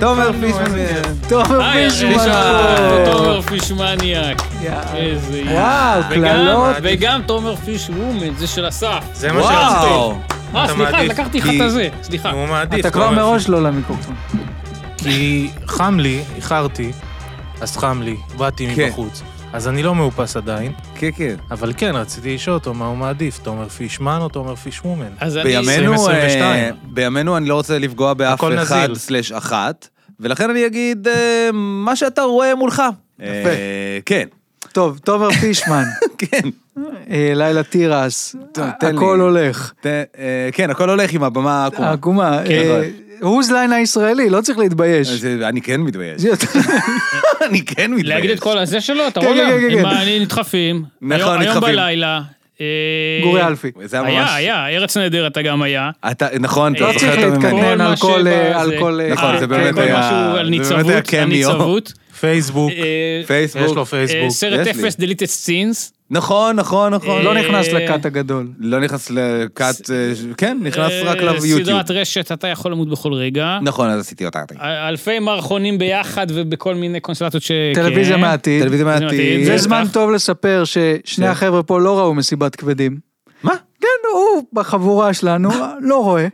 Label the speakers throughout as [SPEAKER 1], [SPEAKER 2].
[SPEAKER 1] תומר פישמן.
[SPEAKER 2] תומר
[SPEAKER 3] היי,
[SPEAKER 2] פישמן.
[SPEAKER 3] אה, תומר פישמניאק. איזה יופי.
[SPEAKER 2] וואו,
[SPEAKER 3] וגם-
[SPEAKER 2] קללות.
[SPEAKER 3] וגם תומר פיש וומן, זה של אסף.
[SPEAKER 4] זה מה שרציתי.
[SPEAKER 1] וואו.
[SPEAKER 3] אה,
[SPEAKER 4] אתה
[SPEAKER 3] סליחה,
[SPEAKER 4] מעדיף,
[SPEAKER 3] לקחתי לך
[SPEAKER 1] כי-
[SPEAKER 3] את הזה. סליחה.
[SPEAKER 4] הוא מעדיף.
[SPEAKER 2] אתה כבר
[SPEAKER 4] תומר.
[SPEAKER 2] מראש לא למיקרופון.
[SPEAKER 4] כי חם לי, איחרתי, אז חם לי, באתי
[SPEAKER 1] כן.
[SPEAKER 4] מבחוץ. אז אני לא מאופס עדיין,
[SPEAKER 1] כן, כן.
[SPEAKER 4] אבל כן, רציתי לשאול אותו מה הוא מעדיף, תומר פישמן או תומר פישוומן.
[SPEAKER 3] אז אני...
[SPEAKER 1] בימינו, אה,
[SPEAKER 4] 2022.
[SPEAKER 1] בימינו אני לא רוצה לפגוע באף
[SPEAKER 4] הכל
[SPEAKER 1] אחד
[SPEAKER 4] נזיל.
[SPEAKER 1] סלש אחת, ולכן אני אגיד אה, מה שאתה רואה מולך. יפה. כן,
[SPEAKER 2] טוב, תומר פישמן,
[SPEAKER 1] כן.
[SPEAKER 2] אה, לילה תירס,
[SPEAKER 1] טוב,
[SPEAKER 2] ה-
[SPEAKER 1] תן לי.
[SPEAKER 2] הכל הולך.
[SPEAKER 1] ת- אה, כן, הכל הולך עם הבמה
[SPEAKER 2] אה,
[SPEAKER 1] העקומה.
[SPEAKER 2] העקומה.
[SPEAKER 1] כן.
[SPEAKER 2] הוזליין הישראלי, לא צריך להתבייש.
[SPEAKER 1] אז, אה, אני כן מתבייש. אני כן מתבייש.
[SPEAKER 3] להגיד את כל הזה שלו, אתה
[SPEAKER 2] כן,
[SPEAKER 3] רואה?
[SPEAKER 2] כן, כן,
[SPEAKER 3] עם
[SPEAKER 2] כן.
[SPEAKER 3] העני נדחפים.
[SPEAKER 1] נכון,
[SPEAKER 3] היום- היום
[SPEAKER 1] נדחפים.
[SPEAKER 3] בלילה. אה,
[SPEAKER 2] גורי אלפי.
[SPEAKER 1] זה היה ממש...
[SPEAKER 3] היה, היה, ארץ נהדרת גם היה.
[SPEAKER 1] אתה, נכון, אתה
[SPEAKER 3] אה,
[SPEAKER 1] זוכר את
[SPEAKER 2] לא צריך להתקדם.
[SPEAKER 1] הממנים.
[SPEAKER 2] על
[SPEAKER 3] מה
[SPEAKER 2] כל,
[SPEAKER 3] שבא
[SPEAKER 2] אה, על
[SPEAKER 3] זה-
[SPEAKER 2] כל, אה,
[SPEAKER 1] נכון,
[SPEAKER 3] אה,
[SPEAKER 1] זה באמת
[SPEAKER 3] כל
[SPEAKER 1] היה-
[SPEAKER 3] משהו על
[SPEAKER 1] זה באמת
[SPEAKER 3] ניצבות,
[SPEAKER 1] היה
[SPEAKER 3] על
[SPEAKER 1] קמיו.
[SPEAKER 3] ניצבות.
[SPEAKER 4] פייסבוק,
[SPEAKER 3] אה,
[SPEAKER 1] פייסבוק.
[SPEAKER 4] יש לו
[SPEAKER 3] אה,
[SPEAKER 4] פייסבוק.
[SPEAKER 3] סרט
[SPEAKER 1] יש לי.
[SPEAKER 3] אפס דליטד סינס.
[SPEAKER 1] נכון, נכון, נכון.
[SPEAKER 2] לא
[SPEAKER 3] אה,
[SPEAKER 2] נכנס לכת הגדול.
[SPEAKER 1] לא נכנס לכת... אה, ש- כן, נכנס רק
[SPEAKER 3] אה,
[SPEAKER 1] ליוטיוב.
[SPEAKER 3] סדרת רשת, אתה יכול למות בכל רגע.
[SPEAKER 1] נכון, אז עשיתי אותה.
[SPEAKER 3] אל- אלפי מערכונים ביחד ובכל מיני קונסטלציות ש...
[SPEAKER 2] טלוויזיה
[SPEAKER 3] כן.
[SPEAKER 2] מהעתיד.
[SPEAKER 1] טלוויזיה
[SPEAKER 3] זה
[SPEAKER 1] מעתיד.
[SPEAKER 3] מתאים,
[SPEAKER 2] זה
[SPEAKER 3] בטח.
[SPEAKER 2] זמן טוב לספר ששני
[SPEAKER 1] זה-
[SPEAKER 2] החבר'ה פה לא ראו מסיבת כבדים.
[SPEAKER 1] כן. מה?
[SPEAKER 2] כן, הוא בחבורה שלנו לא רואה.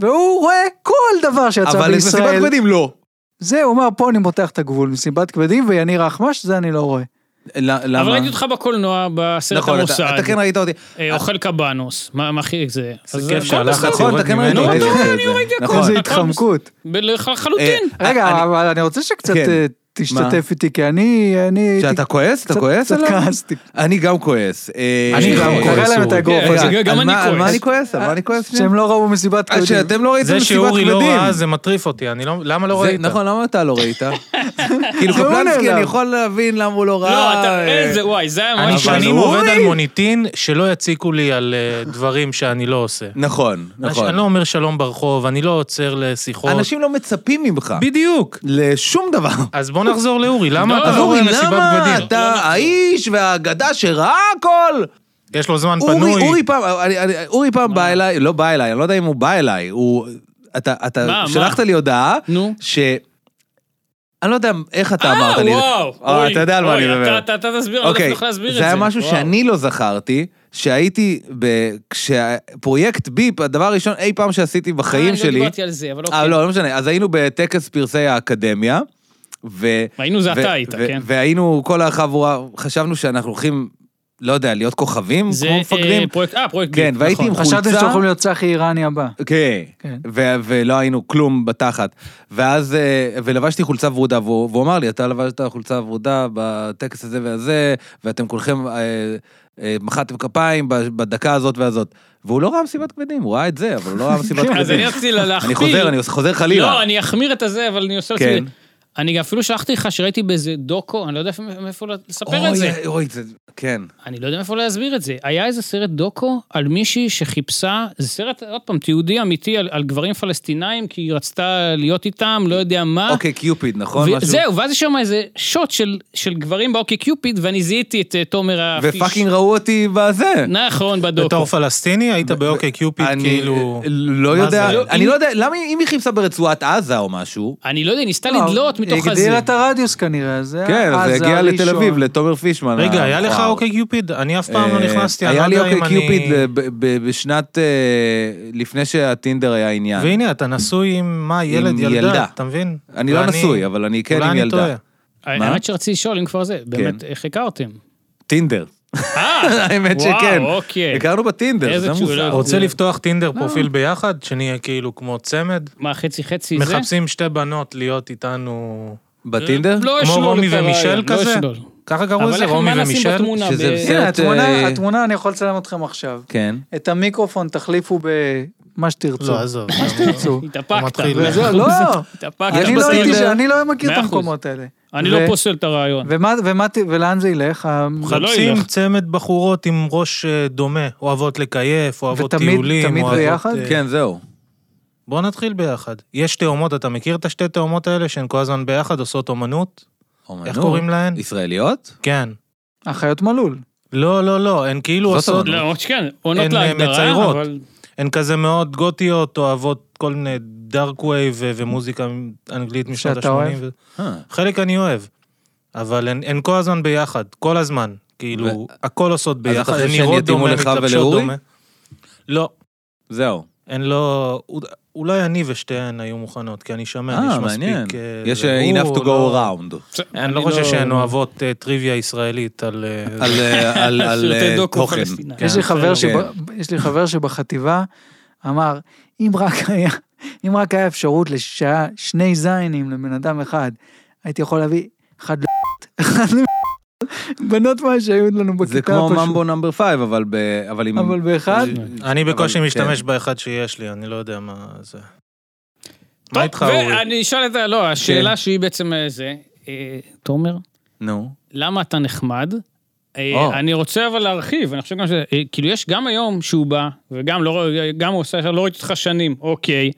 [SPEAKER 2] והוא רואה כל דבר שיצא
[SPEAKER 1] אבל מסיבת
[SPEAKER 2] בישראל.
[SPEAKER 1] כבדים לא.
[SPEAKER 2] זה, הוא אמר, פה אני מותח את הגבול, מסיבת כבדים ויניר אחמש, זה אני לא רואה.
[SPEAKER 1] ל- למה?
[SPEAKER 3] אבל ראיתי אותך בקולנוע, בסרט
[SPEAKER 1] נכון, אתה-
[SPEAKER 3] המוסד.
[SPEAKER 1] אתה כן ראית אותי.
[SPEAKER 3] אה, אכל קבנוס. מה מה הכי זה? אז
[SPEAKER 4] כיף
[SPEAKER 3] הכל
[SPEAKER 4] שהלחץ
[SPEAKER 3] בסדר.
[SPEAKER 1] נכון, אתה כן ראית
[SPEAKER 4] ממנו.
[SPEAKER 1] אותי.
[SPEAKER 4] נו,
[SPEAKER 1] עושה את זה. נכון.
[SPEAKER 2] איזה
[SPEAKER 3] הכל
[SPEAKER 2] התחמקות.
[SPEAKER 3] ב- לחלוטין.
[SPEAKER 1] אה,
[SPEAKER 2] רגע,
[SPEAKER 1] אני-
[SPEAKER 2] אבל אני רוצה שקצת
[SPEAKER 1] כן.
[SPEAKER 2] אה, תשתתף איתי, כי אני... אני-
[SPEAKER 1] שאתה כועס? אתה
[SPEAKER 2] קצת-
[SPEAKER 1] כועס
[SPEAKER 2] קצת
[SPEAKER 1] עליו?
[SPEAKER 2] כעסתי.
[SPEAKER 1] אני גם כועס. אה,
[SPEAKER 4] אני
[SPEAKER 1] אה,
[SPEAKER 4] גם
[SPEAKER 1] אה,
[SPEAKER 4] כועס.
[SPEAKER 2] תראה להם את
[SPEAKER 4] הוא-
[SPEAKER 2] האגרוף
[SPEAKER 3] כן,
[SPEAKER 2] הזה.
[SPEAKER 3] רגע, גם
[SPEAKER 1] על
[SPEAKER 3] אני
[SPEAKER 1] מה- על מה
[SPEAKER 3] כועס.
[SPEAKER 1] אני כועס? על מה אני כועס?
[SPEAKER 2] שהם לא ראו מסיבת
[SPEAKER 1] אה,
[SPEAKER 2] כבדים.
[SPEAKER 1] שאתם לא ראיתם
[SPEAKER 4] זה
[SPEAKER 1] מסיבת
[SPEAKER 4] שאורי
[SPEAKER 1] כבדים.
[SPEAKER 4] לא ראה, זה מטריף אותי, אני לא... למה לא
[SPEAKER 1] זה-
[SPEAKER 4] ראית?
[SPEAKER 1] נכון, למה אתה לא ראית? כאילו
[SPEAKER 2] זה הוא
[SPEAKER 1] קפלנסקי,
[SPEAKER 2] נעלם.
[SPEAKER 1] אני יכול להבין למה הוא לא ראה.
[SPEAKER 3] לא, אתה...
[SPEAKER 1] אה,
[SPEAKER 3] איזה, וואי, זה היה
[SPEAKER 4] אני
[SPEAKER 3] ממש...
[SPEAKER 4] שנים
[SPEAKER 1] אבל
[SPEAKER 4] עובד
[SPEAKER 1] אורי!
[SPEAKER 4] על מוניטין שלא יציקו לי על אה, דברים שאני לא עושה.
[SPEAKER 1] נכון, נכון.
[SPEAKER 4] אני לא אומר שלום ברחוב, אני לא עוצר לשיחות.
[SPEAKER 1] אנשים לא מצפים ממך.
[SPEAKER 4] בדיוק.
[SPEAKER 1] לשום דבר.
[SPEAKER 4] אז בוא נחזור לאורי, למה
[SPEAKER 3] לא,
[SPEAKER 4] אתה
[SPEAKER 1] אז
[SPEAKER 4] לא רואה
[SPEAKER 1] אורי,
[SPEAKER 4] מסיבת
[SPEAKER 1] למה
[SPEAKER 4] בגדים?
[SPEAKER 1] אתה האיש והאגדה שראה הכל?
[SPEAKER 4] יש לו זמן
[SPEAKER 1] אורי,
[SPEAKER 4] פנוי.
[SPEAKER 1] אורי פעם, אני- אני- אורי פעם בא אליי, לא בא אליי, אני לא יודע אם הוא בא אליי, הוא... אתה,
[SPEAKER 3] מה,
[SPEAKER 1] אתה
[SPEAKER 3] מה?
[SPEAKER 1] שלחת לי הודעה,
[SPEAKER 3] נו.
[SPEAKER 1] ש... אני לא יודע איך אתה
[SPEAKER 3] אה,
[SPEAKER 1] אמרת לי.
[SPEAKER 3] וואו.
[SPEAKER 1] אה,
[SPEAKER 3] אוי,
[SPEAKER 1] אתה יודע על מה
[SPEAKER 3] אוי,
[SPEAKER 1] אני מדבר.
[SPEAKER 3] אתה- אתה אתה תסביר, אני לא
[SPEAKER 1] אוקיי,
[SPEAKER 3] צריך להסביר את זה.
[SPEAKER 1] זה היה משהו
[SPEAKER 3] וואו.
[SPEAKER 1] שאני לא זכרתי, שהייתי, ב- כשפרויקט ביפ, הדבר הראשון אי פעם שעשיתי
[SPEAKER 3] אה,
[SPEAKER 1] בחיים
[SPEAKER 3] אני לא
[SPEAKER 1] שלי,
[SPEAKER 3] דיברתי על זה, אבל
[SPEAKER 1] אה,
[SPEAKER 3] אוקיי.
[SPEAKER 1] לא, לא משנה. אז היינו בטקס פרסי האקדמיה, ו...
[SPEAKER 3] היינו, זה
[SPEAKER 1] ו-
[SPEAKER 3] אתה היית,
[SPEAKER 1] ו-
[SPEAKER 3] כן.
[SPEAKER 1] והיינו, כל החבורה, חשבנו שאנחנו הולכים, לא יודע, להיות כוכבים,
[SPEAKER 3] זה
[SPEAKER 1] כמו
[SPEAKER 3] אה,
[SPEAKER 1] מפקדים.
[SPEAKER 3] פרויקט, אה, פרויקט
[SPEAKER 1] כן,
[SPEAKER 3] ביט,
[SPEAKER 1] והייתי
[SPEAKER 3] נכון.
[SPEAKER 1] עם חולצה.
[SPEAKER 2] חשבתם שאתם יכולים להיות צחי איראני הבא.
[SPEAKER 1] כן,
[SPEAKER 2] כן.
[SPEAKER 1] ו- ולא היינו כלום בתחת. ואז, אה, ולבשתי חולצה ורודה, והוא והוא אמר לי, אתה לבשת חולצה ורודה בטקס הזה והזה, ואתם כולכם אה, אה, מחאתם כפיים ב- בדקה הזאת והזאת. והוא לא ראה מסיבת כבדים, הוא ראה את זה, אבל הוא לא ראה מסיבת כבדים.
[SPEAKER 3] כן, אז אני רציתי לה- להכפיל.
[SPEAKER 1] אני חוזר, אני חוזר חלילה.
[SPEAKER 3] לא, אני אחמיר את הזה, אבל אני עושה
[SPEAKER 1] כן.
[SPEAKER 3] לעצמי... אני גם אפילו שלחתי לך שראיתי באיזה דוקו, אני לא יודע איפה- מאיפה לספר את זה.
[SPEAKER 1] אוי, אוי, זה... כן.
[SPEAKER 3] אני לא יודע מאיפה להסביר את זה. היה איזה סרט דוקו על מישהי שחיפשה, זה סרט, עוד פעם, תיעודי אמיתי על, על גברים פלסטינאים, כי היא רצתה להיות איתם, לא יודע מה.
[SPEAKER 1] אוקיי, קיופיד, נכון? משהו-
[SPEAKER 3] זהו, ואז יש שם איזה שוט של, של גברים באוקי קיופיד, ואני זיהיתי את אה, תומר הפיש.
[SPEAKER 1] ופאקינג ראו אותי בזה.
[SPEAKER 3] נכון, בדוקו.
[SPEAKER 4] בתור פלסטיני היית באוקיי קיופיד,
[SPEAKER 1] אני
[SPEAKER 4] כאילו...
[SPEAKER 1] לא
[SPEAKER 4] מה
[SPEAKER 1] יודע,
[SPEAKER 4] זה?
[SPEAKER 1] אני לא יודע, למה אם היא חיפשה ברצועת עזה או משהו?
[SPEAKER 3] אני לא יודע, היא ניסתה לדלות מתוך הזה.
[SPEAKER 2] הגדילה את הרדיוס כנראה, זה
[SPEAKER 1] כן,
[SPEAKER 2] אז
[SPEAKER 1] זה הגיע
[SPEAKER 2] הראשון.
[SPEAKER 1] לתל אביב, לתומר פישמן.
[SPEAKER 4] רגע,
[SPEAKER 1] ה-
[SPEAKER 4] היה לך
[SPEAKER 1] וואו.
[SPEAKER 4] אוקיי קיופיד? אני אף פעם לא
[SPEAKER 1] לא, אה,
[SPEAKER 4] נכנסתי, אני לא
[SPEAKER 1] היה לי
[SPEAKER 4] יודע
[SPEAKER 1] אוקיי
[SPEAKER 4] אם
[SPEAKER 1] קיופיד
[SPEAKER 4] אני...
[SPEAKER 1] ב- ב- בשנת, אה, לפני שהטינדר היה עניין.
[SPEAKER 4] והנה, אתה נשוי עם מה, ילד,
[SPEAKER 1] אה, ילדה.
[SPEAKER 4] ילדה, אתה מבין?
[SPEAKER 1] אני לא
[SPEAKER 4] ואני-
[SPEAKER 1] נשוי, אבל אני כן
[SPEAKER 4] אולי
[SPEAKER 1] עם
[SPEAKER 4] אני
[SPEAKER 1] ילדה.
[SPEAKER 4] טועה.
[SPEAKER 3] אה, האמת שרציתי לשאול, אם כבר זה, באמת,
[SPEAKER 1] כן.
[SPEAKER 3] איך הכרתם?
[SPEAKER 1] טינדר.
[SPEAKER 3] אה,
[SPEAKER 1] האמת
[SPEAKER 3] וואו,
[SPEAKER 1] שכן.
[SPEAKER 3] אוקיי.
[SPEAKER 1] הכרנו בטינדר,
[SPEAKER 3] איזה
[SPEAKER 1] זה
[SPEAKER 3] תשולה.
[SPEAKER 1] מוזר.
[SPEAKER 4] רוצה לפתוח טינדר
[SPEAKER 3] לא.
[SPEAKER 4] פרופיל ביחד, שנהיה כאילו כמו צמד?
[SPEAKER 3] מה, חצי חצי זה?
[SPEAKER 4] מחפשים שתי בנות להיות איתנו...
[SPEAKER 1] בטינדר?
[SPEAKER 3] לא
[SPEAKER 4] כמו
[SPEAKER 3] אשלול
[SPEAKER 4] רומי
[SPEAKER 3] את הרעיון,
[SPEAKER 4] ומישל
[SPEAKER 3] לא
[SPEAKER 4] כזה?
[SPEAKER 3] אשלול.
[SPEAKER 4] ככה קראו
[SPEAKER 3] אבל
[SPEAKER 4] לזה,
[SPEAKER 3] איך,
[SPEAKER 4] רומי
[SPEAKER 3] מה נשים
[SPEAKER 4] ומישל?
[SPEAKER 3] בתמונה?
[SPEAKER 1] שזה
[SPEAKER 3] ב-
[SPEAKER 1] בסדר.
[SPEAKER 2] הנה,
[SPEAKER 1] סרט, אה,
[SPEAKER 2] התמונה, התמונה, אני יכול לצלם אתכם עכשיו.
[SPEAKER 1] כן.
[SPEAKER 2] את המיקרופון תחליפו במה שתרצו.
[SPEAKER 4] לא, עזוב.
[SPEAKER 2] תרצו.
[SPEAKER 3] התאפקת.
[SPEAKER 4] מתחיל.
[SPEAKER 3] מאה
[SPEAKER 2] זה-
[SPEAKER 3] אחוז.
[SPEAKER 2] לא,
[SPEAKER 3] התאפקת.
[SPEAKER 2] אני
[SPEAKER 1] יש
[SPEAKER 2] לא הייתי,
[SPEAKER 1] בטינדר-
[SPEAKER 2] ש- אני לא מכיר את
[SPEAKER 3] מאה אחוז.
[SPEAKER 2] המקומות האלה.
[SPEAKER 3] אני
[SPEAKER 2] ו-
[SPEAKER 3] לא פוסל את הרעיון.
[SPEAKER 2] ומה, ומה, ת- ולאן זה ילך? ה-
[SPEAKER 3] זה לא
[SPEAKER 4] מחפשים
[SPEAKER 3] ילך.
[SPEAKER 4] צמד בחורות עם ראש אה, דומה, אוהבות לקייף, אוהבות
[SPEAKER 2] ותמיד-
[SPEAKER 4] טיולים,
[SPEAKER 2] תמיד
[SPEAKER 4] אוהבות...
[SPEAKER 2] ביחד?
[SPEAKER 4] אה,
[SPEAKER 1] כן, זהו.
[SPEAKER 4] בוא נתחיל ביחד. יש תאומות, אתה מכיר את השתי תאומות האלה שהן כל הזמן ביחד עושות אומנות?
[SPEAKER 1] אומנות.
[SPEAKER 4] קוראים להן?
[SPEAKER 1] ישראליות?
[SPEAKER 4] כן.
[SPEAKER 2] החיות מלול. לא,
[SPEAKER 4] לא, לא, לא, הן כאילו
[SPEAKER 1] זאת
[SPEAKER 4] עושות...
[SPEAKER 1] אומנות.
[SPEAKER 3] למרות שכן, עונות
[SPEAKER 4] הן, אה,
[SPEAKER 3] להגדרה,
[SPEAKER 4] מציירות.
[SPEAKER 3] אבל...
[SPEAKER 4] הן כזה מאוד גותיות, אוהבות כל מיני דארק וייב ו- ומוזיקה אנגלית משנות
[SPEAKER 2] שאתה
[SPEAKER 4] ה-80.
[SPEAKER 2] אוהב?
[SPEAKER 4] ו...
[SPEAKER 1] אה,
[SPEAKER 4] חלק אני אוהב, אבל הן, הן כל הזמן ביחד, כל הזמן. כאילו,
[SPEAKER 1] ו-
[SPEAKER 4] הכל עושות
[SPEAKER 1] אתה
[SPEAKER 4] ביחד,
[SPEAKER 1] חושב
[SPEAKER 4] הן
[SPEAKER 1] שהן
[SPEAKER 4] נראות
[SPEAKER 1] יתאימו
[SPEAKER 4] דומה,
[SPEAKER 1] לך
[SPEAKER 4] מתלבשות
[SPEAKER 1] ולאורי?
[SPEAKER 4] דומה. לא,
[SPEAKER 1] זהו.
[SPEAKER 4] הן לא... אולי אני ושתיהן היו מוכנות, כי אני שומע,
[SPEAKER 1] אה,
[SPEAKER 4] יש
[SPEAKER 1] מעניין.
[SPEAKER 4] מספיק... אה,
[SPEAKER 1] יש
[SPEAKER 4] זה.
[SPEAKER 1] אה, enough
[SPEAKER 4] הוא
[SPEAKER 1] to go
[SPEAKER 4] לא-
[SPEAKER 1] around.
[SPEAKER 4] אני לא חושב שהן אוהבות אה, טריוויה ישראלית על... אה,
[SPEAKER 1] על, אה, על- על
[SPEAKER 3] סרטי
[SPEAKER 1] אה,
[SPEAKER 3] דוקו
[SPEAKER 1] תוכן.
[SPEAKER 3] פלסטינאים.
[SPEAKER 2] יש לי
[SPEAKER 4] כן,
[SPEAKER 2] חבר
[SPEAKER 1] בסדר.
[SPEAKER 2] שב- יש לי חבר שבחטיבה אמר, אם רק היה, אם רק היה אפשרות לשעה שני זיינים לבן אדם אחד, הייתי יכול להביא אחד ל... אחד ל- בנות מה שהיו לנו בכיתה
[SPEAKER 1] זה כמו
[SPEAKER 2] פשוט.
[SPEAKER 1] ממבו נאמבר 5, אבל ב... אבל עם...
[SPEAKER 2] אבל באחד,
[SPEAKER 4] אני בקושי
[SPEAKER 1] אבל-
[SPEAKER 4] משתמש
[SPEAKER 1] כן.
[SPEAKER 4] באחד שיש לי, אני לא יודע מה זה.
[SPEAKER 3] טוב,
[SPEAKER 4] מה איתך, אורי? כן.
[SPEAKER 3] ואני אשאל את ה... לא, השאלה שהיא בעצם אה, זה, אה, תומר,
[SPEAKER 1] נו.
[SPEAKER 3] למה אתה נחמד? אה,
[SPEAKER 1] או.
[SPEAKER 3] אני רוצה אבל להרחיב, אני חושב גם ש... אה, כאילו, יש גם היום שהוא בא, וגם לא, ר- גם הוא עושה, לא ראיתי אותך שנים, אוקיי.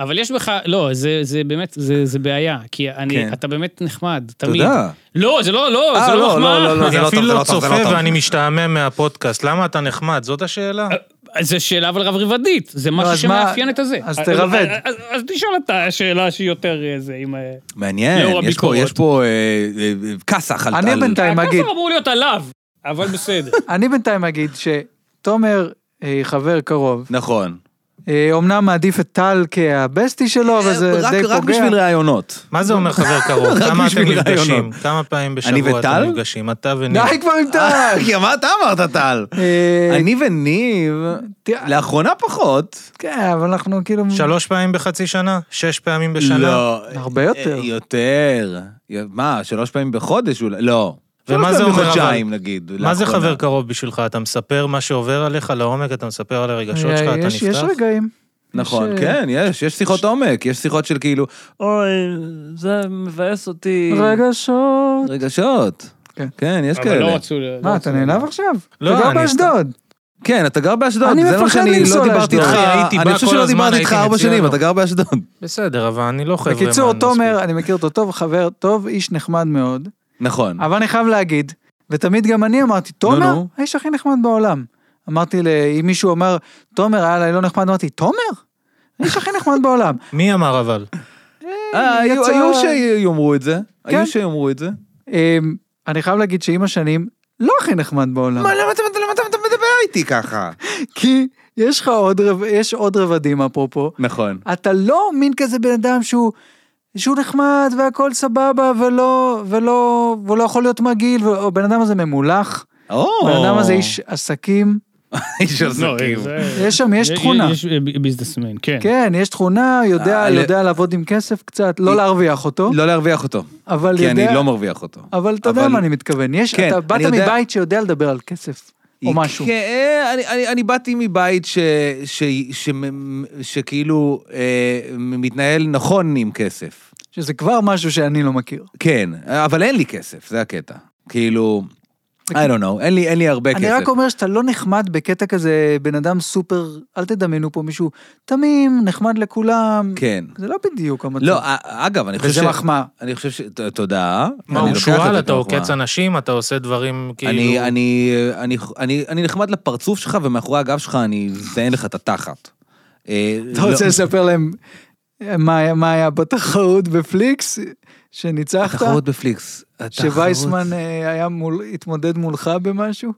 [SPEAKER 3] אבל יש בך, לא, זה, זה באמת, זה, זה בעיה, כי אני,
[SPEAKER 1] כן.
[SPEAKER 3] אתה באמת נחמד, תמיד.
[SPEAKER 1] תודה.
[SPEAKER 3] לא, זה לא, לא,
[SPEAKER 1] אה,
[SPEAKER 3] זה
[SPEAKER 1] לא,
[SPEAKER 3] לא מחמאה.
[SPEAKER 1] לא, לא, זה לא
[SPEAKER 4] אני
[SPEAKER 1] טוב,
[SPEAKER 4] אפילו
[SPEAKER 1] זה
[SPEAKER 4] לא
[SPEAKER 1] לא טוב, זה
[SPEAKER 4] צופה
[SPEAKER 1] לא טוב.
[SPEAKER 4] ואני משתעמם מהפודקאסט, למה אתה נחמד? זאת השאלה.
[SPEAKER 3] זה שאלה אבל רב-רבדית, זה משהו
[SPEAKER 2] אז
[SPEAKER 3] שמאפיין
[SPEAKER 2] מה-
[SPEAKER 3] את הזה.
[SPEAKER 2] אז תרבד.
[SPEAKER 3] אז- אז- אז תשאל אתה שאלה שהיא יותר אה, זה, אם... אה,
[SPEAKER 1] מעניין,
[SPEAKER 3] לאור
[SPEAKER 1] יש פה,
[SPEAKER 3] הביקורות.
[SPEAKER 1] יש פה אה, אה, אה, כסח על...
[SPEAKER 2] אני
[SPEAKER 1] על-
[SPEAKER 2] בינתיים-
[SPEAKER 3] הכפר
[SPEAKER 2] אגיד.
[SPEAKER 3] אמור להיות עליו, אבל בסדר.
[SPEAKER 2] אני בינתיים אגיד שתומר, אה, חבר קרוב,
[SPEAKER 1] נכון.
[SPEAKER 2] אה, אומנם מעדיף את טל כהבסטי שלו, אבל זה
[SPEAKER 1] אה, רק-
[SPEAKER 2] די פוגע.
[SPEAKER 1] רק בשביל ראיונות.
[SPEAKER 4] מה זה אומר חבר קרוב? כמה אתם
[SPEAKER 1] בשביל
[SPEAKER 4] נפגשים?
[SPEAKER 1] רעיונות.
[SPEAKER 4] כמה פעמים
[SPEAKER 1] אני
[SPEAKER 4] בשבוע
[SPEAKER 1] וטל?
[SPEAKER 4] אתם נפגשים? אתה וניר.
[SPEAKER 2] די כבר עם טל!
[SPEAKER 1] אה, מה אתה אמרת, טל?
[SPEAKER 2] אה,
[SPEAKER 1] אני וניב,
[SPEAKER 2] תראה,
[SPEAKER 1] לאחרונה פחות.
[SPEAKER 2] כן, אבל אנחנו כאילו...
[SPEAKER 4] שלוש פעמים בחצי שנה? שש פעמים בשנה?
[SPEAKER 1] לא.
[SPEAKER 2] הרבה יותר.
[SPEAKER 1] אה, יותר. מה, שלוש פעמים בחודש אולי? לא.
[SPEAKER 4] ומה
[SPEAKER 1] שלוש
[SPEAKER 4] זה
[SPEAKER 1] פעמים
[SPEAKER 4] אומר, אבל?
[SPEAKER 1] בחודשיים, נגיד.
[SPEAKER 4] מה זה
[SPEAKER 1] לאחרונה.
[SPEAKER 4] חבר קרוב בשבילך? אתה מספר מה שעובר עליך לעומק? אתה מספר על הרגשות שלך? אתה
[SPEAKER 2] אה, יש- יש
[SPEAKER 4] נפתח?
[SPEAKER 2] רגעים.
[SPEAKER 1] נכון,
[SPEAKER 2] יש, אה,
[SPEAKER 1] כן, יש, יש שיחות עומק, יש שיחות של כאילו, אוי, זה מבאס אותי.
[SPEAKER 2] רגשות.
[SPEAKER 1] רגשות.
[SPEAKER 2] כן.
[SPEAKER 1] כן, יש
[SPEAKER 3] אבל לא
[SPEAKER 1] כאלה.
[SPEAKER 3] רצו... לא
[SPEAKER 2] מה,
[SPEAKER 3] רצו-
[SPEAKER 2] אתה נעלב עכשיו?
[SPEAKER 4] לא,
[SPEAKER 2] אתה גר
[SPEAKER 4] אני סתם-
[SPEAKER 2] באשדוד.
[SPEAKER 1] כן, אתה גר באשדוד,
[SPEAKER 2] אני
[SPEAKER 1] זה לא
[SPEAKER 2] מפחד
[SPEAKER 1] שאני
[SPEAKER 2] לנסוע
[SPEAKER 1] לא דיברתי
[SPEAKER 2] לאשדוד.
[SPEAKER 1] איתך,
[SPEAKER 4] אני הייתי
[SPEAKER 1] אני
[SPEAKER 4] בא
[SPEAKER 1] חושב
[SPEAKER 4] כל
[SPEAKER 1] שלא
[SPEAKER 4] הזמן,
[SPEAKER 1] דיברתי איתך
[SPEAKER 4] הייתי
[SPEAKER 1] ארבע
[SPEAKER 4] מציע
[SPEAKER 1] שנים,
[SPEAKER 4] לו.
[SPEAKER 1] אתה גר באשדוד.
[SPEAKER 4] בסדר, אבל אני לא חברמן.
[SPEAKER 2] בקיצור,
[SPEAKER 4] מספיק.
[SPEAKER 2] תומר, אני מכיר אותו טוב, חבר טוב, איש נחמד מאוד,
[SPEAKER 1] נכון.
[SPEAKER 2] אבל אני חייב להגיד, ותמיד גם אני אמרתי, תומר,
[SPEAKER 1] נו.
[SPEAKER 2] האיש הכי נחמד בעולם. אמרתי, ל- אם מישהו אמר, תומר, היה לי לא נחמד, אמרתי, תומר? האיש הכי נחמד בעולם.
[SPEAKER 4] מי אמר אבל?
[SPEAKER 1] אה, היו
[SPEAKER 2] יצא-
[SPEAKER 1] היו שיאמרו את זה,
[SPEAKER 2] כן.
[SPEAKER 1] היו שיאמרו את זה.
[SPEAKER 2] אמ, אני חייב להגיד שעם השנים, לא הכי נחמד בעולם.
[SPEAKER 1] מה, למה אתה למה אתה- אתה מדבר איתי ככה?
[SPEAKER 2] כי יש לך עוד רב- יש עוד רבדים, אפרופו,
[SPEAKER 1] נכון.
[SPEAKER 2] אתה לא מין כזה בן אדם שהוא, שהוא נחמד והכל סבבה ולא, ולא, ולא יכול להיות מגעיל, ו- הבן אדם הזה ממולח, הבן אדם הזה איש עסקים,
[SPEAKER 1] איש
[SPEAKER 3] לא,
[SPEAKER 1] עסקים.
[SPEAKER 3] זה-
[SPEAKER 2] יש שם, יש תכונה.
[SPEAKER 3] יש אה, ב- ביזנסמן, כן.
[SPEAKER 2] כן, יש תכונה, יודע,
[SPEAKER 1] אה, ל-
[SPEAKER 2] יודע לעבוד עם כסף קצת, לא
[SPEAKER 1] אי-
[SPEAKER 2] להרוויח אותו,
[SPEAKER 1] לא להרוויח אותו,
[SPEAKER 2] אבל
[SPEAKER 1] כי אני
[SPEAKER 2] יודע,
[SPEAKER 1] לא מרוויח אותו.
[SPEAKER 2] אבל אתה יודע
[SPEAKER 1] אבל-
[SPEAKER 2] מה אני מתכוון, יש,
[SPEAKER 1] כן,
[SPEAKER 2] אתה באת
[SPEAKER 1] אני יודע-
[SPEAKER 2] מבית שיודע לדבר על כסף, או משהו.
[SPEAKER 1] כן, אני, אני, אני באתי מבית ש, ש, ש, שכאילו אה, מתנהל נכון עם כסף.
[SPEAKER 2] שזה כבר משהו שאני לא מכיר.
[SPEAKER 1] כן, אבל אין לי כסף, זה הקטע. כאילו, I don't know, אין לי, אין לי הרבה
[SPEAKER 2] אני
[SPEAKER 1] כסף.
[SPEAKER 2] רק אומר שאתה לא נחמד בקטע כזה, בן אדם סופר, אל תדמיינו פה מישהו תמים, נחמד לכולם.
[SPEAKER 1] כן.
[SPEAKER 2] זה לא בדיוק המצב.
[SPEAKER 1] לא, א- אגב, אני חושב
[SPEAKER 2] וזה מחמאה.
[SPEAKER 1] אני חושב ש... ת- תודה. אה?
[SPEAKER 4] מה,
[SPEAKER 1] אני
[SPEAKER 4] הוא
[SPEAKER 1] לוקח
[SPEAKER 4] שועל?
[SPEAKER 1] את
[SPEAKER 4] אתה
[SPEAKER 1] המחמאה.
[SPEAKER 4] עוקץ אנשים? אתה עושה דברים
[SPEAKER 1] אני,
[SPEAKER 4] כאילו...
[SPEAKER 1] אני, אה, אני, אני, אני נחמד לפרצוף שלך, ומאחורי הגב שלך אני מזיין לך את התחת. אה,
[SPEAKER 2] אתה
[SPEAKER 1] לא-
[SPEAKER 2] רוצה לספר להם מה מה היה בתחרות בפליקס, שניצחת?
[SPEAKER 1] התחרות בפליקס. התחרות-
[SPEAKER 2] שווייסמן אה, היה מול, התמודד מולך במשהו?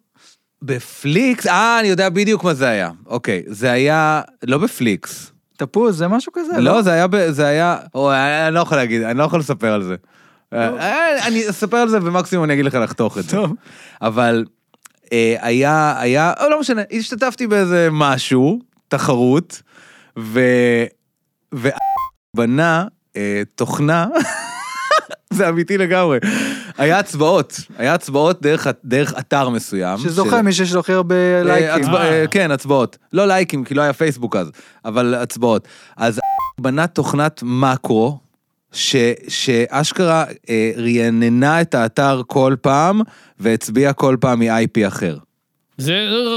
[SPEAKER 1] בפליקס? אה, אני יודע בדיוק מה זה היה. אוקיי, זה היה לא בפליקס.
[SPEAKER 2] תפוז, זה משהו כזה?
[SPEAKER 1] לא, זה היה, ב- זה היה, אוי, אני לא יכול להגיד, אני לא יכול לספר על זה. אה, אני אספר על זה ומקסימום אני אגיד לך לחתוך את זה.
[SPEAKER 2] טוב.
[SPEAKER 1] אבל אה, היה, היה, או, לא משנה, השתתפתי באיזה משהו, תחרות, ו... ו... בנה אה, תוכנה, זה אמיתי לגמרי. היה הצבעות, היה הצבעות דרך, דרך אתר מסוים.
[SPEAKER 2] שזוכה
[SPEAKER 1] של-
[SPEAKER 2] מי שיש לו הכי הרבה
[SPEAKER 1] אה,
[SPEAKER 2] לייקים.
[SPEAKER 1] הצבע-
[SPEAKER 3] אה.
[SPEAKER 1] אה, כן, הצבעות. לא לייקים, כי לא היה פייסבוק אז, אבל הצבעות. אז בנה תוכנת מקרו, ש- שאשכרה אה, רעננה את האתר כל פעם, והצביעה כל פעם מ-IP אחר.
[SPEAKER 3] זה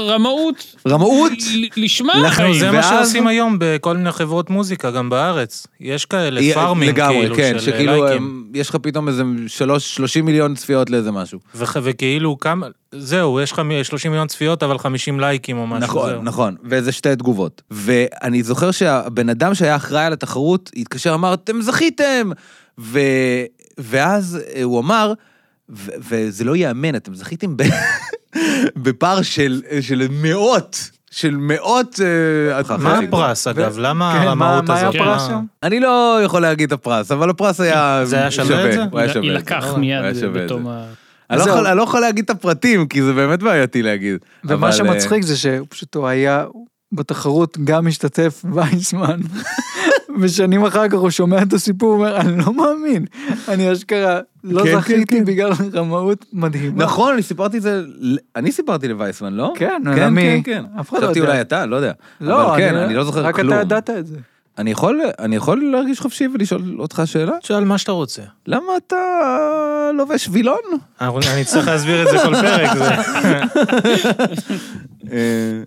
[SPEAKER 3] רמאות
[SPEAKER 1] רמאות?
[SPEAKER 3] ל- לשמה.
[SPEAKER 1] לכן
[SPEAKER 3] חיים.
[SPEAKER 4] זה מה
[SPEAKER 1] ואז-
[SPEAKER 4] שעושים היום בכל מיני חברות מוזיקה, גם בארץ. יש כאלה
[SPEAKER 1] היא-
[SPEAKER 4] פארמים,
[SPEAKER 1] לגמרי,
[SPEAKER 4] כאילו,
[SPEAKER 1] כן,
[SPEAKER 4] של
[SPEAKER 1] שכאילו
[SPEAKER 4] לייקים.
[SPEAKER 1] הם- יש לך פתאום איזה שלוש, 30 מיליון צפיות לאיזה משהו.
[SPEAKER 4] וכ- וכאילו כמה, זהו, יש לך מ- 30 מיליון צפיות, אבל 50 לייקים או משהו.
[SPEAKER 1] נכון,
[SPEAKER 4] זהו.
[SPEAKER 1] נכון, ואיזה שתי תגובות. ואני זוכר שהבן אדם שהיה אחראי על התחרות התקשר, אמר, אתם זכיתם! ו... ואז אה, הוא אמר, ו... וזה לא ייאמן, אתם זכיתם ב... בפער של, של מאות, של מאות... אה,
[SPEAKER 4] מה
[SPEAKER 1] התחרות."
[SPEAKER 4] הפרס, אגב? למה
[SPEAKER 1] אה,
[SPEAKER 2] כן, מה-
[SPEAKER 4] הרמאות
[SPEAKER 2] מה היה
[SPEAKER 4] הזאת?
[SPEAKER 2] הפרס
[SPEAKER 4] מה-
[SPEAKER 2] שם?
[SPEAKER 1] אני לא יכול להגיד את הפרס, אבל הפרס היה
[SPEAKER 4] זה היה שווה את זה? נכון.
[SPEAKER 1] הוא היה שווה את זה. נכון.
[SPEAKER 3] יילקח
[SPEAKER 1] הוא
[SPEAKER 3] מיד
[SPEAKER 1] היה שווה את זה.
[SPEAKER 3] בתום ה...
[SPEAKER 1] אני לא
[SPEAKER 2] זהו.
[SPEAKER 1] יכול- אני לא יכול להגיד את הפרטים, כי זה באמת בעייתי להגיד. אבל,
[SPEAKER 2] ומה
[SPEAKER 1] אה,
[SPEAKER 2] שמצחיק זה שפשוט הוא היה בתחרות גם משתתף וייסמן. ושנים אחר כך הוא שומע את הסיפור, הוא אומר, אני לא מאמין, אני אשכרה לא
[SPEAKER 1] כן,
[SPEAKER 2] זכיתי בגלל רמאות מדהימה.
[SPEAKER 1] נכון, אני סיפרתי את זה, ל- אני סיפרתי לווייסמן, לא?
[SPEAKER 2] כן,
[SPEAKER 1] כן,
[SPEAKER 2] למי?
[SPEAKER 1] כן, כן.
[SPEAKER 2] אף אחד לא
[SPEAKER 1] חשבתי
[SPEAKER 2] יודע.
[SPEAKER 1] אולי אתה, לא יודע. אבל כן, אני לא זוכר
[SPEAKER 2] רק
[SPEAKER 1] כלום.
[SPEAKER 2] רק אתה ידעת את זה.
[SPEAKER 1] אני יכול, אני יכול להרגיש חופשי ולשאול אותך שאלה?
[SPEAKER 4] תשאל מה שאתה רוצה.
[SPEAKER 1] למה אתה לובש וילון?
[SPEAKER 4] אנחנו- אני צריך להסביר את זה כל פרק. זה-
[SPEAKER 1] אה,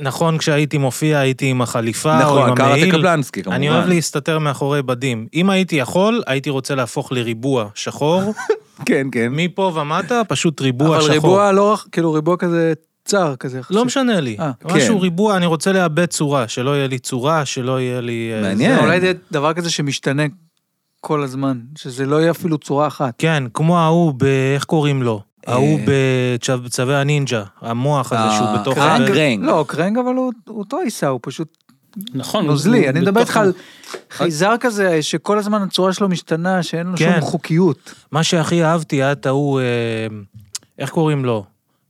[SPEAKER 4] נכון, כשהייתי מופיע הייתי עם החליפה או עם
[SPEAKER 1] נכון, קראתי
[SPEAKER 4] המעיל.
[SPEAKER 1] קפלנסקי, כמובן.
[SPEAKER 4] אני אוהב להסתתר מאחורי בדים. אם הייתי יכול, הייתי רוצה להפוך לריבוע שחור.
[SPEAKER 1] כן, כן.
[SPEAKER 4] מפה ומטה, פשוט ריבוע
[SPEAKER 2] אבל
[SPEAKER 4] שחור.
[SPEAKER 2] ריבוע לא, רח- כאילו ריבוע כזה צר כזה. יחסית.
[SPEAKER 4] לא משנה לי.
[SPEAKER 2] אה,
[SPEAKER 4] משהו
[SPEAKER 1] כן.
[SPEAKER 4] ריבוע, אני רוצה לאבד צורה, שלא יהיה לי צורה, שלא יהיה לי... אה,
[SPEAKER 1] מעניין.
[SPEAKER 4] זה.
[SPEAKER 2] זה אולי זה דבר כזה שמשתנה כל הזמן, שזה לא יהיה אפילו צורה אחת.
[SPEAKER 4] כן, כמו ההוא ב... איך קוראים לו?
[SPEAKER 1] אה.
[SPEAKER 4] ההוא בצו- בצווי הנינג'ה, המוח הזה שהוא
[SPEAKER 1] אה,
[SPEAKER 4] בתוך...
[SPEAKER 1] קרנג?
[SPEAKER 4] הבד.
[SPEAKER 1] קרנג.
[SPEAKER 2] לא, קרנג אבל הוא הוא אותו עיסה, הוא פשוט
[SPEAKER 3] נכון. הוא-
[SPEAKER 2] נוזלי.
[SPEAKER 3] הוא
[SPEAKER 2] אני מדבר איתך
[SPEAKER 3] בתוך
[SPEAKER 2] על חייזר כזה, שכל הזמן הצורה שלו משתנה, שאין לו
[SPEAKER 4] כן.
[SPEAKER 2] שום חוקיות.
[SPEAKER 4] מה שהכי אהבתי היה את ההוא... אה, איך קוראים לו?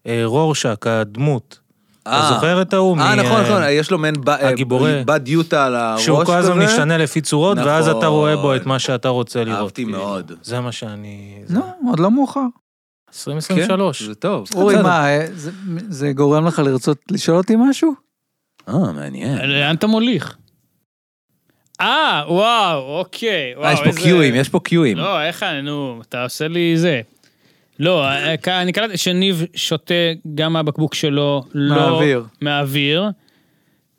[SPEAKER 4] אה, רורשק, הדמות.
[SPEAKER 1] אה.
[SPEAKER 4] אתה זוכר את ההוא?
[SPEAKER 1] אה,
[SPEAKER 4] מ-
[SPEAKER 1] נכון, נכון, יש לו מעין ב- אה,
[SPEAKER 4] הגיבורי.
[SPEAKER 1] בד יוטה על הראש כזה.
[SPEAKER 4] שהוא כל הזמן משתנה לפי צורות, ואז
[SPEAKER 1] נכון.
[SPEAKER 4] אתה רואה בו את מה שאתה רוצה לראות.
[SPEAKER 1] אהבתי
[SPEAKER 4] כאילו.
[SPEAKER 1] מאוד.
[SPEAKER 4] זה מה שאני... זה-
[SPEAKER 2] לא, עוד לא מאוחר.
[SPEAKER 1] כן,
[SPEAKER 4] 2023.
[SPEAKER 1] זה טוב.
[SPEAKER 2] אורי,
[SPEAKER 1] בסדר.
[SPEAKER 2] מה, אה, זה- זה גורם לך לרצות לשאול אותי משהו?
[SPEAKER 1] אה, מעניין.
[SPEAKER 3] לאן אתה מוליך? אה, וואו, אוקיי. וואו,
[SPEAKER 1] אה, יש פה
[SPEAKER 3] איזה-
[SPEAKER 1] קיואים, יש פה קיואים.
[SPEAKER 3] לא, איך אני, נו, אתה עושה לי זה. לא, אה, כ- אני קלטתי שניב שותה גם מהבקבוק שלו, לא...
[SPEAKER 2] מהאוויר.
[SPEAKER 3] מהאוויר.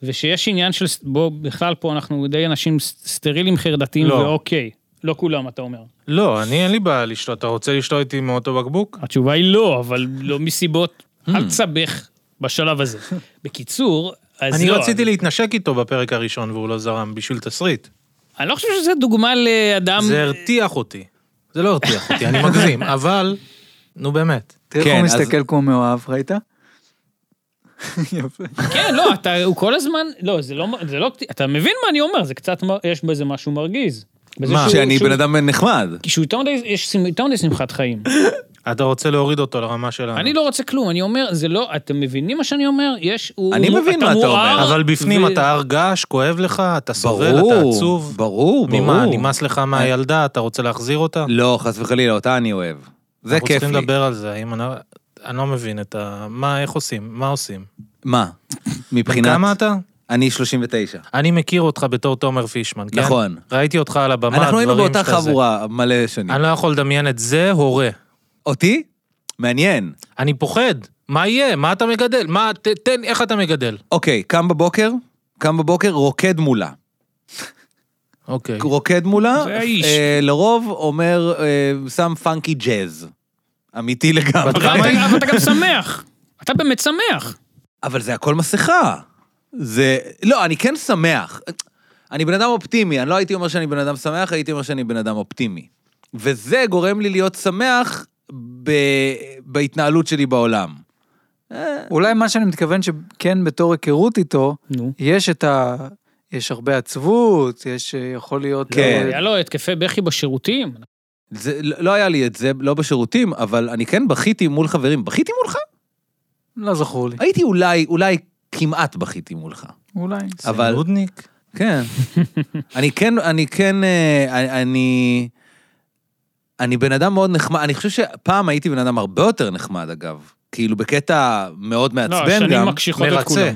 [SPEAKER 3] ושיש עניין של, ס- בוא, בכלל פה אנחנו די אנשים ס- סטרילים חרדתיים,
[SPEAKER 4] לא.
[SPEAKER 3] ואוקיי. לא כולם, אתה אומר.
[SPEAKER 4] לא, אני אין לי בעיה לשתות. אתה רוצה לשתות איתי מאותו בקבוק?
[SPEAKER 3] התשובה היא לא, אבל לא מסיבות, אל תסבך בשלב הזה. בקיצור, אז
[SPEAKER 4] אני
[SPEAKER 3] לא.
[SPEAKER 4] רציתי להתנשק איתו בפרק הראשון והוא לא זרם בשביל תסריט.
[SPEAKER 3] אני לא חושב שזו דוגמה לאדם...
[SPEAKER 4] זה הרתיח אותי. זה לא הרתיח אותי, אני מגזים, אבל... נו באמת.
[SPEAKER 2] תראה
[SPEAKER 1] כן,
[SPEAKER 2] איך הוא
[SPEAKER 1] אז-
[SPEAKER 2] מסתכל כמו מאוהב, ראית? יפה.
[SPEAKER 3] כן, לא, אתה, הוא כל הזמן, לא, זה לא, זה לא, אתה מבין מה אני אומר, זה קצת, מ- יש בזה משהו מרגיז. בזה
[SPEAKER 4] מה?
[SPEAKER 3] שהוא-
[SPEAKER 1] שאני
[SPEAKER 3] שהוא-
[SPEAKER 1] בן אדם נחמד.
[SPEAKER 3] כי שהוא יותר מדי, יש סימ- יותר מדי שמחת חיים.
[SPEAKER 4] אתה רוצה להוריד אותו לרמה שלנו.
[SPEAKER 3] אני לא רוצה כלום, אני אומר, זה לא, אתם מבינים מה שאני אומר? יש, הוא...
[SPEAKER 1] אני מבין מה אתה אומר.
[SPEAKER 3] מואר,
[SPEAKER 4] אבל בפנים
[SPEAKER 3] ו-
[SPEAKER 4] אתה הר געש, כואב לך, אתה סובל, אתה
[SPEAKER 1] ברור,
[SPEAKER 4] עצוב.
[SPEAKER 1] ברור, ברור.
[SPEAKER 4] ממה, נמאס לך מהילדה, אתה רוצה להחזיר אותה?
[SPEAKER 1] לא, חס וחלילה, אותה אני אוהב. זה
[SPEAKER 4] אנחנו
[SPEAKER 1] כיף
[SPEAKER 4] צריכים
[SPEAKER 1] לי.
[SPEAKER 4] לדבר על זה, האם אני... אני לא מבין את ה... מה, איך עושים? מה עושים?
[SPEAKER 1] מה? מבחינת...
[SPEAKER 4] כמה אתה?
[SPEAKER 1] אני 39.
[SPEAKER 4] אני מכיר אותך בתור תומר פישמן, כן?
[SPEAKER 1] נכון.
[SPEAKER 4] ראיתי אותך על הבמה,
[SPEAKER 1] אנחנו היינו
[SPEAKER 4] דברים
[SPEAKER 1] באותה
[SPEAKER 4] שאתה זה.
[SPEAKER 1] חבורה מלא שנים.
[SPEAKER 4] אני לא יכול לדמיין את זה הורה.
[SPEAKER 1] אותי? מעניין.
[SPEAKER 4] אני פוחד. מה יהיה? מה אתה מגדל? מה, ת, תן, איך אתה מגדל?
[SPEAKER 1] אוקיי, קם בבוקר, קם בבוקר, רוקד מולה.
[SPEAKER 4] אוקיי.
[SPEAKER 1] רוקד מולה,
[SPEAKER 3] זה האיש.
[SPEAKER 1] אה, לרוב אומר, אה, שם פאנקי ג'אז. אמיתי
[SPEAKER 4] בת
[SPEAKER 1] לגמרי.
[SPEAKER 4] כמה
[SPEAKER 3] אבל אתה- אבל אתה גם שמח. אתה באמת שמח.
[SPEAKER 1] אבל זה הכל מסכה. זה... לא, אני כן שמח. אני בן אדם אופטימי, אני לא הייתי אומר שאני בן אדם שמח, הייתי אומר שאני בן אדם אופטימי. וזה גורם לי להיות שמח ב... בהתנהלות שלי בעולם.
[SPEAKER 2] אולי מה שאני מתכוון שכן בתור היכרות איתו,
[SPEAKER 3] נו.
[SPEAKER 2] יש את ה... יש הרבה עצבות, יש אה, יכול להיות...
[SPEAKER 1] כן.
[SPEAKER 2] אה,
[SPEAKER 3] היה לו התקפי בכי בשירותים.
[SPEAKER 1] זה, לא לא היה לי את זה, לא בשירותים, אבל אני כן בכיתי מול חברים. בכיתי מולך?
[SPEAKER 2] לא זכור לי.
[SPEAKER 1] הייתי אולי, אולי כמעט בכיתי מולך.
[SPEAKER 2] אולי.
[SPEAKER 1] אבל-
[SPEAKER 4] זה נודניק?
[SPEAKER 1] כן. אני כן, אני כן, אה, אני- אני... אני בן אדם מאוד נחמד, אני חושב שפעם הייתי בן אדם הרבה יותר נחמד, אגב. כאילו, בקטע מאוד מעצבן
[SPEAKER 3] לא,
[SPEAKER 1] גם.
[SPEAKER 3] השנים מקשיחות את
[SPEAKER 4] מרצה.
[SPEAKER 3] כולם.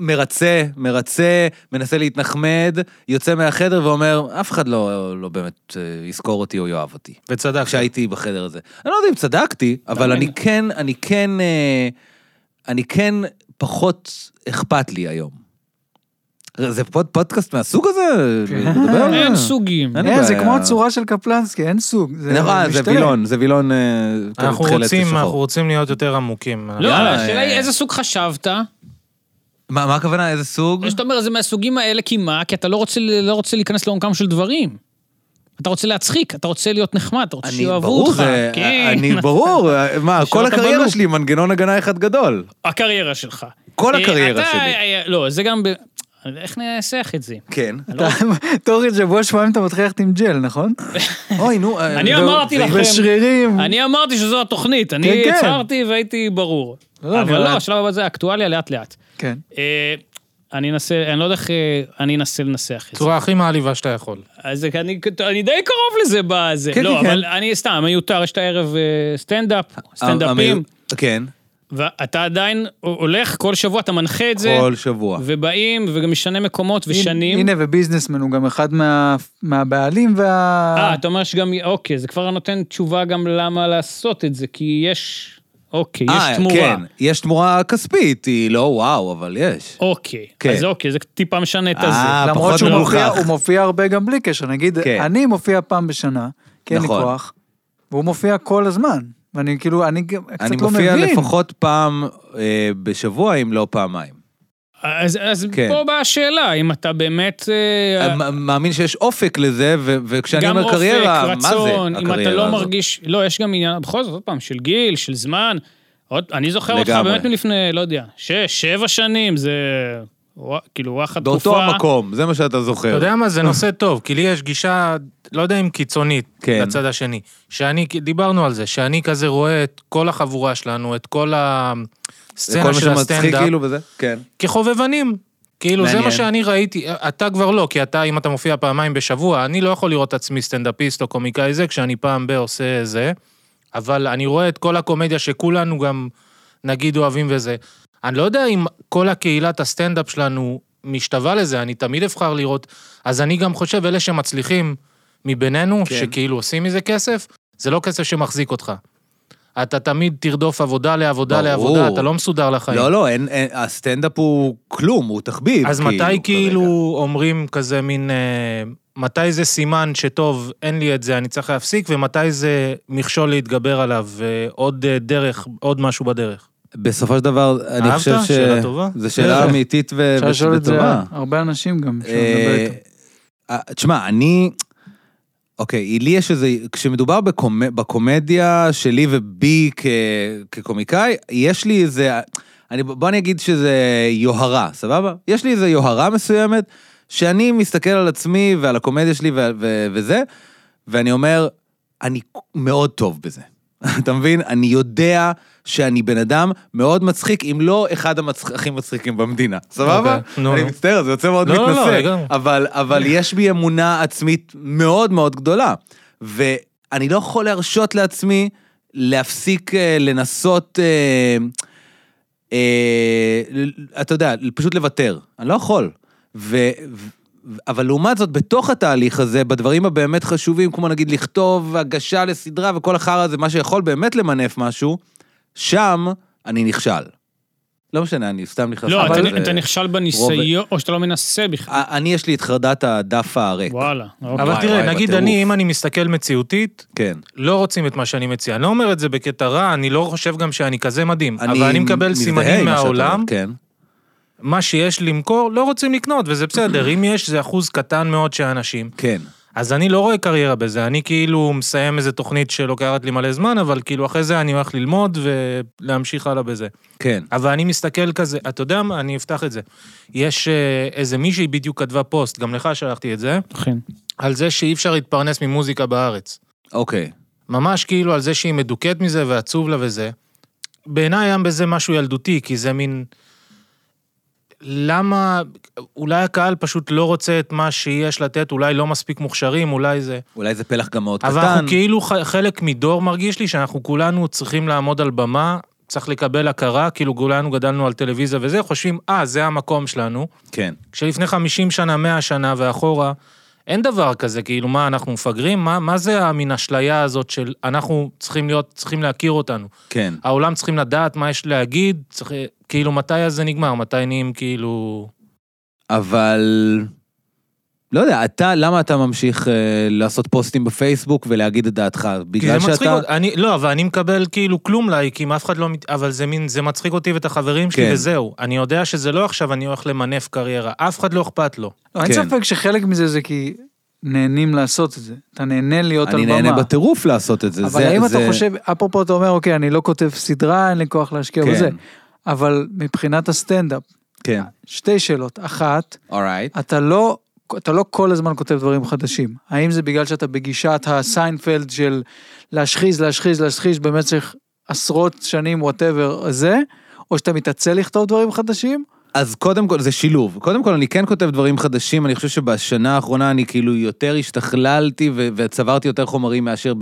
[SPEAKER 1] מרצה, מרצה, מנסה להתנחמד, יוצא מהחדר ואומר, אף אחד לא, לא באמת אה, יזכור אותי או יאהב אותי.
[SPEAKER 4] וצדק.
[SPEAKER 1] כשהייתי בחדר הזה. אני לא יודע אם צדקתי, אבל אני כן, אני כן, אה, אני כן פחות אכפת לי היום. זה פוד, פודקאסט מהסוג הזה?
[SPEAKER 2] כן.
[SPEAKER 1] נדבר על זה?
[SPEAKER 3] אין סוגים.
[SPEAKER 1] אין לי
[SPEAKER 2] אין, זה
[SPEAKER 1] בעיה.
[SPEAKER 2] כמו הצורה של קפלנסקי, אין סוג. זה
[SPEAKER 1] נכון, זה
[SPEAKER 2] משתלם.
[SPEAKER 1] וילון, זה וילון... אה, כזה
[SPEAKER 4] אנחנו
[SPEAKER 1] תכלת
[SPEAKER 4] רוצים,
[SPEAKER 1] ושחור.
[SPEAKER 4] אנחנו רוצים להיות יותר עמוקים.
[SPEAKER 3] לא,
[SPEAKER 1] יאללה,
[SPEAKER 3] השאלה היא
[SPEAKER 1] אה.
[SPEAKER 3] איזה סוג חשבת.
[SPEAKER 1] מה מה הכוונה, איזה סוג?
[SPEAKER 3] זאת אומרת, זה מהסוגים האלה, כי מה? כי אתה לא רוצה, לא רוצה להיכנס לעומקם של דברים. אתה רוצה להצחיק, אתה רוצה להיות נחמד, אתה רוצה
[SPEAKER 1] אני,
[SPEAKER 3] שיאהבו
[SPEAKER 1] ברור,
[SPEAKER 3] אותך.
[SPEAKER 1] זה,
[SPEAKER 3] כן.
[SPEAKER 1] אני, ברור, מה,
[SPEAKER 3] השארת
[SPEAKER 1] כל הקריירה
[SPEAKER 3] בלופ.
[SPEAKER 1] שלי מנגנון הגנה אחד גדול.
[SPEAKER 3] הקריירה שלך.
[SPEAKER 1] כל
[SPEAKER 3] אה,
[SPEAKER 1] הקריירה
[SPEAKER 3] אתה-
[SPEAKER 1] שלי.
[SPEAKER 3] אה, לא, זה גם... ב- איך ננסח את זה?
[SPEAKER 1] כן.
[SPEAKER 2] אתה- תורי, שבוע שבועיים אתה מתחיל ללכת עם גל, נכון?
[SPEAKER 1] אוי, נו. אה,
[SPEAKER 3] אני
[SPEAKER 1] זה-
[SPEAKER 3] אמרתי
[SPEAKER 1] זה-
[SPEAKER 3] לכם.
[SPEAKER 2] ושרירים.
[SPEAKER 3] אני אמרתי שזו התוכנית, אני
[SPEAKER 2] כן.
[SPEAKER 3] הצהרתי והייתי ברור.
[SPEAKER 2] לא, נראה.
[SPEAKER 3] אבל לא, השלב הבא זה אקטואליה לאט-לאט.
[SPEAKER 2] כן.
[SPEAKER 3] אה, אני אנסה, אני לא יודע איך אה, אני אנסה לנסח את זה.
[SPEAKER 4] בצורה הכי מעליבה שאתה יכול.
[SPEAKER 3] אז אני, אני די קרוב לזה בזה.
[SPEAKER 1] כן,
[SPEAKER 3] לא,
[SPEAKER 1] כן,
[SPEAKER 3] אבל
[SPEAKER 1] כן.
[SPEAKER 3] אני סתם, מיותר, יש את הערב אה, סטנדאפ,
[SPEAKER 1] המיר-
[SPEAKER 3] סטנדאפים,
[SPEAKER 1] כן,
[SPEAKER 3] ואתה עדיין הולך, כל שבוע אתה מנחה את זה,
[SPEAKER 1] כל שבוע.
[SPEAKER 3] ובאים, וגם משנה מקומות ושנים.
[SPEAKER 2] הנה, וביזנסמן הוא גם אחד מה- מהבעלים וה...
[SPEAKER 3] אה, אתה אומר שגם, אוקיי, זה כבר נותן תשובה גם למה לעשות את זה, כי יש, אוקיי,
[SPEAKER 1] אה,
[SPEAKER 3] יש תמורה.
[SPEAKER 1] כן, יש תמורה כספית, היא לא וואו, אבל יש.
[SPEAKER 3] אוקיי,
[SPEAKER 1] כן.
[SPEAKER 3] אז אוקיי, זה טיפה משנה את
[SPEAKER 1] אה,
[SPEAKER 3] הזה.
[SPEAKER 2] למרות
[SPEAKER 1] פחות
[SPEAKER 2] שהוא
[SPEAKER 1] מרוכך.
[SPEAKER 2] מופיע, הוא מופיע הרבה גם בלי קשר, נגיד,
[SPEAKER 1] כן.
[SPEAKER 2] אני מופיע פעם בשנה, כי אין לי
[SPEAKER 1] נכון.
[SPEAKER 2] כוח, והוא מופיע כל הזמן, ואני כאילו, אני גם קצת
[SPEAKER 1] אני
[SPEAKER 2] לא מבין.
[SPEAKER 1] מופיע לפחות פעם אה, בשבוע, אם לא פעמיים.
[SPEAKER 3] אז, אז
[SPEAKER 1] כן.
[SPEAKER 3] פה באה השאלה, אם אתה באמת... אה,
[SPEAKER 1] אני מאמין שיש אופק לזה, ו- וכשאני
[SPEAKER 3] גם
[SPEAKER 1] אומר
[SPEAKER 3] אופק,
[SPEAKER 1] קריירה, מה זה
[SPEAKER 3] רצון, אם אתה
[SPEAKER 1] הקריירה
[SPEAKER 3] לא
[SPEAKER 1] הזאת?
[SPEAKER 3] מרגיש... לא, יש גם עניין, בכל זאת, עוד פעם, של גיל, של זמן. עוד, אני זוכר אותך
[SPEAKER 1] לגמרי.
[SPEAKER 3] באמת מלפני, לא יודע, שש, שבע שנים, זה... ווא- כאילו, וואחד תקופה.
[SPEAKER 1] באותו המקום, זה מה שאתה זוכר.
[SPEAKER 4] אתה יודע מה, זה נושא טוב, כי לי יש גישה, לא יודע אם קיצונית,
[SPEAKER 1] כן.
[SPEAKER 4] לצד השני. שאני, דיברנו על זה, שאני כזה רואה את כל החבורה שלנו, את כל
[SPEAKER 1] זה כל
[SPEAKER 4] הסצנה
[SPEAKER 1] מה
[SPEAKER 4] של
[SPEAKER 1] שמצחיק
[SPEAKER 4] הסטנדאפ,
[SPEAKER 1] כאילו וזה? כן.
[SPEAKER 4] כחובבנים. כאילו, זה
[SPEAKER 1] מעניין.
[SPEAKER 4] מה שאני ראיתי, אתה כבר לא, כי אתה, אם אתה מופיע פעמיים בשבוע, אני לא יכול לראות את עצמי סטנדאפיסט או קומיקאי זה, כשאני פעם ב- עושה זה, אבל אני רואה את כל הקומדיה שכולנו גם, נגיד, אוהבים וזה. אני לא יודע אם כל הקהילת הסטנדאפ שלנו משתווה לזה, אני תמיד אבחר לראות, אז אני גם חושב, אלה שמצליחים מבינינו,
[SPEAKER 1] כן.
[SPEAKER 4] כן. שכאילו עושים מזה כסף, זה לא כסף שמחזיק אותך. אתה תמיד תרדוף עבודה לעבודה
[SPEAKER 1] ברור.
[SPEAKER 4] לעבודה, אתה לא מסודר לחיים.
[SPEAKER 1] לא, לא, אין- אין- הסטנדאפ הוא כלום, הוא תחביב.
[SPEAKER 4] אז מתי כאילו
[SPEAKER 1] כרגע.
[SPEAKER 4] אומרים כזה מין... אה, מתי זה סימן שטוב, אין לי את זה, אני צריך להפסיק, ומתי זה מכשול להתגבר עליו, אה, עוד אה, דרך, עוד משהו בדרך.
[SPEAKER 1] בסופו של דבר, אני
[SPEAKER 4] אהבת?
[SPEAKER 1] חושב ש...
[SPEAKER 4] שאלה טובה.
[SPEAKER 1] זו שאלה
[SPEAKER 2] כן.
[SPEAKER 1] אמיתית ו-
[SPEAKER 2] אפשר לשאול את זה
[SPEAKER 1] וטובה.
[SPEAKER 2] הרבה אנשים גם, אפשר לדבר
[SPEAKER 1] אה,
[SPEAKER 2] איתם.
[SPEAKER 1] אה, תשמע, אני... אוקיי, לי יש איזה... כשמדובר בקומ- בקומדיה שלי ובי כ- כקומיקאי, יש לי איזה... אני, בוא אני אגיד שזה יוהרה, סבבה? יש לי איזה יוהרה מסוימת, שאני מסתכל על עצמי ועל הקומדיה שלי ו- ו- וזה, ואני אומר, אני מאוד טוב בזה. אתה מבין? אני יודע שאני בן אדם מאוד מצחיק, אם לא אחד המצח... הכי מצחיקים במדינה, סבבה?
[SPEAKER 4] אוקיי, נו,
[SPEAKER 1] אני
[SPEAKER 4] נו.
[SPEAKER 1] מצטער, זה יוצא מאוד
[SPEAKER 4] לא, לא, לא,
[SPEAKER 1] מתנשא,
[SPEAKER 4] לגמרי.
[SPEAKER 1] אבל, אבל יש בי אמונה עצמית מאוד מאוד גדולה, ואני לא יכול להרשות לעצמי להפסיק אה, לנסות, אה, אה, ל- אתה יודע, פשוט לוותר, אני לא יכול. ו, ו- אבל לעומת זאת, בתוך התהליך הזה, בדברים הבאמת חשובים, כמו נגיד לכתוב הגשה לסדרה וכל החרא הזה, מה שיכול באמת למנף משהו, שם אני נכשל. לא משנה, אני סתם נכנס...
[SPEAKER 3] לא,
[SPEAKER 1] לזה.
[SPEAKER 3] אתה, אתה נכשל בניסיון, או שאתה לא מנסה בכלל.
[SPEAKER 1] א- אני יש לי את חרדת הדף הריק.
[SPEAKER 3] וואלה. אוקיי.
[SPEAKER 4] אבל
[SPEAKER 1] וואי,
[SPEAKER 4] תראה,
[SPEAKER 1] וואי,
[SPEAKER 4] נגיד
[SPEAKER 1] בטירוף.
[SPEAKER 4] אני, אם אני מסתכל מציאותית,
[SPEAKER 1] כן.
[SPEAKER 4] לא רוצים את מה שאני מציע. אני לא אומר את זה בקטע רע, אני לא חושב גם שאני כזה מדהים, אבל אני מקבל
[SPEAKER 1] מזדהה
[SPEAKER 4] סימנים
[SPEAKER 1] עם מה שאתה אומר,
[SPEAKER 4] מהעולם,
[SPEAKER 1] כן.
[SPEAKER 4] מה שיש למכור, לא רוצים לקנות, וזה בסדר, אם יש, זה אחוז קטן מאוד של אנשים.
[SPEAKER 1] כן.
[SPEAKER 4] אז אני לא רואה קריירה בזה, אני כאילו מסיים איזה תוכנית שלוקחת לי מלא זמן, אבל כאילו אחרי זה אני הולך ללמוד ולהמשיך הלאה בזה.
[SPEAKER 1] כן.
[SPEAKER 4] אבל אני מסתכל כזה, אתה יודע מה, אני אפתח את זה. יש אה, איזה מישהי בדיוק כתבה פוסט, גם לך שלחתי את זה,
[SPEAKER 3] אכן.
[SPEAKER 4] על זה שאי אפשר להתפרנס ממוזיקה בארץ.
[SPEAKER 1] אוקיי.
[SPEAKER 4] ממש כאילו על זה שהיא מדוכאת מזה ועצוב לה וזה. בעיניי היה בזה משהו ילדותי, כי זה מין... למה... אולי הקהל פשוט לא רוצה את מה שיש לתת, אולי לא מספיק מוכשרים, אולי זה...
[SPEAKER 1] אולי זה פלח גם מאוד קטן.
[SPEAKER 4] אבל אנחנו כאילו ח- חלק מדור מרגיש לי שאנחנו כולנו צריכים לעמוד על במה צריך לקבל הכרה, כאילו כולנו גדלנו על טלוויזיה וזה, חושבים, אה, זה המקום שלנו.
[SPEAKER 1] כן.
[SPEAKER 4] כשלפני 50 שנה, 100 שנה ואחורה, אין דבר כזה, כאילו, מה, אנחנו מפגרים? מה, מה זה המין אשליה הזאת של אנחנו צריכים להיות, צריכים להכיר אותנו?
[SPEAKER 1] כן.
[SPEAKER 4] העולם צריכים לדעת מה יש להגיד, צריך, כאילו, מתי אז זה נגמר? מתי נהיים כאילו...
[SPEAKER 1] אבל... לא יודע, אתה, למה אתה ממשיך אה, לעשות פוסטים בפייסבוק ולהגיד את דעתך?
[SPEAKER 4] כי זה
[SPEAKER 1] בגלל
[SPEAKER 4] מצחיק
[SPEAKER 1] שאתה...
[SPEAKER 4] אותי, אני, לא, אבל אני מקבל כאילו כלום לייקים, אף אחד לא... מת- אבל זה מין, זה מצחיק אותי ואת החברים שלי
[SPEAKER 1] כן.
[SPEAKER 4] וזהו. אני יודע שזה לא עכשיו, אני הולך למנף קריירה, אף אחד לא אכפת לו.
[SPEAKER 2] לא, אין
[SPEAKER 1] כן.
[SPEAKER 2] ספק שחלק מזה זה כי נהנים לעשות את זה. אתה נהנה להיות על
[SPEAKER 1] אני
[SPEAKER 2] במה.
[SPEAKER 1] נהנה בטירוף לעשות את זה.
[SPEAKER 2] אבל
[SPEAKER 1] זה-
[SPEAKER 2] האם אתה
[SPEAKER 1] זה-
[SPEAKER 2] חושב, אפרופו אתה אומר, אוקיי, אני לא כותב סדרה, אין לי כוח להשקיע
[SPEAKER 1] כן.
[SPEAKER 2] בזה, אבל מבחינת הסטנדאפ,
[SPEAKER 1] כן.
[SPEAKER 2] שתי שאלות. אחת,
[SPEAKER 1] אורייט.
[SPEAKER 2] אתה לא, אתה לא כל הזמן כותב דברים חדשים. האם זה בגלל שאתה בגישת הסיינפלד של להשחיז, להשחיז, להשחיז במשך עשרות שנים, וואטאבר, זה, או שאתה מתעצל לכתוב דברים חדשים?
[SPEAKER 1] אז קודם כל, זה שילוב. קודם כל, אני כן כותב דברים חדשים, אני חושב שבשנה האחרונה אני כאילו יותר השתכללתי ו- וצברתי יותר חומרים מאשר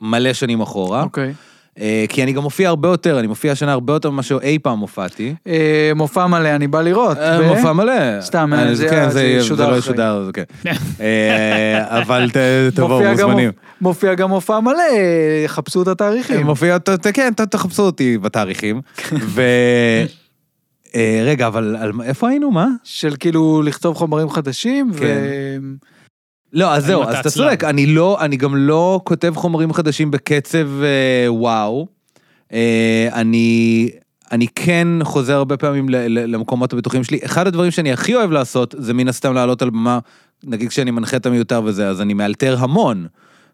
[SPEAKER 1] במלא שנים אחורה.
[SPEAKER 2] אוקיי.
[SPEAKER 1] אה, כי אני גם מופיע הרבה יותר, אני מופיע השנה הרבה יותר ממה שאי פעם הופעתי.
[SPEAKER 2] אה, מופע מלא, אני בא לראות.
[SPEAKER 1] אה,
[SPEAKER 2] ו-
[SPEAKER 1] מופע מלא.
[SPEAKER 2] סתם,
[SPEAKER 1] אה,
[SPEAKER 2] זה-
[SPEAKER 1] כן,
[SPEAKER 2] זה ישודר
[SPEAKER 1] זה לא
[SPEAKER 2] אחרי.
[SPEAKER 1] ישודר, זה כן. אה, אבל ת- תבואו,
[SPEAKER 2] מופיע גם-
[SPEAKER 1] מוזמנים. אה,
[SPEAKER 2] מופיע גם מופע מלא, חפשו את התאריכים.
[SPEAKER 1] מופיע, ת- ת- כן, ת- תחפשו אותי בתאריכים. ו... אה, רגע, אבל על- איפה היינו? מה?
[SPEAKER 2] של כאילו לכתוב חומרים חדשים, ו...
[SPEAKER 1] כן. לא, אז
[SPEAKER 3] האם
[SPEAKER 1] זהו,
[SPEAKER 3] אתה
[SPEAKER 1] אז אתה
[SPEAKER 3] עצלן?
[SPEAKER 1] צודק, אני לא, אני גם לא כותב חומרים חדשים בקצב אה, וואו. אה, אני, אני כן חוזר הרבה פעמים ל- ל- למקומות הבטוחים שלי. אחד הדברים שאני הכי אוהב לעשות, זה מן הסתם לעלות על במה, נגיד כשאני מנחה את המיותר וזה, אז אני מאלתר המון.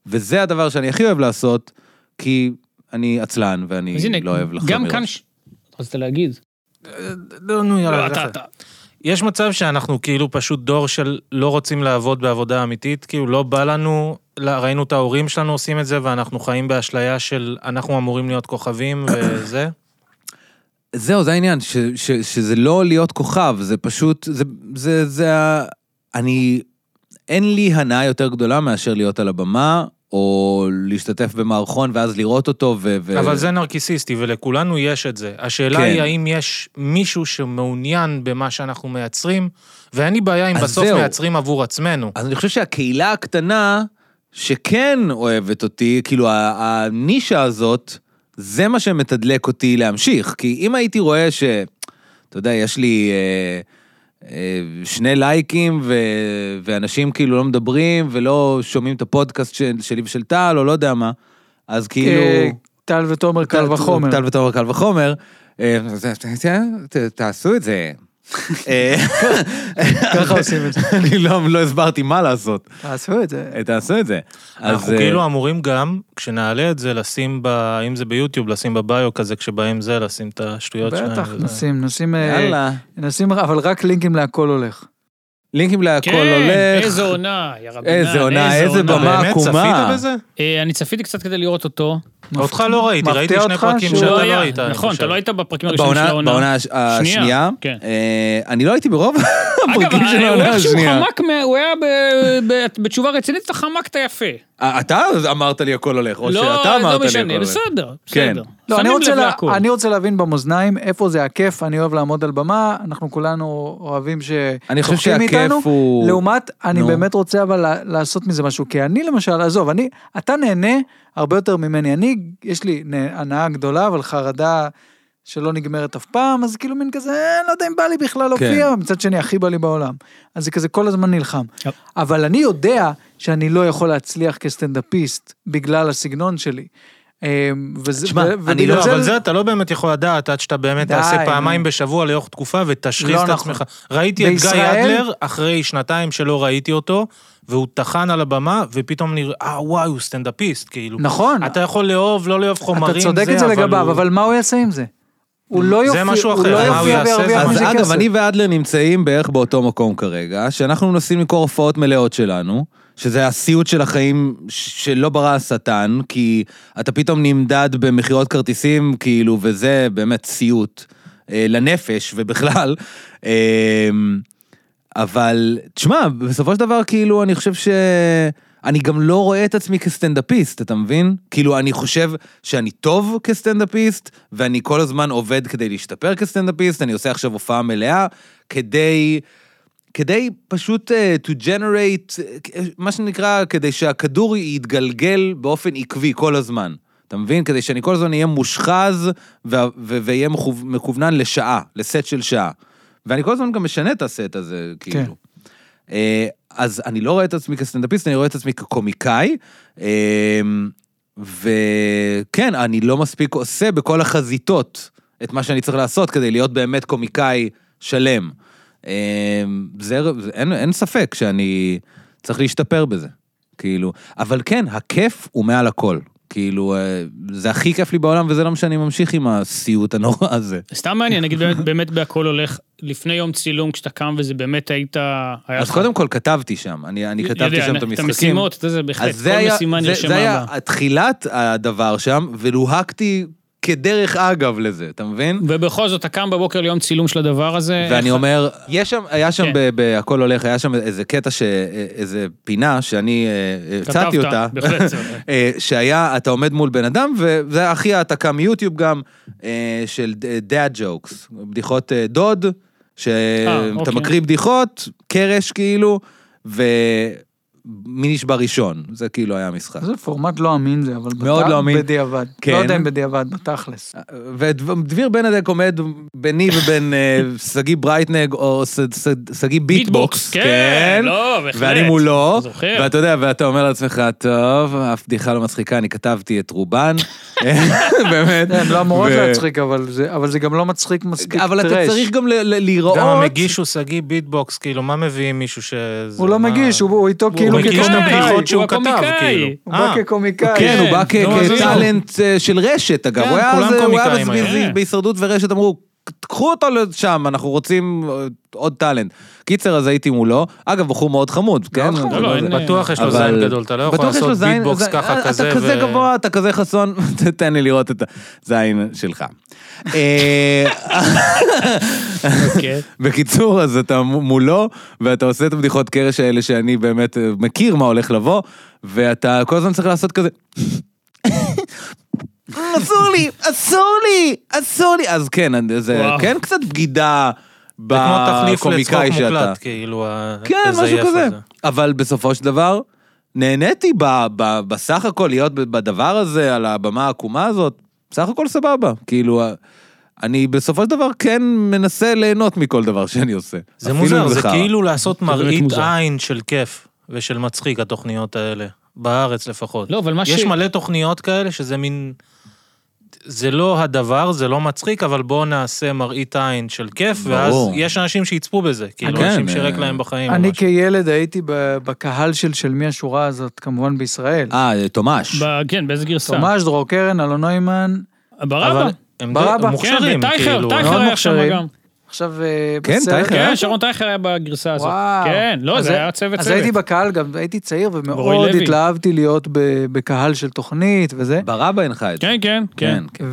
[SPEAKER 1] וזה הדבר שאני הכי אוהב לעשות, כי אני עצלן ואני
[SPEAKER 3] אז הנה,
[SPEAKER 1] לא אוהב לחזור
[SPEAKER 3] גם
[SPEAKER 1] מראש.
[SPEAKER 3] כאן... ש- רצית להגיד.
[SPEAKER 4] לא, נו,
[SPEAKER 3] לא,
[SPEAKER 4] יאללה,
[SPEAKER 3] אתה,
[SPEAKER 4] לך.
[SPEAKER 3] אתה.
[SPEAKER 4] יש מצב שאנחנו כאילו פשוט דור של לא רוצים לעבוד בעבודה אמיתית, כאילו לא בא לנו, לא, ראינו את ההורים שלנו עושים את זה, ואנחנו חיים באשליה של אנחנו אמורים להיות כוכבים וזה.
[SPEAKER 1] זהו, זה העניין, ש, ש, שזה לא להיות כוכב, זה פשוט, זה, זה, זה, ה- אני, אין לי הנאה יותר גדולה מאשר להיות על הבמה, או להשתתף במערכון ואז לראות אותו, ו... ו...
[SPEAKER 4] אבל זה נרקיסיסטי, ולכולנו יש את זה. השאלה
[SPEAKER 1] אה, כן.
[SPEAKER 4] היא האם יש מישהו שמעוניין במה שאנחנו מייצרים, ואין לי בעיה אם
[SPEAKER 1] אז
[SPEAKER 4] בסוף
[SPEAKER 1] זהו.
[SPEAKER 4] מייצרים עבור עצמנו.
[SPEAKER 1] אז אני חושב שהקהילה הקטנה, שכן אוהבת אותי, כאילו, ה- הנישה הזאת, זה מה שמתדלק אותי להמשיך. כי אם הייתי רואה ש... אתה יודע, יש לי אה, אה, שני לייקים, ו, ואנשים כאילו לא מדברים, ולא שומעים את הפודקאסט של, שלי ושל טל, או לא יודע מה, אז כאילו...
[SPEAKER 2] אה, טל ותומר קל וחומר.
[SPEAKER 1] טל ותומר קל וחומר. אה, זה- זה- זה- תעשו את זה. אה,
[SPEAKER 2] ככה עושים את זה.
[SPEAKER 1] אני לא לא הסברתי מה לעשות.
[SPEAKER 2] תעשו את זה.
[SPEAKER 1] אה, תעשו את זה.
[SPEAKER 4] אנחנו
[SPEAKER 1] אה,
[SPEAKER 3] אמ-
[SPEAKER 4] כאילו אמורים גם, כשנעלה את זה, לשים ב... אם זה ביוטיוב, לשים בביו כזה, כשבאים זה, לשים את השטויות שלהם.
[SPEAKER 2] בטח,
[SPEAKER 4] וזה.
[SPEAKER 2] נשים, נשים, אה,
[SPEAKER 1] יאללה.
[SPEAKER 2] נשים, אבל רק לינקים להכל הולך.
[SPEAKER 1] לינקים להכל
[SPEAKER 3] כן,
[SPEAKER 1] הולך.
[SPEAKER 3] איזה עונה, יא רבינן,
[SPEAKER 1] איזה עונה, איזה
[SPEAKER 4] אתה
[SPEAKER 1] במה
[SPEAKER 4] באמת
[SPEAKER 1] עקומה.
[SPEAKER 4] צפית בזה?
[SPEAKER 3] אה, אני צפיתי קצת כדי לראות אותו.
[SPEAKER 4] אותך לא ראיתי,
[SPEAKER 2] מפתיע
[SPEAKER 4] ראיתי שני
[SPEAKER 2] אותך
[SPEAKER 4] פרקים
[SPEAKER 2] שהוא
[SPEAKER 4] שאתה
[SPEAKER 2] לא
[SPEAKER 4] לא היית. אני
[SPEAKER 3] נכון,
[SPEAKER 4] חושב.
[SPEAKER 3] אתה לא היית בפרקים הראשונים של
[SPEAKER 1] בעונה
[SPEAKER 3] העונה.
[SPEAKER 1] בעונה הש- השנייה.
[SPEAKER 3] כן.
[SPEAKER 1] אה, אני לא הייתי ברוב הפרקים של
[SPEAKER 3] אגב, הוא
[SPEAKER 1] העונה
[SPEAKER 3] איכשהו
[SPEAKER 1] השנייה.
[SPEAKER 3] חמק, מה- הוא היה ב- ב- בתשובה רצינית, אתה חמקת יפה.
[SPEAKER 1] אה, אתה אמרת לי הכל הולך, או
[SPEAKER 3] לא,
[SPEAKER 1] שאתה
[SPEAKER 3] לא
[SPEAKER 1] אמרת לי הכל
[SPEAKER 3] משנה,
[SPEAKER 1] הולך.
[SPEAKER 3] בסדר,
[SPEAKER 1] כן.
[SPEAKER 3] בסדר.
[SPEAKER 2] לא, אני
[SPEAKER 3] שמים
[SPEAKER 2] רוצה,
[SPEAKER 3] לב
[SPEAKER 2] לה,
[SPEAKER 3] להכל.
[SPEAKER 2] אני רוצה להבין במאזניים איפה זה הכיף, אני אוהב לעמוד על במה, אנחנו כולנו אוהבים
[SPEAKER 1] אני חושב
[SPEAKER 2] שצוחקים
[SPEAKER 1] שהכיף
[SPEAKER 2] איתנו,
[SPEAKER 1] הוא-
[SPEAKER 2] לעומת, אני
[SPEAKER 1] נו.
[SPEAKER 2] באמת רוצה אבל לע- לעשות מזה משהו, כי אני למשל, עזוב, אני, אתה נהנה הרבה יותר ממני, אני, יש לי נה- הנאה גדולה, אבל חרדה שלא נגמרת אף פעם, אז כאילו מין כזה, "אה, לא יודע אם בא לי בכלל להופיע,
[SPEAKER 1] כן.
[SPEAKER 2] מצד שני הכי בא לי בעולם. אז זה כזה כל הזמן נלחם.
[SPEAKER 1] אה.
[SPEAKER 3] יפ.
[SPEAKER 2] אבל אני יודע שאני לא יכול להצליח כסטנדאפיסט בגלל הסגנון שלי. אמ, וזה-
[SPEAKER 1] תשמע,
[SPEAKER 2] ו-
[SPEAKER 1] אני
[SPEAKER 4] לא,
[SPEAKER 2] ובגלל
[SPEAKER 4] אבל זה אתה לא באמת יכול לדעת עד שאתה באמת
[SPEAKER 2] די,
[SPEAKER 4] תעשה
[SPEAKER 2] נו.
[SPEAKER 4] פעמיים בשבוע לאורך תקופה ותשחיז
[SPEAKER 2] לא
[SPEAKER 4] את
[SPEAKER 2] נכון.
[SPEAKER 4] עצמך. ראיתי את גיא
[SPEAKER 2] בישראל-
[SPEAKER 4] אדלר אחרי שנתיים שלא ראיתי אותו, והוא טחן על הבמה, ופתאום נראה, אה וואי, הוא סטנדאפיסט, כאילו.
[SPEAKER 2] נכון.
[SPEAKER 4] אתה יכול לאהוב, לא לאהוב חומרים,
[SPEAKER 2] אתה צודק את זה
[SPEAKER 4] אבל
[SPEAKER 2] לגביו,
[SPEAKER 4] הוא-
[SPEAKER 2] אבל מה הוא יעשה עם זה? הוא לא
[SPEAKER 4] זה
[SPEAKER 2] יופיע,
[SPEAKER 4] משהו
[SPEAKER 2] הוא
[SPEAKER 4] אחר,
[SPEAKER 2] לא
[SPEAKER 4] מה הוא
[SPEAKER 2] יופיע
[SPEAKER 4] יעשה?
[SPEAKER 2] וירוויח
[SPEAKER 1] אז
[SPEAKER 2] מזה
[SPEAKER 1] אגב,
[SPEAKER 2] כסף.
[SPEAKER 1] אני ואדלר נמצאים בערך באותו מקום כרגע, שאנחנו מנסים למכור הופעות מלאות שלנו, שזה הסיוט של החיים ש- שלא ברא השטן, כי אתה פתאום נמדד במכירות כרטיסים, כאילו, וזה באמת סיוט אה, לנפש ובכלל. אה, אבל, תשמע, בסופו של דבר, כאילו, אני חושב ש... אני גם לא רואה את עצמי כסטנדאפיסט, אתה מבין? כאילו, אני חושב שאני טוב כסטנדאפיסט, ואני כל הזמן עובד כדי להשתפר כסטנדאפיסט, אני עושה עכשיו הופעה מלאה, כדי... כדי פשוט uh, to generate, uh, מה שנקרא, כדי שהכדור יתגלגל באופן עקבי כל הזמן. אתה מבין? כדי שאני כל הזמן אהיה מושחז ו- ו- ואהיה מכו- מקוונן לשעה, לסט של שעה. ואני כל הזמן גם משנה את הסט הזה, כאילו.
[SPEAKER 2] כן.
[SPEAKER 1] אה, אז אני לא רואה את עצמי כסטנדאפיסט, אני רואה את עצמי כקומיקאי. אה, וכן, אני לא מספיק עושה בכל החזיתות את מה שאני צריך לעשות כדי להיות באמת קומיקאי שלם. אה, זה, זה, אין, אין ספק שאני צריך להשתפר בזה, כאילו. אבל כן, הכיף הוא מעל הכל. כאילו, אה, זה הכי כיף לי בעולם, וזה למה שאני ממשיך עם הסיוט הנורא הזה.
[SPEAKER 3] סתם מעניין, נגיד באמת, באמת בהכל הולך, לפני יום צילום כשאתה קם וזה באמת היית... היה
[SPEAKER 1] אז
[SPEAKER 3] לך-
[SPEAKER 1] קודם כל כתבתי שם, אני, אני כתבתי
[SPEAKER 3] יודע,
[SPEAKER 1] שם את המשחקים.
[SPEAKER 3] את המשימות, אתה יודע, זה בהחלט,
[SPEAKER 1] אז זה
[SPEAKER 3] כל
[SPEAKER 1] היה,
[SPEAKER 3] משימה
[SPEAKER 1] זה,
[SPEAKER 3] נרשמה
[SPEAKER 1] זה היה
[SPEAKER 3] בה.
[SPEAKER 1] תחילת הדבר שם, ולוהקתי כדרך אגב לזה, אתה מבין?
[SPEAKER 3] ובכל זאת, אתה קם בבוקר ליום צילום של הדבר הזה.
[SPEAKER 1] ואני אומר, יש שם, היה שם
[SPEAKER 3] אה, כן.
[SPEAKER 1] ב- בהכל הולך, היה שם איזה קטע, ש- איזה פינה שאני אה,
[SPEAKER 3] כתבת,
[SPEAKER 1] הצעתי אותה.
[SPEAKER 3] בהחלט, זה-
[SPEAKER 1] אה, שהיה, אתה עומד מול בן אדם, וזה הכי העתקה מיוטיוב גם, אה, של דאד ג'וקס, בדיחות אה, דוד, שאתה
[SPEAKER 3] אוקיי.
[SPEAKER 1] מקריא בדיחות, קרש כאילו, ומי נשבע ראשון, זה כאילו היה המשחק.
[SPEAKER 2] זה פורמט לא אמין זה, אבל
[SPEAKER 1] מאוד
[SPEAKER 2] בת-
[SPEAKER 1] לא אמין.
[SPEAKER 2] בדיעבד.
[SPEAKER 1] כן.
[SPEAKER 2] לא יודע אם בדיעבד, בתכלס.
[SPEAKER 1] ודביר בנדק עומד ביני ובין אה, שגיא ברייטנג או ש- ש- שגיא ביטבוקס,
[SPEAKER 3] כן, לא, בהחלט.
[SPEAKER 1] ואני מולו,
[SPEAKER 3] זוכר.
[SPEAKER 1] ואתה יודע, ואתה אומר לעצמך, טוב, אף בדיחה לא מצחיקה, אני כתבתי את רובן, באמת.
[SPEAKER 2] הן לא אמורות
[SPEAKER 1] ו-
[SPEAKER 2] להצחיק, אבל זה- אבל זה גם לא מצחיק מספיק טרש.
[SPEAKER 1] אבל אתה צריך גם ל- ל-
[SPEAKER 4] גם
[SPEAKER 1] לראות,
[SPEAKER 4] המגיש הוא שגיא ביטבוקס, כאילו, מה מביאים מישהו שזה...
[SPEAKER 2] הוא לא
[SPEAKER 4] מה-
[SPEAKER 2] מגיש, הוא- הוא איתו כאילו
[SPEAKER 4] מגיש אה, את
[SPEAKER 3] הקומיקאי,
[SPEAKER 2] כקומיקאי.
[SPEAKER 4] הבדיחות שהוא
[SPEAKER 3] הוא
[SPEAKER 4] כתב,
[SPEAKER 3] הקומיקאי.
[SPEAKER 4] כאילו.
[SPEAKER 2] הוא בא
[SPEAKER 4] אה,
[SPEAKER 2] כקומיקאי.
[SPEAKER 1] כן, הוא בא
[SPEAKER 4] נו,
[SPEAKER 1] כ-
[SPEAKER 4] אז הנה.
[SPEAKER 1] כטאלנט אה, של רשת, אגב,
[SPEAKER 4] לא כן,
[SPEAKER 1] הוא היה
[SPEAKER 4] כולם
[SPEAKER 1] אז- הוא היה
[SPEAKER 4] קומיקאים אה.
[SPEAKER 1] אז
[SPEAKER 4] היום.
[SPEAKER 1] ב- בהישרדות ורשת אמרו, קחו אותו לשם, אנחנו רוצים אה, עוד טאלנט. קיצר, אז הייתי מולו, אגב, בחור מאוד חמוד, כן?
[SPEAKER 4] נכון.
[SPEAKER 2] חמוד.
[SPEAKER 1] זה
[SPEAKER 3] לא, לא,
[SPEAKER 1] זה-
[SPEAKER 3] אין-
[SPEAKER 4] בטוח יש לו
[SPEAKER 1] אבל-
[SPEAKER 4] זין גדול, אתה לא יכול
[SPEAKER 1] בטוח יש לו
[SPEAKER 4] לעשות
[SPEAKER 1] זין-
[SPEAKER 4] ביטבוקס
[SPEAKER 1] זין- אה,
[SPEAKER 4] ככה,
[SPEAKER 2] אה,
[SPEAKER 1] אתה
[SPEAKER 4] כזה.
[SPEAKER 1] אתה כזה
[SPEAKER 4] ו-
[SPEAKER 1] גבוה, אתה כזה חסון, תן לי לראות את הזין שלך. אה,
[SPEAKER 3] אוקיי.
[SPEAKER 1] בקיצור, אז אתה מ- מולו, ואתה עושה את הבדיחות קרש האלה שאני באמת אה, מכיר מה הולך לבוא, ואתה כל הזמן צריך לעשות כזה... "Mm, אסור לי, אסור לי, אסור לי. אז כן, זה
[SPEAKER 3] וואו.
[SPEAKER 1] כן קצת בגידה
[SPEAKER 4] זה
[SPEAKER 2] אה,
[SPEAKER 4] כמו תחליף
[SPEAKER 1] בקומיקאי
[SPEAKER 4] לצחוק
[SPEAKER 1] שאתה.
[SPEAKER 4] מוקלט, כאילו, ה-
[SPEAKER 1] כן, משהו
[SPEAKER 4] לזייף
[SPEAKER 1] כזה.
[SPEAKER 4] את זה.
[SPEAKER 1] אבל בסופו של דבר, נהניתי ב, ב, בסך הכל להיות ב- בדבר הזה, על הבמה העקומה הזאת, בסך הכל סבבה. כאילו, ה- אני בסופו של דבר כן מנסה ליהנות מכל דבר שאני עושה.
[SPEAKER 4] זה
[SPEAKER 1] אפילו
[SPEAKER 4] מוזר,
[SPEAKER 1] אם
[SPEAKER 4] זה
[SPEAKER 1] חרא.
[SPEAKER 4] כאילו לעשות
[SPEAKER 3] באמת
[SPEAKER 4] מראית
[SPEAKER 3] מוזר.
[SPEAKER 4] עין של כיף ושל מצחיק, התוכניות האלה. בארץ לפחות.
[SPEAKER 3] לא, אבל מה ש-
[SPEAKER 4] יש מלא תוכניות כאלה שזה מין... זה לא הדבר, זה לא מצחיק, אבל בואו נעשה מראית עין של כיף, ואז
[SPEAKER 1] ברור.
[SPEAKER 4] יש אנשים שיצפו בזה, כאילו,
[SPEAKER 1] כן,
[SPEAKER 4] אנשים
[SPEAKER 1] אה,
[SPEAKER 4] שרק להם בחיים. או
[SPEAKER 2] אני
[SPEAKER 4] משהו.
[SPEAKER 2] כילד הייתי ב- בקהל של של מי השורה הזאת, כמובן בישראל.
[SPEAKER 1] אה, תומש.
[SPEAKER 3] ב- כן, באיזה גרסה?
[SPEAKER 2] תומש, דרור קרן, אלון נוימן.
[SPEAKER 3] ברבא.
[SPEAKER 4] אבל הם
[SPEAKER 2] ברבא.
[SPEAKER 4] די- הם
[SPEAKER 3] כן,
[SPEAKER 4] מוכשרים,
[SPEAKER 3] וטייכר,
[SPEAKER 4] כאילו.
[SPEAKER 3] טייכר
[SPEAKER 1] לא
[SPEAKER 2] מאוד
[SPEAKER 3] היה שם
[SPEAKER 2] מוכשרים.
[SPEAKER 3] גם.
[SPEAKER 2] עכשיו אה,
[SPEAKER 1] כן,
[SPEAKER 2] בסרט.
[SPEAKER 1] טייכר.
[SPEAKER 3] כן,
[SPEAKER 1] היה?
[SPEAKER 3] שרון טייכר היה בגרסה הזאת.
[SPEAKER 2] וואו.
[SPEAKER 3] כן, לא,
[SPEAKER 2] אז
[SPEAKER 3] זה היה צוות
[SPEAKER 2] אז
[SPEAKER 3] צוות.
[SPEAKER 2] הייתי בקהל גם, הייתי צעיר
[SPEAKER 3] ורועי
[SPEAKER 2] ומאוד
[SPEAKER 3] לוי.
[SPEAKER 2] התלהבתי להיות ב- בקהל של תוכנית וזה.
[SPEAKER 1] ברבא אין לך את זה.
[SPEAKER 3] כן, כן, כן.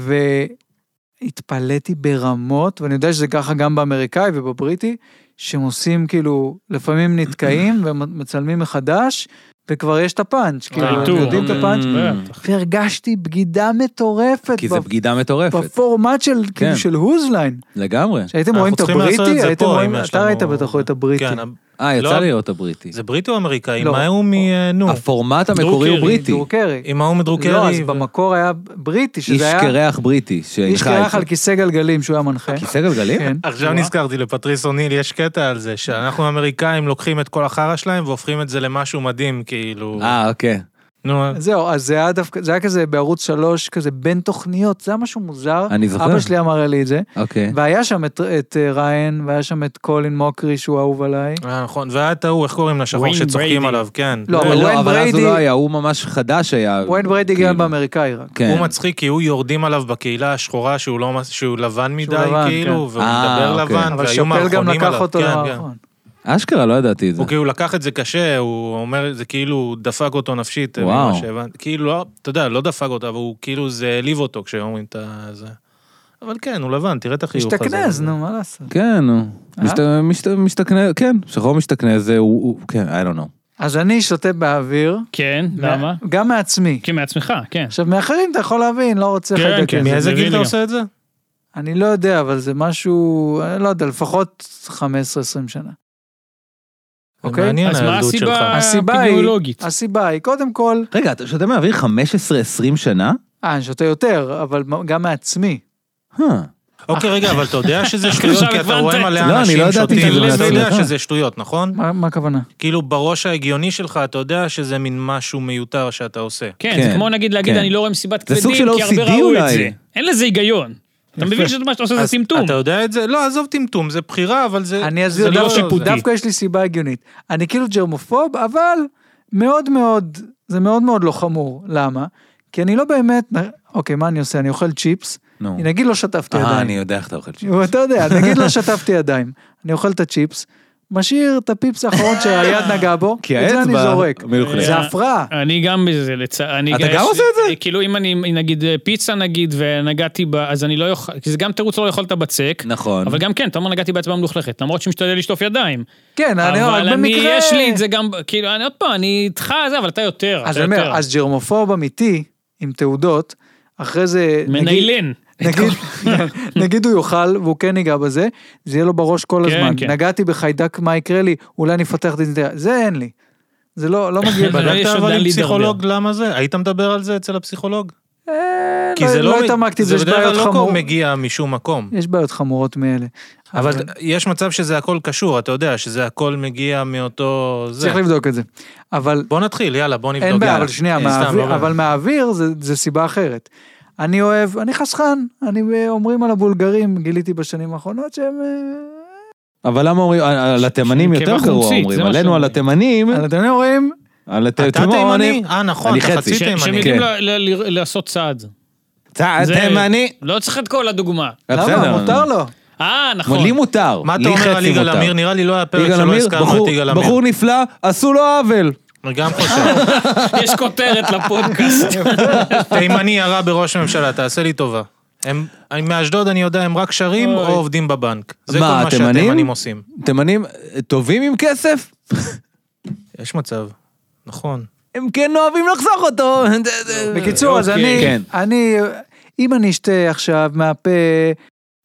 [SPEAKER 2] והתפלאתי ברמות, ואני יודע שזה ככה גם באמריקאי ובבריטי, שהם עושים כאילו, לפעמים נתקעים ומצלמים מחדש, וכבר יש את הפאנץ', כאילו, הם
[SPEAKER 3] האיתור.
[SPEAKER 2] יודעים את הפאנץ',
[SPEAKER 3] אה,
[SPEAKER 1] Mm.
[SPEAKER 2] והרגשתי בגידה מטורפת.
[SPEAKER 1] כי זה
[SPEAKER 2] בפ-
[SPEAKER 1] בגידה מטורפת,
[SPEAKER 2] בפורמט של,
[SPEAKER 1] כן.
[SPEAKER 2] כאילו, של הוזליין.
[SPEAKER 1] לגמרי.
[SPEAKER 2] כשהייתם
[SPEAKER 4] אנחנו
[SPEAKER 2] רואים את
[SPEAKER 4] צריכים לעשות
[SPEAKER 2] הבריטי,
[SPEAKER 4] את זה
[SPEAKER 2] הייתם
[SPEAKER 4] פה,
[SPEAKER 2] רואים,
[SPEAKER 4] אם יש
[SPEAKER 2] אתה
[SPEAKER 4] לנו-
[SPEAKER 2] ראית בטח את הבריטי.
[SPEAKER 4] כן,
[SPEAKER 1] אה,
[SPEAKER 4] לא.
[SPEAKER 1] יצא לי לראות הבריטי.
[SPEAKER 4] זה בריטי או אמריקאי?
[SPEAKER 2] לא.
[SPEAKER 4] עם ההוא מ... אה, נו,
[SPEAKER 1] הפורמט המקורי הוא
[SPEAKER 3] דרוקר,
[SPEAKER 1] בריטי.
[SPEAKER 2] דור קרי.
[SPEAKER 4] עם ההוא מדרוקרי.
[SPEAKER 2] לא, אז
[SPEAKER 4] ו-
[SPEAKER 2] במקור היה בריטי,
[SPEAKER 1] איש
[SPEAKER 2] שזה היה...
[SPEAKER 1] קרח בריטי.
[SPEAKER 2] איש קרח על כיסא גלגלים שהוא היה מנחה.
[SPEAKER 1] כיסא גלגלים?
[SPEAKER 2] כן.
[SPEAKER 4] עכשיו נזכרתי, לפטריס אוניל יש קטע על זה, שאנחנו האמריקאים לוקחים את כל החרא שלהם והופכים את זה למשהו מדהים, כאילו...
[SPEAKER 1] אה, אוקיי.
[SPEAKER 4] נו, אה,
[SPEAKER 2] זהו, אז זה היה דווקא, זה היה כזה בערוץ שלוש, כזה בין תוכניות, זה היה משהו מוזר.
[SPEAKER 1] אני זוכר.
[SPEAKER 2] אבא שלי אמר לי את זה.
[SPEAKER 1] אוקיי.
[SPEAKER 2] והיה שם את, את אה, ריין, והיה שם את קולין מוקרי שהוא אהוב עליי.
[SPEAKER 4] אה, נכון, והיה את ההוא, איך קוראים לשחור
[SPEAKER 3] וויין
[SPEAKER 4] שצוחקים
[SPEAKER 3] בריידי.
[SPEAKER 4] עליו, כן.
[SPEAKER 2] לא, אבל וויין
[SPEAKER 1] לא, אבל אז הוא
[SPEAKER 2] בריידי-
[SPEAKER 1] לא היה, הוא ממש חדש היה.
[SPEAKER 2] וויין בריידי
[SPEAKER 1] כאילו.
[SPEAKER 2] הגיע באמריקאי רק.
[SPEAKER 1] כן.
[SPEAKER 4] הוא מצחיק כי הוא יורדים עליו בקהילה השחורה שהוא לא מס- שהוא לבן מדי
[SPEAKER 2] לבן,
[SPEAKER 4] כאילו
[SPEAKER 2] כן.
[SPEAKER 4] והוא
[SPEAKER 1] אה,
[SPEAKER 4] מדבר
[SPEAKER 1] אוקיי.
[SPEAKER 4] לבן
[SPEAKER 2] אבל
[SPEAKER 4] והיו
[SPEAKER 2] שפל גם
[SPEAKER 4] מערכונים
[SPEAKER 2] לקח
[SPEAKER 4] עליו.
[SPEAKER 2] אותו
[SPEAKER 4] כן, כן.
[SPEAKER 2] למערכון.
[SPEAKER 1] אשכרה, לא ידעתי את זה.
[SPEAKER 4] הוא כאילו לקח את זה קשה הוא אומר זה כאילו הוא דפק אותו נפשית. אה,
[SPEAKER 1] וואו.
[SPEAKER 4] ממה שהבנ- כאילו לא, אתה יודע לא דפק אותו אבל הוא כאילו זה העליב אותו כשאומרים את זה. אבל כן הוא לבן תראה את החיוך הזה.
[SPEAKER 2] השתכנז, נו, מה לעשות.
[SPEAKER 1] כן, הוא
[SPEAKER 2] אה?
[SPEAKER 1] משת- משת- משתכנז, כן, שחור משתכנז, זה הוא, הוא- כן, I don't know.
[SPEAKER 2] אז אני שותה באוויר.
[SPEAKER 3] כן, למה?
[SPEAKER 2] גם מעצמי.
[SPEAKER 3] כי מעצמך, כן.
[SPEAKER 2] עכשיו, מאחרים אתה יכול להבין, לא רוצה
[SPEAKER 3] כן,
[SPEAKER 2] לדקה.
[SPEAKER 3] כן,
[SPEAKER 4] מאיזה
[SPEAKER 3] זה
[SPEAKER 4] גיל אתה
[SPEAKER 3] וידאו.
[SPEAKER 4] עושה את זה?
[SPEAKER 2] אני לא יודע, אבל זה משהו, אני לא יודע, לפחות 15-20 שנה. אוקיי?
[SPEAKER 4] מעניין
[SPEAKER 3] אז מה
[SPEAKER 4] הילדות שלך.
[SPEAKER 3] הסיבה
[SPEAKER 2] הסיבה היא-
[SPEAKER 3] האפידמיולוגית?
[SPEAKER 2] הסיבה היא, קודם כל,
[SPEAKER 1] רגע, אתה שותה מהאוויר 15-20 שנה?
[SPEAKER 2] אה, אני שותה יותר, אבל גם מעצמי.
[SPEAKER 1] Huh.
[SPEAKER 4] אוקיי, רגע, אבל אתה יודע שזה שטויות, כי אתה
[SPEAKER 3] הבנת.
[SPEAKER 4] רואה
[SPEAKER 1] לא,
[SPEAKER 4] מלא
[SPEAKER 1] אני לא
[SPEAKER 4] אנשים
[SPEAKER 1] ידעתי
[SPEAKER 4] שותים,
[SPEAKER 1] שזה
[SPEAKER 4] ואתה יודע
[SPEAKER 1] מהצלחה.
[SPEAKER 4] שזה שטויות, נכון?
[SPEAKER 2] מה מה הכוונה?
[SPEAKER 4] כאילו בראש ההגיוני שלך אתה יודע שזה מין משהו מיותר שאתה עושה.
[SPEAKER 3] כן, זה
[SPEAKER 1] כן,
[SPEAKER 3] כמו נגיד להגיד,
[SPEAKER 1] כן.
[SPEAKER 3] אני לא רואה מסיבת
[SPEAKER 1] זה סוג
[SPEAKER 3] כבדים,
[SPEAKER 1] של
[SPEAKER 3] כי הרבה
[SPEAKER 1] OCD
[SPEAKER 3] ראו את
[SPEAKER 1] אולי.
[SPEAKER 3] זה. אין לזה היגיון. אתה מבין שמה שאתה עושה זה
[SPEAKER 4] אז
[SPEAKER 3] טמטום.
[SPEAKER 4] אתה יודע את זה? לא, עזוב טמטום, זה בחירה, אבל זה...
[SPEAKER 2] אני
[SPEAKER 4] זה
[SPEAKER 2] אסביר,
[SPEAKER 3] לא
[SPEAKER 2] דווקא-
[SPEAKER 3] שיפוטי.
[SPEAKER 2] דווקא יש לי סיבה הגיונית. אני כאילו ג'רמופוב, אבל מאוד מאוד, זה מאוד מאוד לא חמור. למה? כי אני לא באמת, אוקיי, מה אני עושה? אני אוכל צ'יפס,
[SPEAKER 1] נו.
[SPEAKER 2] נגיד לא שטפתי
[SPEAKER 1] אה, אני
[SPEAKER 2] ידיים.
[SPEAKER 1] יודע איך אתה אוכל שיט.
[SPEAKER 2] הוא, אתה יודע, נגיד לא שטפתי ידיים. אני אוכל את הצ'יפס, משאיר את הפיפס האחרון שהיד נגעה בו,
[SPEAKER 1] כי
[SPEAKER 2] את זה אני
[SPEAKER 1] האצבע
[SPEAKER 2] זורק.
[SPEAKER 1] מלוכלכת.
[SPEAKER 2] זה הפרעה.
[SPEAKER 3] אני גם בזה, לצערי.
[SPEAKER 1] אתה גם עושה את זה?
[SPEAKER 3] כאילו אם אני נגיד פיצה נגיד ונגעתי בה, אז אני לא יכול, כי זה גם תירוץ לא לאכול את הבצק.
[SPEAKER 4] אוקיי.
[SPEAKER 1] נכון.
[SPEAKER 3] אבל גם כן, אתה אומר נגעתי באצבע מלוכלכת, למרות שמשתדל לשטוף ידיים.
[SPEAKER 2] כן, אני
[SPEAKER 3] אבל
[SPEAKER 2] אבל
[SPEAKER 3] אני,
[SPEAKER 2] במקרה...
[SPEAKER 3] יש לי את זה גם, כאילו, אני עוד פעם, אני איתך זה, אבל אתה יותר.
[SPEAKER 2] אז אני
[SPEAKER 3] אתה
[SPEAKER 2] אומר,
[SPEAKER 3] יותר.
[SPEAKER 2] אז ג'רמופוב אמיתי, עם תעודות, אחרי זה... נגיד-
[SPEAKER 3] מניילן.
[SPEAKER 2] נגיד, נגיד הוא יאכל והוא כן ייגע בזה, זה יהיה לו בראש כל
[SPEAKER 3] כן,
[SPEAKER 2] הזמן.
[SPEAKER 3] כן.
[SPEAKER 2] נגעתי בחיידק, מה יקרה לי? אולי אני אפתח את זה, זה אין לי. זה לא, לא מגיע.
[SPEAKER 3] אבל יש
[SPEAKER 4] בדקת
[SPEAKER 3] עוד
[SPEAKER 4] אבל
[SPEAKER 3] לאן
[SPEAKER 4] עם
[SPEAKER 3] להידרדר.
[SPEAKER 4] פסיכולוג למה זה? היית מדבר על זה אצל הפסיכולוג?
[SPEAKER 2] אה,
[SPEAKER 4] כי
[SPEAKER 2] לא-
[SPEAKER 4] זה
[SPEAKER 2] לא
[SPEAKER 4] מ-
[SPEAKER 2] התעמקתי, בזה, יש
[SPEAKER 4] זה בדרך
[SPEAKER 2] בעיות
[SPEAKER 4] כלל לא
[SPEAKER 2] חמורות.
[SPEAKER 4] קורה- מגיע משום מקום.
[SPEAKER 2] יש בעיות חמורות מאלה. נכון.
[SPEAKER 4] אבל יש מצב שזה הכל קשור, אתה יודע, שזה הכל מגיע מאותו... זה.
[SPEAKER 2] צריך לבדוק את זה. אבל
[SPEAKER 4] בוא נתחיל, יאללה, בוא נבדוק.
[SPEAKER 2] אין בעיה,
[SPEAKER 4] יאללה.
[SPEAKER 2] אבל שנייה,
[SPEAKER 4] אה, סתם,
[SPEAKER 2] מהאוויר-
[SPEAKER 4] לא
[SPEAKER 2] אבל מהאוויר זה- זה סיבה אחרת. אני אוהב, אני חסכן, אני אה, אומרים על הבולגרים, גיליתי בשנים האחרונות שהם... אה,
[SPEAKER 1] אבל למה אומרים, על- על התימנים
[SPEAKER 3] שהם
[SPEAKER 1] יותר
[SPEAKER 3] קבע
[SPEAKER 1] גרוע
[SPEAKER 3] חומצית,
[SPEAKER 1] אומרים,
[SPEAKER 3] זה מה
[SPEAKER 1] עלינו
[SPEAKER 3] שאומרים.
[SPEAKER 1] על התימנים,
[SPEAKER 4] כן.
[SPEAKER 2] על אתם אומרים,
[SPEAKER 1] על
[SPEAKER 4] אתה תימני?
[SPEAKER 1] התימנים,
[SPEAKER 4] אה, נכון,
[SPEAKER 1] אני
[SPEAKER 4] אתה
[SPEAKER 1] חצי.
[SPEAKER 4] חצי
[SPEAKER 1] ש-
[SPEAKER 3] שהם
[SPEAKER 4] תימני.
[SPEAKER 1] כן.
[SPEAKER 3] יודעים ל- ל- ל- לעשות צעד.
[SPEAKER 1] אתה
[SPEAKER 3] זה-
[SPEAKER 1] תימני,
[SPEAKER 3] לא צריך את כל הדוגמה.
[SPEAKER 1] בסדר,
[SPEAKER 2] למה? מותר לו.
[SPEAKER 3] אה,
[SPEAKER 1] אבל
[SPEAKER 3] נכון.
[SPEAKER 1] לי מותר,
[SPEAKER 4] מה
[SPEAKER 1] לי
[SPEAKER 4] אתה אומר על
[SPEAKER 1] חצי
[SPEAKER 4] יגאל
[SPEAKER 1] מותר.
[SPEAKER 4] עמיר? נראה לי לא היה פרק
[SPEAKER 1] יגאל
[SPEAKER 4] שלא
[SPEAKER 1] עמיר,
[SPEAKER 4] הזכרנו
[SPEAKER 1] בחור-
[SPEAKER 4] את יגאל עמיר.
[SPEAKER 1] בחור נפלא, עשו לו עוול.
[SPEAKER 4] אני גם חושב.
[SPEAKER 3] יש כותרת לפודקאסט.
[SPEAKER 2] אה.
[SPEAKER 4] תימני הרע בראש הממשלה, תעשה לי טובה. הם, אני מאשדוד, אני יודע, הם רק שרים או עובדים בבנק. זה כל
[SPEAKER 1] מה,
[SPEAKER 4] מה
[SPEAKER 1] התימנים?
[SPEAKER 4] שהתימנים עושים.
[SPEAKER 1] תימנים אה, טובים עם כסף?
[SPEAKER 4] יש מצב, נכון.
[SPEAKER 1] הם כן אוהבים לחסוך אותו.
[SPEAKER 2] בקיצור, אז
[SPEAKER 1] אוקיי.
[SPEAKER 2] אני,
[SPEAKER 1] כן.
[SPEAKER 2] אני, אה, אם אני אשתה עכשיו מהפה,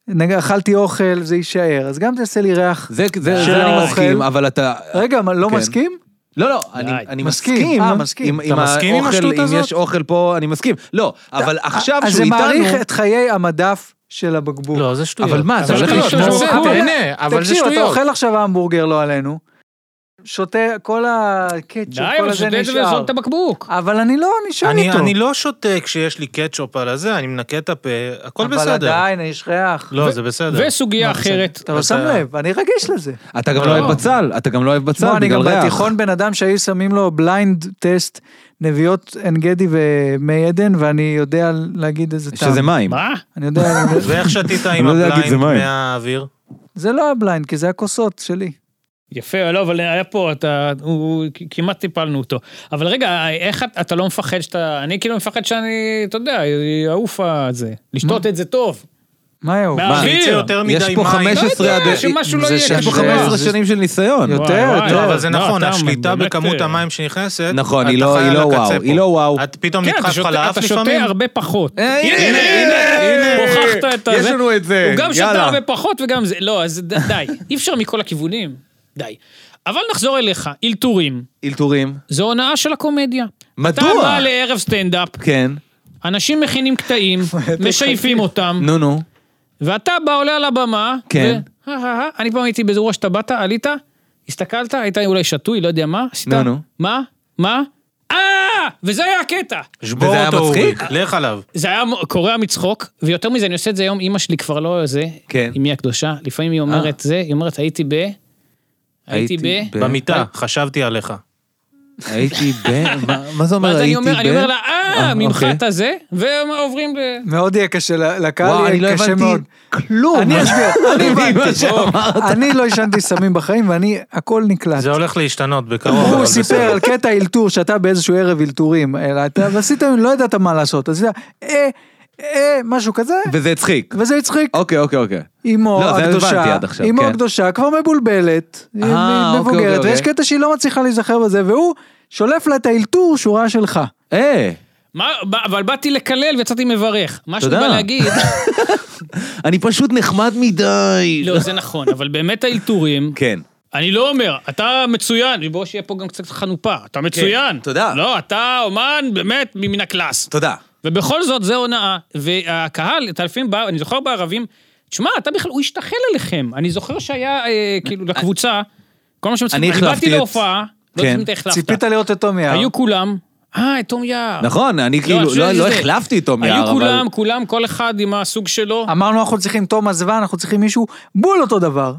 [SPEAKER 2] נגיד, אכלתי אוכל, זה יישאר, אז גם תעשה לי ריח.
[SPEAKER 1] זה, זה,
[SPEAKER 2] של
[SPEAKER 1] זה אני
[SPEAKER 2] האוכל.
[SPEAKER 1] מסכים, אבל אתה...
[SPEAKER 2] רגע, מה, לא
[SPEAKER 1] כן.
[SPEAKER 2] מסכים?
[SPEAKER 1] לא, לא, אני,
[SPEAKER 3] די.
[SPEAKER 1] אני
[SPEAKER 2] מסכים.
[SPEAKER 1] מסכים.
[SPEAKER 2] אה, מסכים.
[SPEAKER 1] עם,
[SPEAKER 2] אתה
[SPEAKER 1] עם
[SPEAKER 4] מסכים עם
[SPEAKER 1] האוכל,
[SPEAKER 4] השטות
[SPEAKER 1] אם
[SPEAKER 4] הזאת?
[SPEAKER 1] יש אוכל פה, אני מסכים. לא, אבל עכשיו
[SPEAKER 2] אה, אז
[SPEAKER 1] שהוא
[SPEAKER 2] זה
[SPEAKER 1] איתנו...
[SPEAKER 2] מאריך את חיי המדף של הבקבוק.
[SPEAKER 4] לא, זה שטויות.
[SPEAKER 1] אבל מה, אתה
[SPEAKER 3] אבל
[SPEAKER 1] הולך
[SPEAKER 3] לא, לא,
[SPEAKER 1] לשמור
[SPEAKER 3] זה-
[SPEAKER 2] אתה-
[SPEAKER 1] הכל?
[SPEAKER 4] תהנה, אבל זה
[SPEAKER 2] תקשיב, אתה
[SPEAKER 4] שטויות.
[SPEAKER 2] אוכל עכשיו המבורגר, לא עלינו, שותה כל
[SPEAKER 3] די,
[SPEAKER 2] הקטשופ, כל
[SPEAKER 3] אבל
[SPEAKER 2] הזה
[SPEAKER 3] שותה את זה
[SPEAKER 2] נשאר.
[SPEAKER 3] וזרוק את הבקבוק.
[SPEAKER 2] אבל אני לא נשאר
[SPEAKER 4] אני,
[SPEAKER 2] איתו.
[SPEAKER 4] אני לא שותה כשיש לי קטשופ על הזה, אני מנקה את הפה, הכל
[SPEAKER 2] אבל
[SPEAKER 4] בסדר.
[SPEAKER 2] עדיין, יש ריח.
[SPEAKER 4] לא, זה בסדר.
[SPEAKER 3] וסוגיה אחרת,
[SPEAKER 2] אתה לא שם
[SPEAKER 4] אתה-
[SPEAKER 2] לב, אני רגיש לזה.
[SPEAKER 1] אתה גם
[SPEAKER 4] לא.
[SPEAKER 1] לא אוהב בצל, אתה גם לא אוהב בצל,
[SPEAKER 2] תשמע, אני
[SPEAKER 1] בגלל
[SPEAKER 2] גם
[SPEAKER 1] ריח.
[SPEAKER 2] בתיכון בן אדם שהיו שמים לו בליינד טסט נביאות עין גדי ומי עדן, ואני יודע להגיד איזה טעם.
[SPEAKER 1] שזה מים.
[SPEAKER 3] מה?
[SPEAKER 2] אני יודע,
[SPEAKER 4] ואיך שתית
[SPEAKER 1] אני
[SPEAKER 4] עם
[SPEAKER 1] לא יודע להגיד,
[SPEAKER 4] הבליינד
[SPEAKER 1] זה מים.
[SPEAKER 4] מהאוויר?
[SPEAKER 2] זה לא הבליינד, כי זה הכוסות שלי.
[SPEAKER 3] יפה, לא, אבל היה פה, אתה, הוא, כמעט טיפלנו אותו. אבל רגע, איך אתה- אתה לא מפחד שאתה, אני כאילו מפחד שאני, אתה יודע, יעוף הזה. לשתות את זה טוב.
[SPEAKER 2] מה יאו?
[SPEAKER 3] מה? אוויר.
[SPEAKER 4] שיצא יותר מדי
[SPEAKER 1] יש
[SPEAKER 4] מים.
[SPEAKER 1] פה 15
[SPEAKER 3] לא
[SPEAKER 1] עד...
[SPEAKER 3] יודע, שמשהו לא
[SPEAKER 1] זה
[SPEAKER 3] יהיה,
[SPEAKER 1] שיש פה
[SPEAKER 2] זה-
[SPEAKER 1] 15
[SPEAKER 2] זה-
[SPEAKER 1] שנים של ניסיון.
[SPEAKER 2] יותר,
[SPEAKER 3] וואי,
[SPEAKER 2] יותר.
[SPEAKER 3] וואי,
[SPEAKER 4] לא, אבל זה
[SPEAKER 3] לא,
[SPEAKER 4] נכון,
[SPEAKER 3] אתה
[SPEAKER 4] השליטה
[SPEAKER 3] באמת,
[SPEAKER 4] בכמות
[SPEAKER 3] אה,
[SPEAKER 4] המים שנכנסת,
[SPEAKER 1] נכון,
[SPEAKER 4] אתה
[SPEAKER 1] היא לא-
[SPEAKER 4] חי
[SPEAKER 1] היא
[SPEAKER 4] על
[SPEAKER 1] לא
[SPEAKER 4] הקצה
[SPEAKER 1] וואו,
[SPEAKER 4] פה.
[SPEAKER 1] היא לא וואו.
[SPEAKER 4] את פתאום
[SPEAKER 3] כן, אתה
[SPEAKER 4] נדחף לך
[SPEAKER 3] שותה-
[SPEAKER 4] לאף
[SPEAKER 3] אתה שותה
[SPEAKER 4] לפעמים?
[SPEAKER 3] הרבה פחות.
[SPEAKER 1] אה, הנה, הנה,
[SPEAKER 3] הוכחת את הזה.
[SPEAKER 1] יש לנו את זה,
[SPEAKER 3] הוא גם שתה
[SPEAKER 1] יאללה.
[SPEAKER 3] הרבה פחות וגם זה, לא, אז ד- די, אי אפשר מכל הכיוונים, די. אבל נחזור אליך, אלתורים,
[SPEAKER 1] אלתורים.
[SPEAKER 3] זו הונאה של הקומדיה.
[SPEAKER 1] מדוע?
[SPEAKER 3] אתה בא לערב סטנדאפ,
[SPEAKER 1] כן,
[SPEAKER 3] אנשים מכינים קטעים, משייפים אותם,
[SPEAKER 1] נו נו.
[SPEAKER 3] ואתה בא, עולה על הבמה,
[SPEAKER 1] כן.
[SPEAKER 3] ו... הא, הא, הא. אני פעם הייתי באיזה אירוע שאתה באת, עלית, הסתכלת, היית אולי שתוי, לא יודע מה, עשית,
[SPEAKER 1] נו, נו.
[SPEAKER 3] מה, מה, אה, וזה היה הקטע.
[SPEAKER 4] שבור
[SPEAKER 1] וזה היה
[SPEAKER 4] אותו, אורי,
[SPEAKER 1] מצחיק?
[SPEAKER 4] לך עליו.
[SPEAKER 3] זה היה קורע מצחוק, ויותר מזה, אני עושה את זה היום, אימא שלי כבר לא זה,
[SPEAKER 1] כן. אה.
[SPEAKER 3] אמי הקדושה, לפעמים היא אומרת זה, היא אומרת, הייתי ב... הייתי ב...
[SPEAKER 4] במיטה, חשבתי עליך.
[SPEAKER 1] הייתי ב... מה- מה זה אומר
[SPEAKER 3] ואז אני
[SPEAKER 1] הייתי ב...
[SPEAKER 3] אומר, אני אומר לה, אה,
[SPEAKER 1] אה,
[SPEAKER 3] ממך
[SPEAKER 1] אוקיי.
[SPEAKER 3] אתה זה, ועוברים ל...
[SPEAKER 2] מאוד יהיה קשה, ל-
[SPEAKER 1] וואו,
[SPEAKER 2] לקהל
[SPEAKER 1] אני לא
[SPEAKER 2] יהיה קשה
[SPEAKER 1] הבנתי
[SPEAKER 2] מאוד.
[SPEAKER 1] כלום.
[SPEAKER 2] אני אסביר,
[SPEAKER 3] לא
[SPEAKER 2] אני
[SPEAKER 1] מה
[SPEAKER 2] הבנתי.
[SPEAKER 1] שאמרת.
[SPEAKER 2] אני לא עישנתי סמים בחיים ואני, הכל נקלט.
[SPEAKER 4] זה
[SPEAKER 1] לא
[SPEAKER 4] הולך להשתנות בקרוב. אבל
[SPEAKER 1] נכון,
[SPEAKER 2] הוא
[SPEAKER 4] בסדר.
[SPEAKER 2] סיפר על קטע אלתור שאתה באיזשהו ערב אלתורים, אלא אתה- ועשית, לא ידעת מה לעשות, אז אתה, אה, אה, משהו כזה,
[SPEAKER 1] וזה הצחיק.
[SPEAKER 2] וזה הצחיק.
[SPEAKER 1] אוקיי, אוקיי, אוקיי.
[SPEAKER 2] אימו
[SPEAKER 1] לא, זה הבנתי
[SPEAKER 2] הקדושה,
[SPEAKER 1] עד עכשיו,
[SPEAKER 2] אימו
[SPEAKER 1] כן.
[SPEAKER 2] הקדושה כבר מבולבלת, היא
[SPEAKER 1] אוקיי, אוקיי,
[SPEAKER 2] מבוגרת,
[SPEAKER 1] אוקיי.
[SPEAKER 2] ויש קטע שהיא לא מצליחה להיזכר בזה, והוא שולף לה את האלתור שהוא ראה שלך.
[SPEAKER 1] אה,
[SPEAKER 3] מה, ב- אבל באתי לקלל ויצאתי מברך. מה שאני בא
[SPEAKER 1] תודה.
[SPEAKER 3] להגיד,
[SPEAKER 1] אני פשוט נחמד מדי.
[SPEAKER 3] לא, זה נכון, אבל באמת האלתורים,
[SPEAKER 1] כן.
[SPEAKER 3] אני לא אומר, אתה מצוין, בוא שיהיה פה גם קצת חנופה, אתה מצוין.
[SPEAKER 1] כן, תודה.
[SPEAKER 3] לא, אתה אומן באמת מן הקלאס.
[SPEAKER 1] תודה.
[SPEAKER 3] ובכל זאת, זה הונאה. והקהל, אתה לפעמים בא, אני זוכר בערבים, תשמע, אתה בכלל, הוא השתחל עליכם. אני זוכר שהיה, אה, כאילו, לקבוצה, כל מה שהם צריכים,
[SPEAKER 1] אני
[SPEAKER 3] אני באתי
[SPEAKER 1] החלפתי את-
[SPEAKER 3] להופעה, לא
[SPEAKER 1] כן.
[SPEAKER 3] יודעת אם אתה החלפת.
[SPEAKER 2] ציפית לראות את תומי יער.
[SPEAKER 3] היו כולם, אה, את תום יער.
[SPEAKER 1] נכון, אני
[SPEAKER 3] אני
[SPEAKER 1] כאילו,
[SPEAKER 3] חושב
[SPEAKER 1] לא-
[SPEAKER 3] שזה-
[SPEAKER 1] לא החלפתי אותו מיער,
[SPEAKER 3] היו
[SPEAKER 1] אבל...
[SPEAKER 3] כולם, כולם, כל אחד עם הסוג שלו.
[SPEAKER 2] אמרנו אנחנו צריכים תום עזבה, אנחנו צריכים מישהו בול אותו דבר.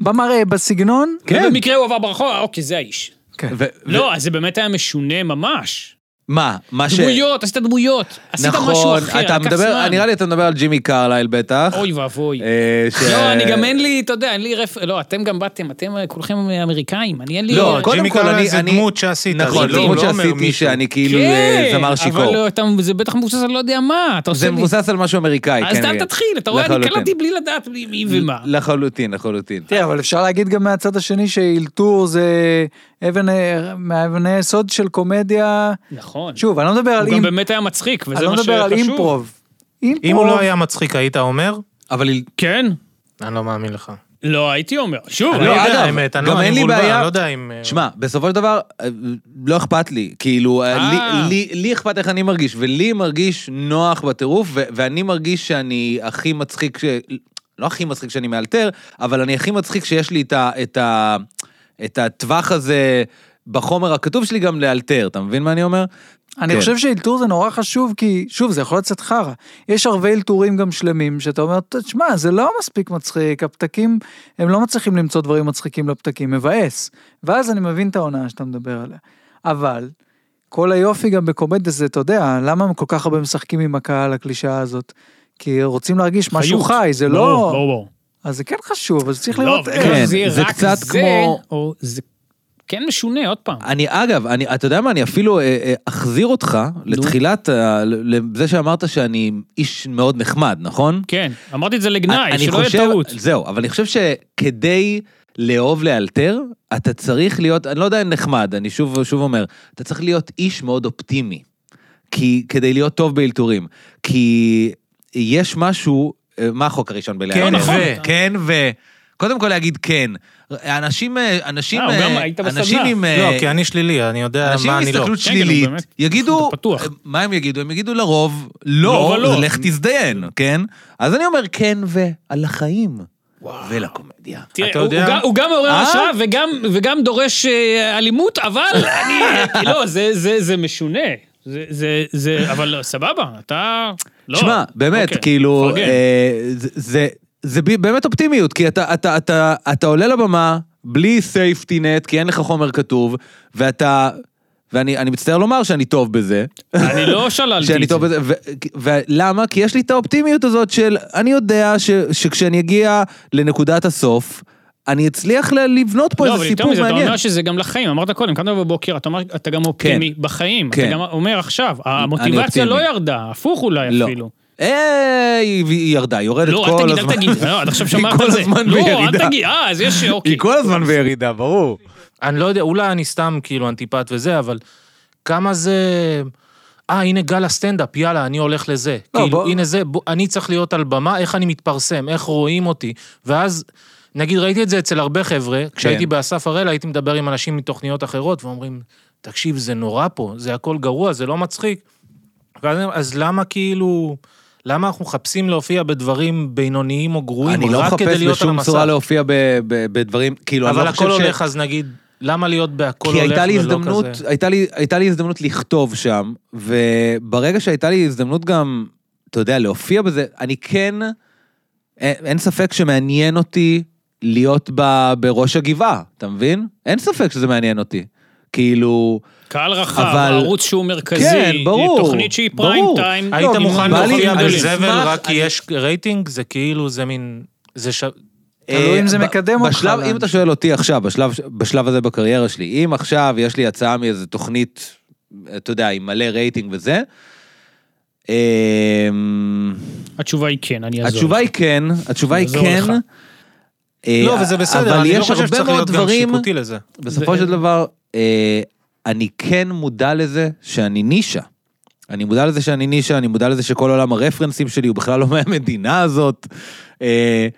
[SPEAKER 2] במראה, בסגנון,
[SPEAKER 1] כן.
[SPEAKER 3] ובמקרה הוא עבר ברחוב, אה, אוקיי, זה האיש.
[SPEAKER 1] ו- ו-
[SPEAKER 3] לא, אז זה באמת היה משונה ממש.
[SPEAKER 1] מה? מה ש...
[SPEAKER 3] דמויות, עשית דמויות. עשית משהו
[SPEAKER 1] נכון,
[SPEAKER 3] אחר,
[SPEAKER 1] אתה
[SPEAKER 3] לקח
[SPEAKER 1] מדבר,
[SPEAKER 3] זמן.
[SPEAKER 1] נראה לי אתה מדבר על ג'ימי קרלייל בטח.
[SPEAKER 3] אוי ואבוי.
[SPEAKER 1] אה, ש-
[SPEAKER 3] לא, אני גם אין לי, אתה יודע, אין לי רפ... לא, אתם גם באתם, אתם אה, כולכם אמריקאים, אני אין לי...
[SPEAKER 1] לא,
[SPEAKER 3] אה,
[SPEAKER 1] קודם
[SPEAKER 4] ג'ימי
[SPEAKER 1] כל,
[SPEAKER 4] קרלן
[SPEAKER 1] אני-
[SPEAKER 4] זה
[SPEAKER 1] אני-
[SPEAKER 4] דמות שעשית.
[SPEAKER 1] נכון,
[SPEAKER 4] זה לא-
[SPEAKER 3] לא
[SPEAKER 1] למרות
[SPEAKER 4] לא אומר
[SPEAKER 1] שעשיתי
[SPEAKER 4] מישהו.
[SPEAKER 1] שאני כאילו אה,
[SPEAKER 3] כן,
[SPEAKER 1] זמר
[SPEAKER 3] אבל
[SPEAKER 1] שיכור.
[SPEAKER 3] לא, אתה- זה בטח מבוסס על לא יודע מה, אתה עושה
[SPEAKER 1] זה
[SPEAKER 3] לי...
[SPEAKER 1] מבוסס על משהו אמריקאי,
[SPEAKER 3] אז
[SPEAKER 1] כן.
[SPEAKER 3] אתה
[SPEAKER 1] כן.
[SPEAKER 3] תתחיל, אתה רואה, אני
[SPEAKER 1] לחלוטין.
[SPEAKER 3] קלטתי בלי לדעת מי מי ומה.
[SPEAKER 1] לחלוטין, לחלוטין.
[SPEAKER 2] תראה, אבל אפשר להגיד גם מהצד השני שאילתור זה אבן, אה, מאבני היסוד של קומדיה.
[SPEAKER 3] נכון.
[SPEAKER 2] שוב, אני לא מדבר על
[SPEAKER 3] הוא גם
[SPEAKER 2] אימפ-
[SPEAKER 3] באמת היה מצחיק,
[SPEAKER 2] אני
[SPEAKER 3] וזה
[SPEAKER 2] לא
[SPEAKER 3] מה
[SPEAKER 2] מדבר על
[SPEAKER 3] שחשוב.
[SPEAKER 2] אימפרוב. אימפרוב.
[SPEAKER 4] אם הוא לא היה מצחיק, היית אומר?
[SPEAKER 1] אבל היא-
[SPEAKER 3] כן?
[SPEAKER 4] אני לא מאמין לך.
[SPEAKER 3] לא, הייתי אומר. שוב,
[SPEAKER 4] אני לא
[SPEAKER 3] אני-
[SPEAKER 1] אגב,
[SPEAKER 4] יודע, האמת, אני
[SPEAKER 1] גם
[SPEAKER 4] לא-
[SPEAKER 1] אין
[SPEAKER 4] אני
[SPEAKER 1] לי
[SPEAKER 4] מבולבל,
[SPEAKER 1] בעיה.
[SPEAKER 4] אני לא יודע אם... אה,
[SPEAKER 1] שמע, בסופו של דבר, אה, לא אכפת לי. כאילו, אה,
[SPEAKER 3] אה.
[SPEAKER 1] לי- לי- לי אכפת איך אני מרגיש, ולי מרגיש נוח בטירוף, ו- ואני מרגיש שאני הכי מצחיק, ש- לא הכי מצחיק שאני מאלתר, אבל אני הכי מצחיק שיש לי את ה- את ה- את הטווח הזה בחומר הכתוב שלי גם לאלתר, אתה מבין מה אני אומר?
[SPEAKER 2] אני
[SPEAKER 1] כן.
[SPEAKER 2] חושב שאילתור זה נורא חשוב, כי שוב, זה יכול לצאת חרא. יש הרבה אילתורים גם שלמים, שאתה אומר, תשמע, זה לא מספיק מצחיק, הפתקים, הם לא מצליחים למצוא דברים מצחיקים לפתקים, מבאס. ואז אני מבין את ההונאה שאתה מדבר עליה. אבל, כל היופי גם בקומדיה זה, אתה יודע, למה הם כל כך הרבה משחקים עם הקהל, הקלישאה הזאת? כי רוצים להרגיש משהו
[SPEAKER 3] חיות.
[SPEAKER 2] חי, זה
[SPEAKER 3] ברור,
[SPEAKER 2] לא...
[SPEAKER 3] ברור, ברור.
[SPEAKER 2] אז זה כן חשוב, אז צריך
[SPEAKER 3] לא,
[SPEAKER 2] לראות
[SPEAKER 3] אבל
[SPEAKER 1] כן.
[SPEAKER 2] איך.
[SPEAKER 3] זה
[SPEAKER 1] זה
[SPEAKER 3] רק
[SPEAKER 1] קצת
[SPEAKER 3] זה,
[SPEAKER 1] כמו-
[SPEAKER 3] או זה כן משונה, עוד פעם.
[SPEAKER 1] אני אגב, אני, אתה יודע מה, אני אפילו אה, אה, אחזיר אותך לתחילת, ה- ל- לזה שאמרת שאני איש מאוד נחמד, נכון?
[SPEAKER 3] כן, אמרתי את זה
[SPEAKER 1] אני
[SPEAKER 3] לגנאי, שלא יהיה
[SPEAKER 1] חושב-
[SPEAKER 3] טעות.
[SPEAKER 1] זהו, אבל אני חושב שכדי לאהוב לאלתר, אתה צריך להיות, אני לא יודע אם נחמד, אני שוב, שוב אומר, אתה צריך להיות איש מאוד אופטימי. כי, כדי להיות טוב באלתורים. כי יש משהו, אה, מה החוק הראשון בלאלתר?
[SPEAKER 4] כן
[SPEAKER 3] נכון.
[SPEAKER 1] ו... כן ו... קודם כל להגיד כן. אנשים, אה, אנשים,
[SPEAKER 3] אה, הוא
[SPEAKER 1] אה,
[SPEAKER 3] גם היית בסדנה.
[SPEAKER 1] אנשים עם... אה,
[SPEAKER 4] לא, כי אני שלילי, אני יודע
[SPEAKER 1] אנשים
[SPEAKER 4] מה
[SPEAKER 1] עם
[SPEAKER 4] אני לא.
[SPEAKER 1] הסתכלות
[SPEAKER 3] כן, כאילו,
[SPEAKER 1] שלילית,
[SPEAKER 3] באמת,
[SPEAKER 1] יגידו, אה,
[SPEAKER 3] אתה פתוח.
[SPEAKER 1] מה הם יגידו? הם יגידו לרוב,
[SPEAKER 3] לא
[SPEAKER 1] לא,
[SPEAKER 3] ולא."
[SPEAKER 1] לך תזדיין, כן? אז אני אומר כן ועל החיים ולקומדיה.
[SPEAKER 3] תראה,
[SPEAKER 4] אתה
[SPEAKER 3] הוא-
[SPEAKER 4] יודע-
[SPEAKER 3] הוא גם- הוא גם מעורר
[SPEAKER 1] אה?
[SPEAKER 3] השראה וגם- וגם דורש אה, אלימות, אבל אני... לא, זה- זה זה משונה. זה- זה- זה... אבל לא, סבבה, אתה... לא.
[SPEAKER 1] שמע, באמת,
[SPEAKER 3] אוקיי,
[SPEAKER 1] כאילו,
[SPEAKER 3] מפרגן.
[SPEAKER 1] אה, זה- זה- זה ב- באמת אופטימיות, כי אתה- אתה- אתה אתה עולה לבמה בלי סייפטי נט, כי אין לך חומר כתוב, ואתה... ואני אני מצטער לומר שאני טוב בזה,
[SPEAKER 3] אני לא שללתי
[SPEAKER 1] אה, שאני
[SPEAKER 3] את זה.
[SPEAKER 1] טוב בזה, ו- ולמה? כי יש לי את האופטימיות הזאת של, אני יודע ש- שכשאני אגיע לנקודת הסוף, אני אצליח ל- לבנות פה
[SPEAKER 3] לא,
[SPEAKER 1] איזה
[SPEAKER 3] אבל יותר
[SPEAKER 1] סיפור
[SPEAKER 3] מזה, אתה
[SPEAKER 1] מעניין.
[SPEAKER 3] אומר שזה גם לחיים, אמרת קודם, קמת בבוקר, אתה אומר, אתה גם אופטימי בחיים. אתה
[SPEAKER 1] כן.
[SPEAKER 3] גם אומר עכשיו, המוטיבציה
[SPEAKER 1] אופטימי.
[SPEAKER 3] לא ירדה, הפוך אולי
[SPEAKER 1] לא.
[SPEAKER 3] אפילו.
[SPEAKER 1] אה, היא היא ירדה, היא יורדת
[SPEAKER 3] לא,
[SPEAKER 1] כל
[SPEAKER 3] אל תגיד, אל
[SPEAKER 1] הזמן.
[SPEAKER 3] תגיד, לא, עד עכשיו
[SPEAKER 1] היא
[SPEAKER 3] שמרת
[SPEAKER 1] כל
[SPEAKER 3] את זה.
[SPEAKER 1] הזמן
[SPEAKER 3] לא,
[SPEAKER 1] בירידה.
[SPEAKER 3] אל תגיד, אה, אז יש, אוקיי.
[SPEAKER 1] היא כל הזמן בירידה, ברור.
[SPEAKER 4] אני לא יודע, אולי אני סתם כאילו אנטיפט וזה, אבל כמה זה... אה, הנה גל הסטנדאפ, יאללה, אני הולך לזה.
[SPEAKER 2] לא,
[SPEAKER 4] כאילו,
[SPEAKER 2] בוא-
[SPEAKER 4] הנה זה, בוא, אני צריך להיות על במה, איך אני מתפרסם, איך רואים אותי. ואז, נגיד, ראיתי את זה אצל הרבה חבר'ה, כשהייתי
[SPEAKER 1] כן.
[SPEAKER 4] באסף הראל, הייתי מדבר עם אנשים מתוכניות אחרות, ואומרים, תקשיב, זה נורא פה, זה הכל גרוע, זה לא מצחיק. ואז, אני אומר, אז למה כאילו... למה אנחנו מחפשים להופיע בדברים בינוניים או גרועים,
[SPEAKER 1] אני לא
[SPEAKER 4] רק כדי
[SPEAKER 1] מחפש
[SPEAKER 4] להיות על
[SPEAKER 1] בשום צורה
[SPEAKER 4] המסך?
[SPEAKER 1] להופיע ב- ב- בדברים, כאילו, אני
[SPEAKER 4] אבל
[SPEAKER 1] לא חושב ש...
[SPEAKER 4] הכל הולך, אז נגיד, למה להיות בהכל
[SPEAKER 1] כי
[SPEAKER 4] הולך ולא כזה?
[SPEAKER 1] הייתה לי הזדמנות, הייתה לי, הייתה לי הזדמנות לכתוב שם, וברגע שהייתה לי הזדמנות גם, אתה יודע, להופיע בזה, אני כן, אין, אין ספק שמעניין אותי להיות ב, בראש הגבעה, אתה מבין? אין ספק שזה מעניין אותי. כאילו,
[SPEAKER 3] קהל רחב,
[SPEAKER 1] אבל-
[SPEAKER 3] ערוץ שהוא מרכזי,
[SPEAKER 1] כן, ברור,
[SPEAKER 3] תוכנית שהיא
[SPEAKER 1] ברור.
[SPEAKER 3] פריים טיים.
[SPEAKER 4] היית
[SPEAKER 1] לא,
[SPEAKER 4] מוכן
[SPEAKER 1] בא לי-
[SPEAKER 4] להופיע
[SPEAKER 1] אני
[SPEAKER 4] על
[SPEAKER 1] אשמח-
[SPEAKER 4] זבל רק כי
[SPEAKER 1] אני-
[SPEAKER 4] יש רייטינג? זה כאילו, זה מין... זה ש...
[SPEAKER 2] תלוי אם זה
[SPEAKER 1] אה, ב-
[SPEAKER 2] מקדם אותך,
[SPEAKER 1] בשלב,
[SPEAKER 2] אבל.
[SPEAKER 1] אם אתה שואל אותי עכשיו, בשלב, בשלב הזה בקריירה שלי, אם עכשיו יש לי הצעה מאיזה תוכנית, אתה יודע, עם מלא רייטינג וזה, אמ,
[SPEAKER 3] התשובה היא כן, אני אעזור.
[SPEAKER 1] התשובה היא כן, התשובה היא
[SPEAKER 3] יעזור
[SPEAKER 1] כן.
[SPEAKER 3] לך.
[SPEAKER 1] אה,
[SPEAKER 4] לא, וזה בסדר,
[SPEAKER 1] אבל
[SPEAKER 4] אני לא
[SPEAKER 1] יש
[SPEAKER 4] חושב
[SPEAKER 1] הרבה
[SPEAKER 4] שצריך
[SPEAKER 1] מאוד
[SPEAKER 4] להיות גם
[SPEAKER 1] דברים-
[SPEAKER 4] שיפוטי לזה.
[SPEAKER 1] בסופו
[SPEAKER 3] זה-
[SPEAKER 1] של דבר, אה, אני כן מודע לזה שאני נישה. אני מודע לזה שאני נישה, אני מודע לזה שכל עולם הרפרנסים שלי הוא בכלל לא מהמדינה הזאת. אה,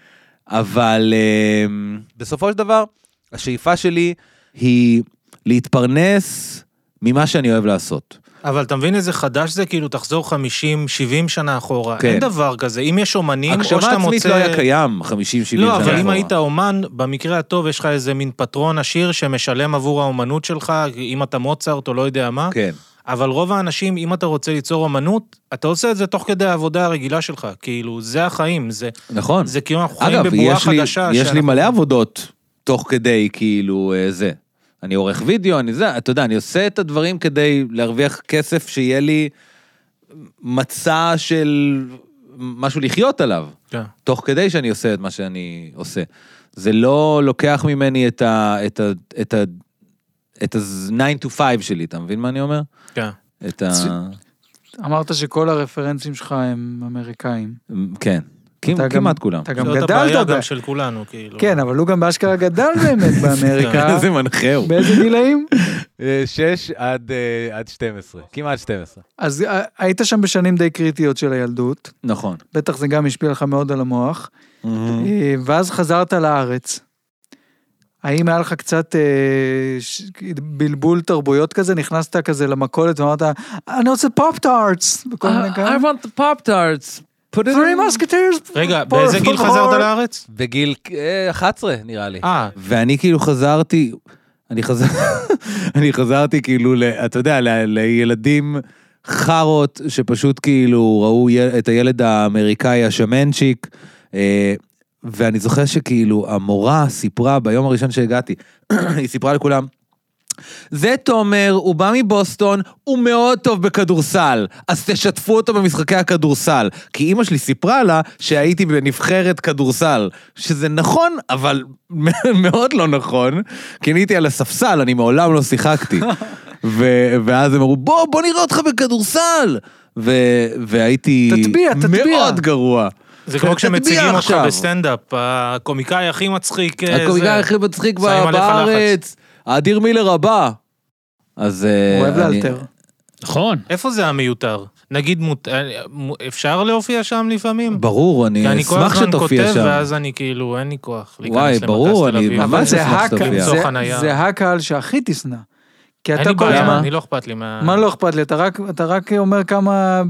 [SPEAKER 1] אבל אה, בסופו של דבר, השאיפה שלי היא להתפרנס ממה שאני אוהב לעשות.
[SPEAKER 4] אבל אתה מבין איזה חדש זה? כאילו, תחזור 50, 70 שנה אחורה.
[SPEAKER 1] כן.
[SPEAKER 4] אין דבר כזה. אם יש אומנים, או שאתה מוצא...
[SPEAKER 1] הגשמה עצמית לא היה קיים 50-70 שנה.
[SPEAKER 4] לא, אבל אם
[SPEAKER 1] אחורה.
[SPEAKER 4] היית אומן, במקרה הטוב יש לך איזה מין פטרון עשיר שמשלם עבור האומנות שלך, אם אתה מוצרט או לא יודע מה.
[SPEAKER 1] כן.
[SPEAKER 4] אבל רוב האנשים, אם אתה רוצה ליצור אומנות, אתה עושה את זה תוך כדי העבודה הרגילה שלך. כאילו, זה החיים, זה,
[SPEAKER 1] נכון.
[SPEAKER 4] זה כאילו אנחנו חיים
[SPEAKER 1] אגב,
[SPEAKER 4] בבועה
[SPEAKER 1] יש לי,
[SPEAKER 4] חדשה.
[SPEAKER 1] יש לי
[SPEAKER 4] שאנחנו-
[SPEAKER 1] מלא עבודות תוך כדי, כאילו, אה, זה. אני עורך וידאו, אני זה, אתה יודע, אני עושה את הדברים כדי להרוויח כסף שיהיה לי מצע של משהו לחיות עליו,
[SPEAKER 4] כן.
[SPEAKER 1] תוך כדי שאני עושה את מה שאני עושה. זה לא לוקח ממני את ה... את ה... את ה... את ה-9 to 5 שלי, אתה מבין מה אני אומר?
[SPEAKER 4] כן.
[SPEAKER 1] את ה...
[SPEAKER 2] אמרת שכל הרפרנסים שלך הם אמריקאים.
[SPEAKER 1] כן.
[SPEAKER 2] אתה
[SPEAKER 1] כמעט
[SPEAKER 2] גם-
[SPEAKER 1] כולם.
[SPEAKER 2] אתה גם
[SPEAKER 4] כן. זאת הבעיה
[SPEAKER 2] גדלת, ב-
[SPEAKER 4] גם של כולנו, כאילו.
[SPEAKER 2] כן, אבל הוא גם באשכרה גדל באמת באמריקה.
[SPEAKER 1] איזה מנחה הוא.
[SPEAKER 2] באיזה גילאים?
[SPEAKER 5] אה,
[SPEAKER 1] 6 עד 12, כמעט 12.
[SPEAKER 2] אז אה, היית שם בשנים די קריטיות של הילדות,
[SPEAKER 1] נכון.
[SPEAKER 2] בטח זה גם השפיע לך מאוד על המוח, אה, ואז חזרת לארץ. האם היה לך קצת אה, ש- בלבול תרבויות כזה? נכנסת כזה למכולת ואמרת, אני רוצה פופ-טארטס, וכל מיני כאלה.
[SPEAKER 1] want the pop tarts. put it
[SPEAKER 2] Three
[SPEAKER 1] in-
[SPEAKER 2] musketeers.
[SPEAKER 4] רגע,
[SPEAKER 2] Pour
[SPEAKER 4] באיזה
[SPEAKER 2] for
[SPEAKER 4] גיל
[SPEAKER 2] the
[SPEAKER 4] חזרת
[SPEAKER 2] heart.
[SPEAKER 4] לארץ?
[SPEAKER 5] בגיל אה, 11 נראה לי.
[SPEAKER 4] אה,
[SPEAKER 1] ואני כאילו חזרתי, אני חזר... אני חזרתי כאילו, ל- אתה יודע, ל- לילדים חארות שפשוט כאילו ראו יל- את הילד האמריקאי השמנצ'יק, אה, ואני זוכר שכאילו המורה סיפרה ביום הראשון שהגעתי, היא סיפרה לכולם, זה תומר, הוא בא מבוסטון, הוא מאוד טוב בכדורסל, אז תשתפו אותו במשחקי הכדורסל. כי אימא שלי סיפרה לה שהייתי בנבחרת כדורסל, שזה נכון, אבל מאוד לא נכון, כי אני הייתי על הספסל, אני מעולם לא שיחקתי. ו- ואז הם אמרו, בוא, בוא נראה אותך בכדורסל! ו- והייתי
[SPEAKER 2] תטביע, תטביע.
[SPEAKER 1] מאוד גרוע.
[SPEAKER 4] זה
[SPEAKER 1] כן,
[SPEAKER 4] כמו כשמציגים
[SPEAKER 1] תטביע
[SPEAKER 4] אותך
[SPEAKER 1] עכשיו.
[SPEAKER 4] בסטנדאפ, הקומיקאי הכי מצחיק. אה,
[SPEAKER 1] הקומיקאי
[SPEAKER 4] זה.
[SPEAKER 1] הכי מצחיק
[SPEAKER 4] שמים
[SPEAKER 1] ב-
[SPEAKER 4] עליך
[SPEAKER 1] בארץ, האדיר מילר הבא. אז... אה,
[SPEAKER 2] הוא אוהב
[SPEAKER 1] אני-
[SPEAKER 2] לאלתר.
[SPEAKER 3] נכון.
[SPEAKER 4] איפה זה המיותר? נגיד, מות- אה, מו- אפשר להופיע שם לפעמים?
[SPEAKER 1] ברור,
[SPEAKER 4] כי
[SPEAKER 1] אני
[SPEAKER 4] אני כל
[SPEAKER 1] אשמח
[SPEAKER 4] הזמן
[SPEAKER 1] שתופיע
[SPEAKER 4] כותב,
[SPEAKER 1] שם.
[SPEAKER 4] ואז אני כאילו, אין לי כוח. להיכנס
[SPEAKER 1] וואי,
[SPEAKER 4] למטס
[SPEAKER 1] ברור,
[SPEAKER 4] תל
[SPEAKER 1] אני
[SPEAKER 4] אביב.
[SPEAKER 1] ממש
[SPEAKER 2] אבל זה
[SPEAKER 1] אשמח
[SPEAKER 2] הק-
[SPEAKER 1] שתופיע.
[SPEAKER 2] זה-
[SPEAKER 4] למצוא חנייה.
[SPEAKER 2] זה הקהל שהכי תשנא. כי
[SPEAKER 4] אין
[SPEAKER 2] אתה
[SPEAKER 4] לי
[SPEAKER 2] כל
[SPEAKER 1] למה?
[SPEAKER 4] בעיה,
[SPEAKER 2] הזמן...
[SPEAKER 4] אני לא אכפת לי מה...
[SPEAKER 2] מה לא אכפת לי? אתה רק, אתה רק אומר כמה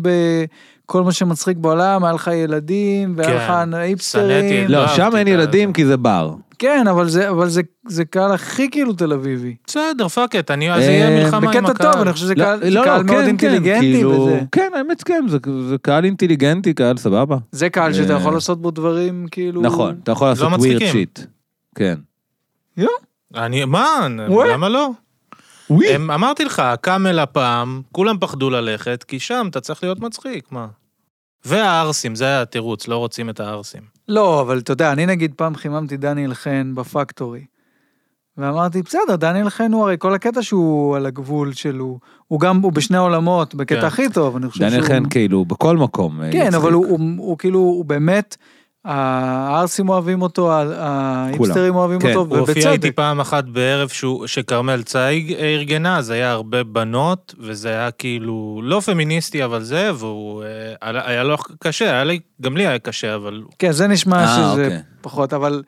[SPEAKER 2] בכל מה שמצחיק בעולם, היה לך ילדים, והיה
[SPEAKER 4] כן.
[SPEAKER 2] לך היפסטרים.
[SPEAKER 4] שנאתי.
[SPEAKER 1] לא,
[SPEAKER 4] לא
[SPEAKER 1] שם
[SPEAKER 4] אהבתי
[SPEAKER 1] אין
[SPEAKER 4] את ה-
[SPEAKER 1] ילדים כי זה בר.
[SPEAKER 2] כן, אבל זה, אבל זה, זה קהל הכי כאילו תל אביבי.
[SPEAKER 4] בסדר, פאק את, אני... אז
[SPEAKER 1] אה,
[SPEAKER 4] יהיה מלחמה עם
[SPEAKER 2] בקטע טוב,
[SPEAKER 4] הקהל.
[SPEAKER 2] אני חושב שזה
[SPEAKER 1] לא,
[SPEAKER 2] קהל,
[SPEAKER 1] לא,
[SPEAKER 2] זה קהל
[SPEAKER 1] לא,
[SPEAKER 2] מאוד
[SPEAKER 1] כן,
[SPEAKER 2] אינטליגנטי
[SPEAKER 1] כן, כאילו,
[SPEAKER 2] וזה.
[SPEAKER 1] כן, האמת כן, זה- זה קהל אינטליגנטי, קהל סבבה.
[SPEAKER 2] זה קהל שאתה
[SPEAKER 1] אה.
[SPEAKER 2] יכול לעשות בו דברים כאילו...
[SPEAKER 1] נכון, אתה יכול לעשות ווירד
[SPEAKER 4] לא מצחיקים.
[SPEAKER 1] שיט. כן.
[SPEAKER 4] אני... מה?
[SPEAKER 2] וואי.
[SPEAKER 4] למה לא? הם- אמרתי לך, הקאמל הפעם, כולם פחדו ללכת, כי שם אתה צריך להיות מצחיק, מה? והערסים, זה היה התירוץ, לא רוצים את הערסים.
[SPEAKER 2] לא, אבל אתה יודע, אני נגיד פעם חיממתי דניאל חן בפקטורי. ואמרתי, בסדר, דניאל חן הוא הרי כל הקטע שהוא על הגבול שלו, הוא גם, הוא בשני עולמות, בקטע
[SPEAKER 4] כן.
[SPEAKER 2] הכי טוב, אני חושב שהוא...
[SPEAKER 1] דניאל חן כאילו בכל מקום. אה,
[SPEAKER 2] כן,
[SPEAKER 1] מצחיק.
[SPEAKER 2] אבל הוא, הוא, הוא כאילו, הוא באמת, הערסים אוהבים אותו, ה- האיפסטרים אוהבים
[SPEAKER 1] כן,
[SPEAKER 2] אותו,
[SPEAKER 4] הוא הופיע
[SPEAKER 2] ובצדק.
[SPEAKER 4] איתי פעם אחת בערב שהוא- שכרמל צייג אה, ארגנה, אז היה הרבה בנות, וזה היה כאילו לא פמיניסטי, אבל זה, והוא... אה, היה- היה לו קשה, היה לי, גם לי היה קשה, אבל...
[SPEAKER 2] כן, זה נשמע
[SPEAKER 1] אה,
[SPEAKER 2] שזה
[SPEAKER 1] אוקיי.
[SPEAKER 2] פחות, אבל,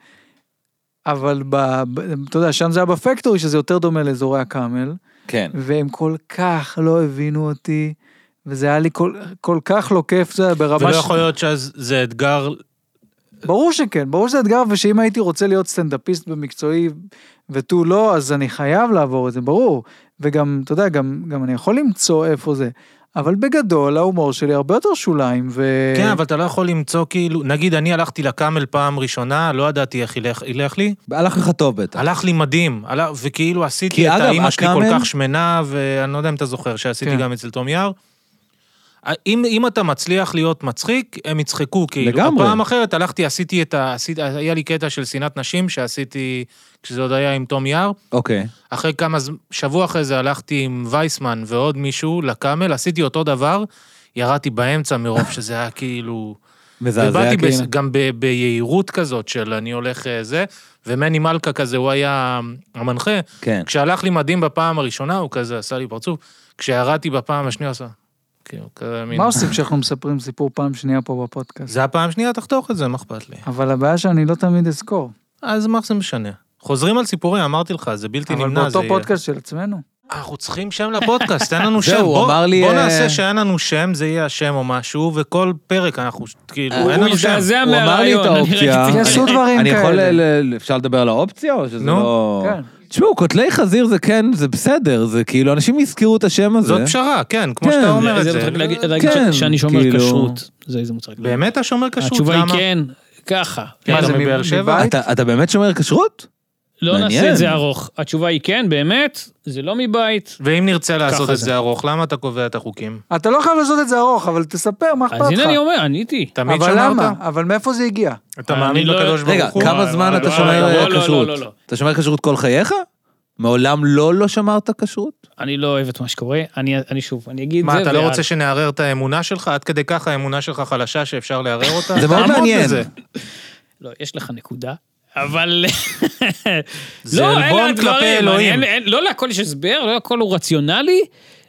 [SPEAKER 2] אבל ב, ב, אתה יודע, שם זה היה בפקטורי, שזה יותר דומה לאזורי הקאמל,
[SPEAKER 1] כן.
[SPEAKER 2] והם כל כך לא הבינו אותי, וזה היה לי כל, כל כך לא כיף, זה היה ברמה...
[SPEAKER 4] ולא
[SPEAKER 2] ש-
[SPEAKER 4] יכול להיות שאז זה אתגר
[SPEAKER 2] ברור שכן, ברור שזה אתגר, ושאם הייתי רוצה להיות סטנדאפיסט במקצועי ותו לא, אז אני חייב לעבור את זה, ברור. וגם, אתה יודע, גם, גם אני יכול למצוא איפה זה. אבל בגדול, ההומור שלי הרבה יותר שוליים, ו...
[SPEAKER 1] אה,
[SPEAKER 4] כן, אבל אתה לא יכול למצוא כאילו, נגיד אני הלכתי לקאמל פעם ראשונה, לא ידעתי איך ילך, ילך לי,
[SPEAKER 1] הלך לך טוב בטח.
[SPEAKER 4] הלך לי מדהים, הלך, וכאילו
[SPEAKER 1] כי
[SPEAKER 4] עשיתי את
[SPEAKER 1] אגב,
[SPEAKER 4] האימא שלי כל
[SPEAKER 1] הקאמל-
[SPEAKER 4] כך שמנה, ואני לא יודע אם אתה זוכר שעשיתי
[SPEAKER 2] כן.
[SPEAKER 4] גם אצל תום יער. אם, אם אתה מצליח להיות מצחיק, הם יצחקו, כאילו.
[SPEAKER 1] לגמרי.
[SPEAKER 4] פעם אחרת הלכתי, עשיתי את ה... עשיתי, היה לי קטע של שנאת נשים שעשיתי, כשזה עוד היה עם תום יער.
[SPEAKER 1] אוקיי.
[SPEAKER 4] אחרי כמה, ז- שבוע אחרי זה הלכתי עם וייסמן ועוד מישהו לקאמל, עשיתי אותו דבר, ירדתי באמצע מרוב שזה היה כאילו...
[SPEAKER 1] מזעזע
[SPEAKER 4] ובאתי בס...
[SPEAKER 1] כאילו.
[SPEAKER 4] גם ב... ביהירות כזאת של אני הולך אה, זה, ומני מלכה כזה, הוא היה המנחה.
[SPEAKER 1] כן.
[SPEAKER 4] כשהלך לי מדהים בפעם הראשונה, הוא כזה עשה לי פרצוף, כשירדתי בפעם השנייה, עשה... כאילו, כזה מין...
[SPEAKER 2] מה עושים כשאנחנו מספרים סיפור פעם שנייה פה בפודקאסט?
[SPEAKER 4] זה הפעם שנייה, תחתוך את זה, מה אכפת לי?
[SPEAKER 2] אבל הבעיה שאני לא תמיד אזכור.
[SPEAKER 4] אז מה זה משנה? חוזרים על סיפורים, אמרתי לך, זה בלתי
[SPEAKER 2] אבל
[SPEAKER 4] נמנע, זה
[SPEAKER 2] באותו
[SPEAKER 4] יהיה.
[SPEAKER 2] פודקאסט של עצמנו.
[SPEAKER 4] אנחנו צריכים שם לפודקאסט, אין לנו
[SPEAKER 1] זהו,
[SPEAKER 4] שם.
[SPEAKER 1] הוא
[SPEAKER 4] בוא-
[SPEAKER 1] אמר לי,
[SPEAKER 4] בוא
[SPEAKER 1] אה,
[SPEAKER 4] נעשה שאין לנו שם, זה יהיה השם או משהו, וכל פרק אנחנו, כאילו,
[SPEAKER 1] הוא
[SPEAKER 4] אין
[SPEAKER 3] הוא
[SPEAKER 4] לנו שם.
[SPEAKER 3] מזדעזע
[SPEAKER 1] הוא אמר לי את
[SPEAKER 3] מהרעיון. אני
[SPEAKER 1] האופציה.
[SPEAKER 3] ראיתי-
[SPEAKER 2] יעשו דברים
[SPEAKER 1] אני יכול,
[SPEAKER 2] כאלה.
[SPEAKER 1] ל- ל- אפשר לדבר על האופציה או שזה
[SPEAKER 4] נו,
[SPEAKER 1] לא...
[SPEAKER 2] כן.
[SPEAKER 1] תשמעו, קוטלי חזיר זה כן, זה בסדר, זה כאילו, אנשים יזכרו את השם הזה.
[SPEAKER 4] זאת פשרה, כן, כמו
[SPEAKER 1] כן,
[SPEAKER 4] שאתה אומר את
[SPEAKER 3] זה
[SPEAKER 4] זה.
[SPEAKER 3] מצחיק להגיד- להגיד
[SPEAKER 1] כן,
[SPEAKER 3] ש- שאני שומר
[SPEAKER 1] כאילו.
[SPEAKER 3] כשרות. זה איזה מוצג.
[SPEAKER 4] באמת אתה שומר כשרות?
[SPEAKER 3] התשובה היא
[SPEAKER 4] למה?
[SPEAKER 3] כן, ככה. כן,
[SPEAKER 4] מה,
[SPEAKER 2] מה
[SPEAKER 4] אתה
[SPEAKER 2] זה,
[SPEAKER 4] מבאר שבע?
[SPEAKER 2] מבית?
[SPEAKER 1] אתה, אתה באמת שומר כשרות?
[SPEAKER 3] לא נעשה
[SPEAKER 1] מעניין.
[SPEAKER 3] את זה ארוך. התשובה היא כן, באמת, זה לא מבית.
[SPEAKER 4] ואם נרצה לעשות
[SPEAKER 3] ככה
[SPEAKER 4] את
[SPEAKER 3] זה.
[SPEAKER 4] זה ארוך, למה אתה קובע את החוקים?
[SPEAKER 2] אתה לא חייב לעשות את זה ארוך, אבל תספר, מה אכפת לך?
[SPEAKER 3] אז הנה אני אומר, עניתי.
[SPEAKER 4] תמיד
[SPEAKER 2] אבל
[SPEAKER 4] שמרת?
[SPEAKER 2] למה? אבל מאיפה זה הגיע?
[SPEAKER 4] אתה
[SPEAKER 3] אני
[SPEAKER 4] מאמין
[SPEAKER 3] לא-
[SPEAKER 4] בקדוש ברוך
[SPEAKER 1] רגע,
[SPEAKER 4] הוא?
[SPEAKER 1] כמה
[SPEAKER 3] וואי,
[SPEAKER 1] זמן
[SPEAKER 3] וואי,
[SPEAKER 1] אתה
[SPEAKER 3] וואי,
[SPEAKER 1] שומר
[SPEAKER 3] לא,
[SPEAKER 1] אה,
[SPEAKER 3] לא, לא,
[SPEAKER 1] כשרות?
[SPEAKER 3] לא, לא.
[SPEAKER 1] אתה שומר כשרות כל חייך? מעולם לא לא שמרת כשרות?
[SPEAKER 3] אני לא אוהב את מה שקורה, אני אני שוב, אני אגיד את זה.
[SPEAKER 4] מה, אתה לא
[SPEAKER 3] ואז-
[SPEAKER 4] רוצה שנערער את האמונה שלך? עד כדי כך האמונה שלך חלשה שאפשר לערער אותה?
[SPEAKER 1] זה מאוד
[SPEAKER 4] תעמוד
[SPEAKER 1] מעניין.
[SPEAKER 4] בזה.
[SPEAKER 3] לא, יש לך נקודה, אבל...
[SPEAKER 4] זה
[SPEAKER 3] לא, אלה
[SPEAKER 4] עלבון
[SPEAKER 3] הדברים,
[SPEAKER 4] כלפי
[SPEAKER 3] אני-
[SPEAKER 4] אלוהים.
[SPEAKER 3] אין- אין- לא להכל יש הסבר, לא הכל הוא רציונלי,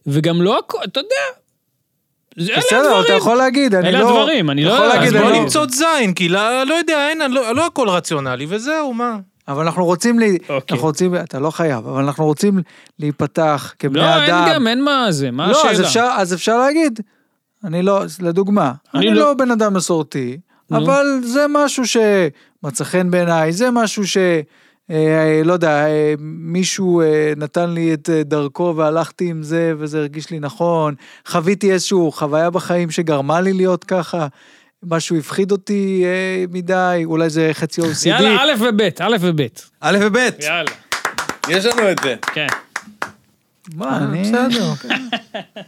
[SPEAKER 3] וגם לא הכל, אתה יודע. זה- אלה
[SPEAKER 2] בסדר, אתה
[SPEAKER 3] הדברים. יכול...
[SPEAKER 2] יכול להגיד, אני לא...
[SPEAKER 3] אלה הדברים, אני
[SPEAKER 2] אתה
[SPEAKER 3] לא-
[SPEAKER 2] יכול
[SPEAKER 3] אז
[SPEAKER 2] להגיד,
[SPEAKER 4] אז
[SPEAKER 3] אני
[SPEAKER 4] בוא
[SPEAKER 2] לא.
[SPEAKER 4] נמצוא את זין, כי לא לא יודע, אין, לא לא הכל רציונלי, וזהו, מה?
[SPEAKER 2] אבל אנחנו רוצים, לי,
[SPEAKER 3] אוקיי.
[SPEAKER 2] אנחנו רוצים, אתה לא חייב, אבל אנחנו רוצים להיפתח כבני
[SPEAKER 3] לא,
[SPEAKER 2] אדם.
[SPEAKER 3] אין גם, אין מה זה, מה
[SPEAKER 2] לא,
[SPEAKER 3] השאלה?
[SPEAKER 2] אז אפשר, אז אפשר להגיד, אני לא, לדוגמה, אני,
[SPEAKER 3] אני
[SPEAKER 2] לא...
[SPEAKER 3] לא-
[SPEAKER 2] בן אדם מסורתי,
[SPEAKER 3] נו.
[SPEAKER 2] אבל זה משהו שמצא חן בעיניי, זה משהו ש... אה, לא יודע, אה, מישהו אה, נתן לי את אה, דרכו והלכתי עם זה וזה הרגיש לי נכון, חוויתי איזשהו חוויה בחיים שגרמה לי להיות ככה, משהו הפחיד אותי אה, מדי, אולי זה חצי OCD.
[SPEAKER 3] יאללה, א' וב', א' וב'.
[SPEAKER 1] א' וב',
[SPEAKER 3] יאללה,
[SPEAKER 1] יש לנו את זה.
[SPEAKER 3] כן. אה,
[SPEAKER 2] מה, אני...
[SPEAKER 4] בסדר.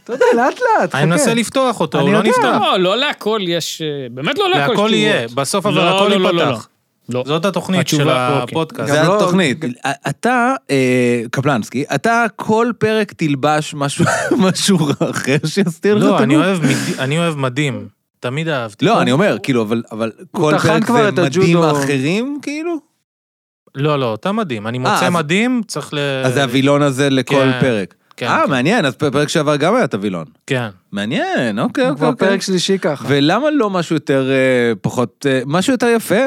[SPEAKER 2] אתה יודע, לאט לאט, חכה.
[SPEAKER 4] אני מנסה לפתוח אותו,
[SPEAKER 2] אני
[SPEAKER 4] הוא לא
[SPEAKER 2] יודע.
[SPEAKER 4] נפתח.
[SPEAKER 3] לא, לא להכל יש, אה, באמת לא להכל
[SPEAKER 4] והכל
[SPEAKER 3] תשובות.
[SPEAKER 4] יהיה, בסוף אבל
[SPEAKER 3] לא,
[SPEAKER 4] הכל
[SPEAKER 3] לא, לא, לא,
[SPEAKER 4] ייפתח.
[SPEAKER 3] לא. לא.
[SPEAKER 4] זאת התוכנית
[SPEAKER 3] התשובה,
[SPEAKER 4] של
[SPEAKER 3] אוקיי.
[SPEAKER 4] הפודקאסט.
[SPEAKER 2] גם
[SPEAKER 1] זה
[SPEAKER 2] לא-
[SPEAKER 1] התוכנית. אתה, אה, קפלנסקי, אתה כל פרק תלבש משהו- משהו אחר שיסתיר לך את
[SPEAKER 4] לא, אני
[SPEAKER 1] הגוף.
[SPEAKER 4] אוהב מד- אני אוהב מדים. תמיד אהבתי.
[SPEAKER 1] לא, אני אומר, כאילו, אבל- אבל כל
[SPEAKER 2] טחן
[SPEAKER 1] פרק
[SPEAKER 2] כבר
[SPEAKER 1] זה
[SPEAKER 2] את
[SPEAKER 1] מדים
[SPEAKER 2] הג'ודו.
[SPEAKER 1] אחרים, כאילו?
[SPEAKER 4] לא, לא, אתה מדהים. אני מוצא
[SPEAKER 1] אה, אז-
[SPEAKER 4] מדים, צריך ל...
[SPEAKER 1] אז זה הווילון הזה לכל
[SPEAKER 4] אה, כן,
[SPEAKER 1] פרק.
[SPEAKER 4] כן,
[SPEAKER 1] אה,
[SPEAKER 4] כן.
[SPEAKER 1] מעניין, אז פרק שעבר גם היה את הווילון.
[SPEAKER 4] כן.
[SPEAKER 1] מעניין, אוקיי,
[SPEAKER 2] הוא
[SPEAKER 1] אוקיי.
[SPEAKER 2] כבר
[SPEAKER 1] אוקיי.
[SPEAKER 2] פרק שלישי ככה.
[SPEAKER 1] ולמה לא משהו יותר, אה, פחות, אה, משהו יותר יפה?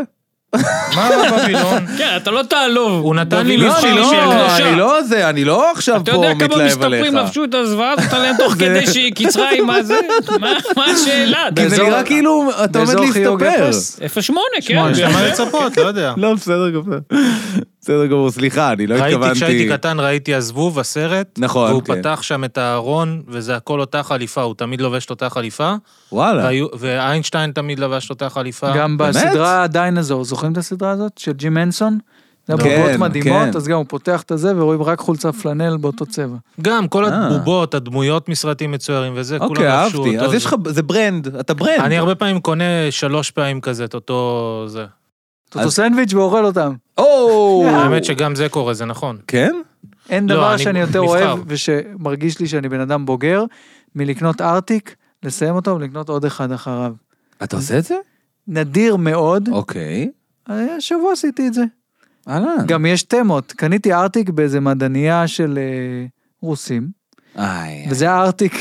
[SPEAKER 4] מה בבילון?
[SPEAKER 3] כן, אתה לא תעלוב.
[SPEAKER 4] הוא נתן לי
[SPEAKER 3] בבילון
[SPEAKER 4] מבחן
[SPEAKER 3] שהיא
[SPEAKER 4] לא,
[SPEAKER 3] הקדושה.
[SPEAKER 1] אני לא זה, אני לא עכשיו
[SPEAKER 3] אתה
[SPEAKER 1] פה
[SPEAKER 3] יודע כמה
[SPEAKER 1] מתלהב
[SPEAKER 3] מסתפרים
[SPEAKER 1] עליך.
[SPEAKER 3] לבשו את הזוועה הזאת עליהם תוך כדי שהיא קיצרה עם מה זה? מה- מה השאלה?
[SPEAKER 1] כי זה
[SPEAKER 2] באזור-
[SPEAKER 1] נראה כאילו אתה עומד
[SPEAKER 2] באזור חיוג
[SPEAKER 1] להסתפר.
[SPEAKER 2] אפס.
[SPEAKER 3] איפה שמונה, כן.
[SPEAKER 4] יש לך מה
[SPEAKER 3] בהחלט.
[SPEAKER 4] לצפות, לא יודע.
[SPEAKER 1] לא, בסדר גמור. בסדר גמור, סליחה, אני לא
[SPEAKER 4] ראיתי,
[SPEAKER 1] התכוונתי.
[SPEAKER 4] כשהייתי קטן, ראיתי הזבוב, הסרט.
[SPEAKER 1] נכון,
[SPEAKER 4] והוא
[SPEAKER 1] כן.
[SPEAKER 4] פתח שם את הארון, וזה הכל אותה חליפה, הוא תמיד לובש את אותה חליפה.
[SPEAKER 1] וואלה.
[SPEAKER 4] והיו- ואיינשטיין תמיד לבש את אותה חליפה.
[SPEAKER 2] גם
[SPEAKER 1] באמת?
[SPEAKER 2] בסדרה דיינזור, זוכרים את הסדרה הזאת? של ג'ים הנסון? זה
[SPEAKER 1] כן,
[SPEAKER 2] בובות מדהימות,
[SPEAKER 1] כן.
[SPEAKER 2] אז גם הוא פותח את הזה ורואים רק חולצה פלנל באותו צבע.
[SPEAKER 4] גם כל
[SPEAKER 1] אה.
[SPEAKER 4] הבובות, הדמויות מסרטים מצוירים וזה, כולם
[SPEAKER 1] אוקיי,
[SPEAKER 4] לבשו
[SPEAKER 1] אהבתי.
[SPEAKER 4] אותו,
[SPEAKER 1] אז יש
[SPEAKER 4] זה-
[SPEAKER 1] לך, זה ברנד, אתה ברנד.
[SPEAKER 4] אני הרבה פעמים קונה שלוש פעמים כזה את אותו זה.
[SPEAKER 2] את אותו סנדוויץ' ואוכל אותם.
[SPEAKER 1] או!
[SPEAKER 4] האמת שגם זה קורה, זה נכון.
[SPEAKER 1] כן?
[SPEAKER 2] אין
[SPEAKER 4] לא,
[SPEAKER 2] דבר
[SPEAKER 4] אני
[SPEAKER 2] שאני יותר
[SPEAKER 4] נבחר.
[SPEAKER 2] אוהב ושמרגיש לי שאני בן אדם בוגר, מלקנות ארטיק, לסיים אותו ולקנות עוד אחד אחריו.
[SPEAKER 1] אתה עושה את זה?
[SPEAKER 2] נדיר מאוד, אה,
[SPEAKER 1] אוקיי.
[SPEAKER 2] השבוע עשיתי את זה.
[SPEAKER 1] אהלן.
[SPEAKER 2] גם יש תמות, קניתי ארטיק באיזה מדענייה של אה, רוסים,
[SPEAKER 1] איי.
[SPEAKER 2] וזה היה ארטיק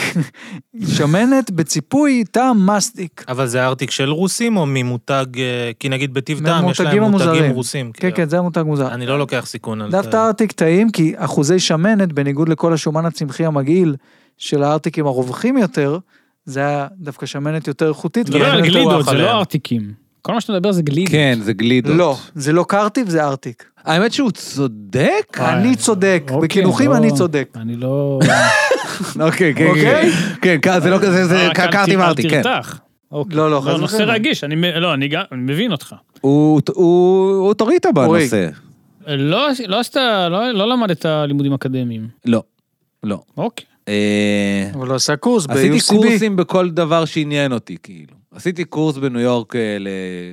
[SPEAKER 2] שמנת בציפוי טעם מסטיק.
[SPEAKER 4] אבל זה ארטיק של רוסים או ממותג, אה, כי נגיד בטיב טעם יש להם
[SPEAKER 2] מהמותגים המוזרים.
[SPEAKER 4] מותגים רוסים.
[SPEAKER 2] כן,
[SPEAKER 4] כאילו.
[SPEAKER 2] כן, זה היה מותג מוזר.
[SPEAKER 4] אני לא לוקח סיכון על זה.
[SPEAKER 2] דווקא ארטיק טעים, כי אחוזי שמנת, בניגוד לכל השומן הצמחי המגעיל של הארטיקים הרווחים יותר, זה היה דווקא שמנת יותר איכותית.
[SPEAKER 3] אתה מדבר
[SPEAKER 4] כן,
[SPEAKER 3] על
[SPEAKER 2] ולכן-
[SPEAKER 4] גלידות,
[SPEAKER 3] גלידות, זה
[SPEAKER 4] עליהם.
[SPEAKER 3] לא ארטיקים. כל מה שאתה מדבר זה גלידות.
[SPEAKER 1] כן, זה גלידות.
[SPEAKER 2] לא, זה לא קרטיב, זה ארטיק.
[SPEAKER 1] האמת שהוא צודק.
[SPEAKER 3] אה,
[SPEAKER 2] אני צודק,
[SPEAKER 3] אוקיי,
[SPEAKER 2] בקינוחים
[SPEAKER 3] לא-
[SPEAKER 2] אני צודק.
[SPEAKER 3] אני לא...
[SPEAKER 1] אוקיי, כן, כן.
[SPEAKER 2] אוקיי?
[SPEAKER 1] כן, כן, זה לא כזה, זה
[SPEAKER 3] אה, רק אל
[SPEAKER 1] קרתי
[SPEAKER 3] ת- אל
[SPEAKER 1] וארתי, כן.
[SPEAKER 3] תרתח. אוקיי.
[SPEAKER 2] לא, לא, חס
[SPEAKER 3] לא, נושא
[SPEAKER 2] וחלילה.
[SPEAKER 3] רגיש, אני מ- לא, אני גם אני מבין אותך.
[SPEAKER 1] הוא הוא- הוא אוטוריטה
[SPEAKER 2] אורי.
[SPEAKER 1] בנושא.
[SPEAKER 3] לא לא עשית, לא לא למדת לימודים אקדמיים.
[SPEAKER 1] לא. לא.
[SPEAKER 3] אוקיי.
[SPEAKER 1] אה,
[SPEAKER 2] אבל הוא עשה קורס
[SPEAKER 1] עשיתי
[SPEAKER 2] ב-UCB.
[SPEAKER 1] קורסים בכל דבר שעניין אותי, כאילו. עשיתי קורס בניו יורק אה,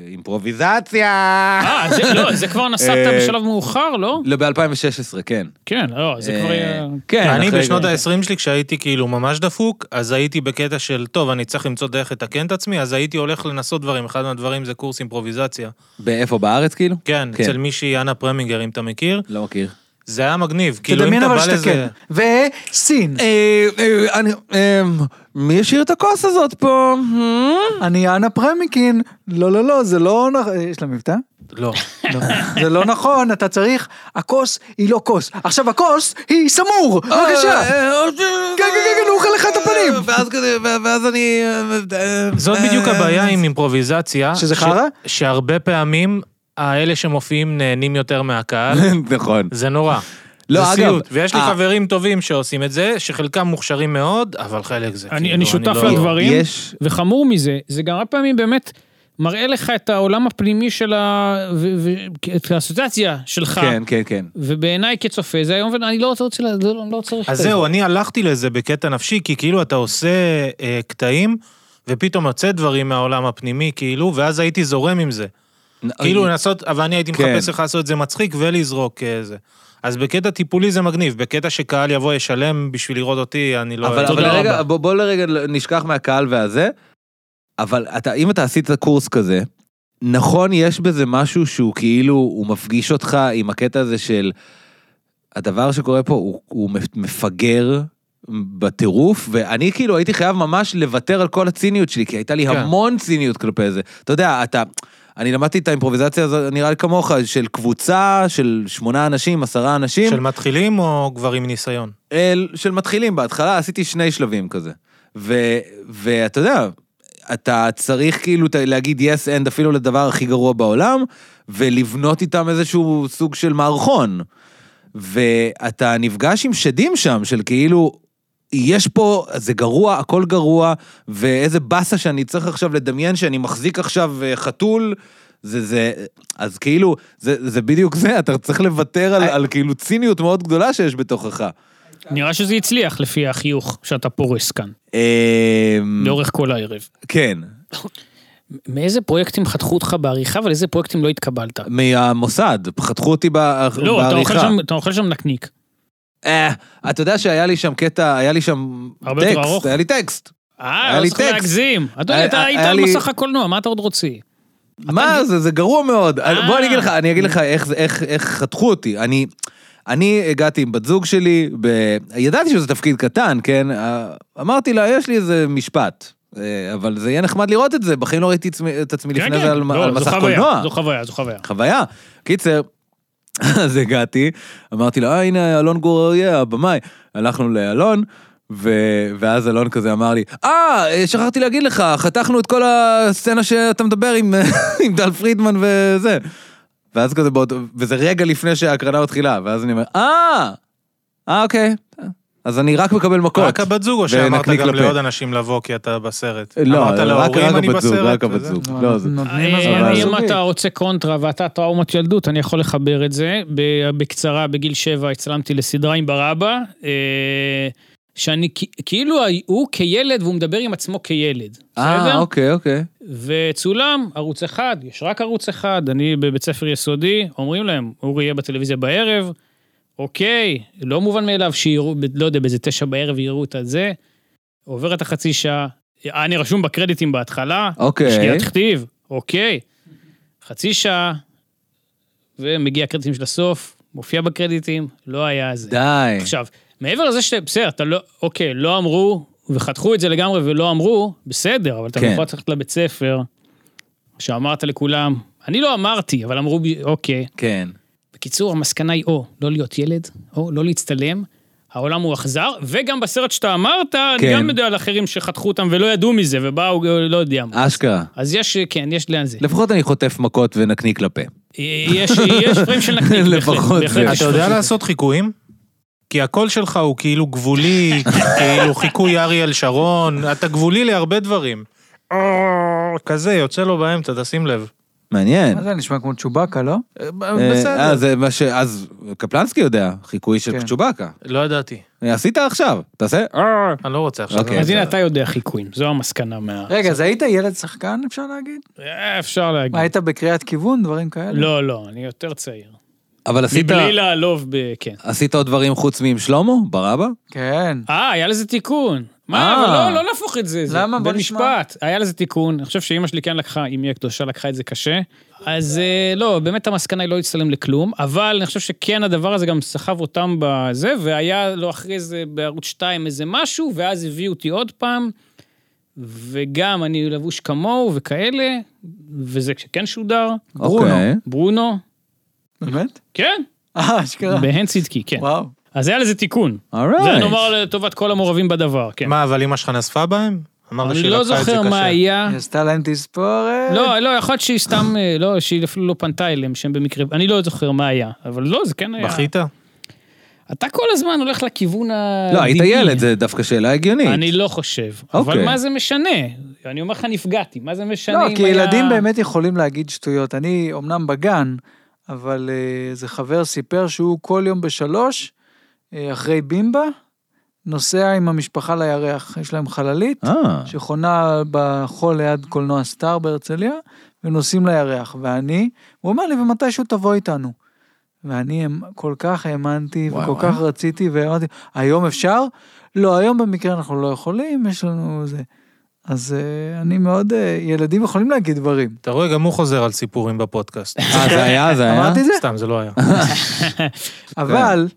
[SPEAKER 1] לאימפרוביזציה.
[SPEAKER 3] אה, זה- לא, זה כבר נסעת
[SPEAKER 1] אה,
[SPEAKER 3] בשלב מאוחר, לא?
[SPEAKER 1] ב-2016, כן.
[SPEAKER 3] כן, לא, זה כבר...
[SPEAKER 1] אה,
[SPEAKER 3] יהיה-
[SPEAKER 1] כן,
[SPEAKER 4] אני
[SPEAKER 1] אחרי-
[SPEAKER 4] בשנות ה-20 שלי, כשהייתי כאילו ממש דפוק, אז הייתי בקטע של, טוב, אני צריך למצוא דרך לתקן את עצמי, אז הייתי הולך לנסות דברים. אחד מהדברים זה קורס אימפרוביזציה.
[SPEAKER 1] באיפה, בארץ כאילו?
[SPEAKER 4] כן,
[SPEAKER 1] כן.
[SPEAKER 4] אצל מישהי, אנה פרמינגר, אם אתה מכיר.
[SPEAKER 1] לא מכיר.
[SPEAKER 4] זה היה מגניב. כאילו, אם
[SPEAKER 2] תדמיין
[SPEAKER 4] אתה
[SPEAKER 2] אבל
[SPEAKER 4] בא
[SPEAKER 2] שתקן.
[SPEAKER 4] לזה...
[SPEAKER 2] וסין.
[SPEAKER 1] אה, אה, אני... אה, מי השאיר את הכוס הזאת פה? אה,
[SPEAKER 2] אני אנה פרמיקין. לא, לא, לא, זה לא נכון. יש לה מבטא?
[SPEAKER 4] לא.
[SPEAKER 2] לא. זה לא נכון, אתה צריך... הכוס היא לא כוס. עכשיו הכוס היא סמור! בבקשה!
[SPEAKER 1] אה,
[SPEAKER 2] כן, כן, כן, הוא אוכל לך את הפנים.
[SPEAKER 1] ואז כזה, ו- ואז אני... אה,
[SPEAKER 4] זאת
[SPEAKER 1] אה,
[SPEAKER 4] בדיוק הבעיה עם אימפרוביזציה.
[SPEAKER 2] שזה
[SPEAKER 4] ש-
[SPEAKER 2] חרא?
[SPEAKER 4] שהרבה פעמים האלה שמופיעים נהנים יותר מהקהל.
[SPEAKER 1] נכון.
[SPEAKER 4] זה נורא.
[SPEAKER 1] לא,
[SPEAKER 4] זה
[SPEAKER 1] אגב,
[SPEAKER 4] סיוט. ויש לי
[SPEAKER 1] אה.
[SPEAKER 4] חברים טובים שעושים את זה, שחלקם מוכשרים מאוד, אבל חלק זה
[SPEAKER 3] אני-
[SPEAKER 4] כאילו,
[SPEAKER 3] אני שותף
[SPEAKER 4] לא-
[SPEAKER 3] לדברים. דברים?
[SPEAKER 1] יש...
[SPEAKER 3] וחמור מזה, זה גם הרבה פעמים באמת מראה לך את העולם הפנימי של ה... ו- ו- את האסוציאציה
[SPEAKER 4] אה.
[SPEAKER 3] שלך.
[SPEAKER 1] כן, כן, כן.
[SPEAKER 3] ובעיניי כצופה זה היום, ואני לא רוצה, לה- לא, לא, לא צריך...
[SPEAKER 4] אז
[SPEAKER 3] את זה.
[SPEAKER 4] זהו, אני הלכתי לזה בקטע נפשי, כי כאילו אתה עושה אה, קטעים, ופתאום יוצא דברים מהעולם הפנימי, כאילו, ואז הייתי זורם עם זה. כאילו לנסות, אבל אני הייתי
[SPEAKER 1] כן.
[SPEAKER 4] מחפש איך לעשות את זה מצחיק ולזרוק אה, זה. אז בקטע טיפולי זה מגניב, בקטע שקהל יבוא ישלם בשביל לראות אותי, אני לא...
[SPEAKER 1] אבל, אבל
[SPEAKER 3] תודה
[SPEAKER 1] רגע,
[SPEAKER 3] רבה.
[SPEAKER 1] בוא, בוא לרגע נשכח מהקהל והזה, אבל אתה, אם אתה עשית קורס כזה, נכון יש בזה משהו שהוא כאילו, הוא מפגיש אותך עם הקטע הזה של, הדבר שקורה פה הוא, הוא מפגר בטירוף, ואני כאילו הייתי חייב ממש לוותר על כל הציניות שלי, כי הייתה לי
[SPEAKER 4] כן.
[SPEAKER 1] המון ציניות כלפי זה. אתה יודע, אתה... אני למדתי את האימפרוביזציה הזאת, נראה לי כמוך, של קבוצה של שמונה אנשים, עשרה אנשים.
[SPEAKER 4] של מתחילים או כבר עם ניסיון?
[SPEAKER 1] אל, של מתחילים בהתחלה, עשיתי שני שלבים כזה. ו, ואתה יודע, אתה צריך כאילו ת- להגיד yes and אפילו לדבר הכי גרוע בעולם, ולבנות איתם איזשהו סוג של מערכון. ואתה נפגש עם שדים שם, של כאילו, יש פה, זה גרוע, הכל גרוע, ואיזה באסה שאני צריך עכשיו לדמיין שאני מחזיק עכשיו אה, חתול. זה זה, אז כאילו, זה, זה בדיוק זה, אתה צריך לוותר על, על כאילו ציניות מאוד גדולה שיש בתוכך.
[SPEAKER 3] נראה שזה הצליח לפי החיוך שאתה פורס כאן,
[SPEAKER 1] Mm. אמ,
[SPEAKER 3] לאורך כל הערב.
[SPEAKER 1] כן,
[SPEAKER 3] מאיזה פרויקטים חתכו אותך בעריכה ולאיזה פרויקטים לא התקבלת?
[SPEAKER 1] מהמוסד, חתכו אותי בע-
[SPEAKER 3] לא, אתה אוכל,
[SPEAKER 1] בעריכה.
[SPEAKER 3] שם, אתה אוכל שם נקניק.
[SPEAKER 1] אה, אתה יודע שהיה לי שם קטע, היה לי שם
[SPEAKER 3] הרבה יותר
[SPEAKER 1] טקסט,
[SPEAKER 3] ארוך.
[SPEAKER 1] היה לי טקסט.
[SPEAKER 3] אה,
[SPEAKER 1] היה
[SPEAKER 3] לא
[SPEAKER 1] לי
[SPEAKER 3] צריך
[SPEAKER 1] טקסט.
[SPEAKER 3] להגזים. אדוני,
[SPEAKER 1] היה-
[SPEAKER 3] אתה
[SPEAKER 1] היה-
[SPEAKER 3] היית
[SPEAKER 1] היה
[SPEAKER 3] על
[SPEAKER 1] לי-
[SPEAKER 3] מסך הקולנוע, מה אתה עוד רוצה?
[SPEAKER 1] מה זה, זה גרוע מאוד.
[SPEAKER 3] אה.
[SPEAKER 1] בוא אני אגיד לך, אני אגיד לך איך זה- איך איך חתכו אותי. אני... אני הגעתי עם בת זוג שלי, ב... ידעתי שזה תפקיד קטן, כן? אה, אמרתי לה, יש לי איזה משפט, אה, אבל זה יהיה נחמד לראות את זה, בחיים לא ראיתי עצמי- את עצמי לפני זה על מ-
[SPEAKER 3] לא,
[SPEAKER 1] על
[SPEAKER 3] זו
[SPEAKER 1] מסך
[SPEAKER 3] חוויה,
[SPEAKER 1] קולנוע.
[SPEAKER 3] זו חוויה, זו חוויה.
[SPEAKER 1] חוויה. קיצר, אז הגעתי, אמרתי לו, אה, הנה אלון גור אריה, הבמאי. הלכנו לאלון, ו... ואז אלון כזה אמר לי, אה, אה, שכחתי להגיד לך, חתכנו את כל הסצנה שאתה מדבר עם, עם דל פרידמן וזה. ואז כזה, באות... וזה רגע לפני שההקרנה מתחילה, ואז אני אומר, אה, אה, אוקיי. אז אני רק מקבל מכות.
[SPEAKER 4] רק הבת זוג, או שאמרת
[SPEAKER 1] ונקניק
[SPEAKER 4] גם
[SPEAKER 1] לפה.
[SPEAKER 4] לעוד אנשים לבוא כי אתה בסרט?
[SPEAKER 1] לא,
[SPEAKER 4] אמרת
[SPEAKER 1] רק,
[SPEAKER 4] להורים,
[SPEAKER 1] רק
[SPEAKER 4] "אני
[SPEAKER 1] הבת זוג,
[SPEAKER 4] בסרט",
[SPEAKER 1] רק הבת
[SPEAKER 4] וזה?
[SPEAKER 1] זוג. לא, זה...
[SPEAKER 2] נותנים הזמנה
[SPEAKER 3] אה, אם
[SPEAKER 2] זוגית.
[SPEAKER 3] אתה רוצה קונטרה ואתה טראומת ילדות, אני יכול לחבר את זה. ב- בקצרה, בגיל שבע הצלמתי לסדרה עם ברבא, אה, שאני כ- כאילו ה- הוא כילד והוא מדבר עם עצמו כילד.
[SPEAKER 1] אה,
[SPEAKER 3] בסדר?
[SPEAKER 1] אוקיי, אוקיי.
[SPEAKER 3] וצולם, ערוץ אחד, יש רק ערוץ אחד, אני בבית ספר יסודי, אומרים להם, אורי יהיה בטלוויזיה בערב, אוקיי, לא מובן מאליו שיראו, ב- לא יודע, באיזה תשע בערב יראו את הזה, עוברת החצי שעה, אה, אני רשום בקרדיטים בהתחלה,
[SPEAKER 1] אוקיי.
[SPEAKER 3] שנייה תכתיב, אוקיי, חצי שעה, ומגיע הקרדיטים של הסוף, מופיע בקרדיטים, לא היה זה.
[SPEAKER 1] די.
[SPEAKER 3] עכשיו, מעבר לזה שאתה, בסדר, אתה לא, אוקיי, לא אמרו, וחתכו את זה לגמרי ולא אמרו, בסדר, אבל אתה
[SPEAKER 1] כן.
[SPEAKER 3] יכול ללכת לבית ספר, שאמרת לכולם, אני לא אמרתי, אבל אמרו בי, אוקיי.
[SPEAKER 1] כן.
[SPEAKER 3] בקיצור, המסקנה היא או לא להיות ילד, או לא להצטלם, העולם הוא אכזר, וגם בסרט שאתה אמרת, אני
[SPEAKER 1] כן.
[SPEAKER 3] גם יודע על אחרים שחתכו אותם ולא ידעו מזה, ובאו, לא יודע מה.
[SPEAKER 1] אשכרה.
[SPEAKER 3] אז יש, כן, יש לאן זה.
[SPEAKER 1] לפחות אני חוטף מכות ונקניק לפה.
[SPEAKER 3] יש, יש דברים של נקניק, בהחלט.
[SPEAKER 1] לפחות
[SPEAKER 3] בהחלט
[SPEAKER 1] זה.
[SPEAKER 3] יש
[SPEAKER 4] אתה יודע
[SPEAKER 3] דברים.
[SPEAKER 4] לעשות חיקויים? כי הקול שלך הוא כאילו גבולי, כאילו חיקוי אריאל שרון, אתה גבולי להרבה דברים. כזה, יוצא לו באמצע, תשים לב.
[SPEAKER 1] מעניין.
[SPEAKER 2] מה אה, זה נשמע כמו צ'ובאקה, לא?
[SPEAKER 1] אה,
[SPEAKER 4] בסדר.
[SPEAKER 1] אה, זה מה ש... אז קפלנסקי יודע, חיקוי של
[SPEAKER 2] כן.
[SPEAKER 1] צ'ובאקה. אה,
[SPEAKER 4] לא ידעתי.
[SPEAKER 1] עשית עכשיו, תעשה. אה.
[SPEAKER 4] אני לא רוצה עכשיו.
[SPEAKER 1] אוקיי.
[SPEAKER 3] כן, אז הנה
[SPEAKER 1] בסדר.
[SPEAKER 3] אתה יודע חיקויים, זו המסקנה מה...
[SPEAKER 2] רגע, אז היית ילד שחקן, אפשר להגיד?
[SPEAKER 3] אה, אפשר להגיד.
[SPEAKER 2] מה, היית בקריאת כיוון, דברים כאלה?
[SPEAKER 3] לא, לא, אני יותר צעיר.
[SPEAKER 1] אבל עשית...
[SPEAKER 3] מבלי לעלוב ב... כן.
[SPEAKER 1] עשית עוד דברים חוץ מעם שלמה? ברבא?
[SPEAKER 2] כן.
[SPEAKER 3] אה, היה לזה תיקון. מה,
[SPEAKER 1] אה.
[SPEAKER 3] אבל לא, לא להפוך את זה. זה
[SPEAKER 2] למה? בוא נשמע.
[SPEAKER 3] במשפט. היה לזה תיקון, אני חושב שאימא שלי כן לקחה, אמי הקדושה לקחה את זה קשה. אז אה, לא, באמת המסקנה היא לא להצטלם לכלום, אבל אני חושב שכן הדבר הזה גם סחב אותם בזה, והיה לו אחרי זה בערוץ 2 איזה משהו, ואז הביאו אותי עוד פעם, וגם אני לבוש כמוהו וכאלה, וזה כן שודר.
[SPEAKER 2] ברונו.
[SPEAKER 1] אוקיי.
[SPEAKER 3] ברונו,
[SPEAKER 2] באמת?
[SPEAKER 3] כן,
[SPEAKER 2] אה, אשכרה.
[SPEAKER 3] בהן צדקי, כן.
[SPEAKER 2] וואו.
[SPEAKER 3] אז היה לזה תיקון. זה
[SPEAKER 1] אורייט.
[SPEAKER 3] נאמר לטובת כל המעורבים בדבר, כן.
[SPEAKER 4] מה, אבל אמא שלך נספה בהם? אמרת
[SPEAKER 3] אני
[SPEAKER 4] שהיא
[SPEAKER 3] לא
[SPEAKER 4] לקחה את זה
[SPEAKER 3] זוכר מה
[SPEAKER 4] קשה.
[SPEAKER 3] היה.
[SPEAKER 2] היא עשתה להם תספורת.
[SPEAKER 3] לא, לא, יכול להיות שהיא סתם, אה, לא, שהיא אפילו לא פנתה אליהם, שהם במקרה, אני לא זוכר מה היה, אבל לא, זה כן היה.
[SPEAKER 4] בכית?
[SPEAKER 3] אתה כל הזמן הולך לכיוון ה...
[SPEAKER 1] לא, היית ילד, זה דווקא שאלה הגיונית.
[SPEAKER 3] אני לא חושב. אבל
[SPEAKER 1] אוקיי.
[SPEAKER 3] מה זה משנה? אני אומר לך, נפגעתי, מה זה משנה
[SPEAKER 2] לא,
[SPEAKER 3] אם
[SPEAKER 2] כי
[SPEAKER 3] היה-
[SPEAKER 2] ילדים באמת יכולים להגיד שטויות. אני אמנם בגן, אבל אה, איזה חבר סיפר שהוא כל יום בשלוש, אה, אחרי בימבה, נוסע עם המשפחה לירח. יש להם חללית,
[SPEAKER 1] אה,
[SPEAKER 2] שחונה בחול ליד קולנוע סטאר בהרצליה, ונוסעים לירח. ואני, הוא אמר לי, ומתישהו תבוא איתנו. ואני האמ- כל כך האמנתי,
[SPEAKER 1] וואי,
[SPEAKER 2] וכל
[SPEAKER 1] וואי.
[SPEAKER 2] כך רציתי, ואמרתי, היום אפשר? לא, היום במקרה אנחנו לא יכולים, יש לנו זה. אז אה, אני מאוד, אה, ילדים יכולים להגיד דברים.
[SPEAKER 4] אתה רואה, גם הוא חוזר על סיפורים בפודקאסט.
[SPEAKER 1] אה, זה היה, זה היה.
[SPEAKER 2] אמרתי את זה?
[SPEAKER 4] סתם, זה לא היה.
[SPEAKER 1] כן.
[SPEAKER 2] אבל,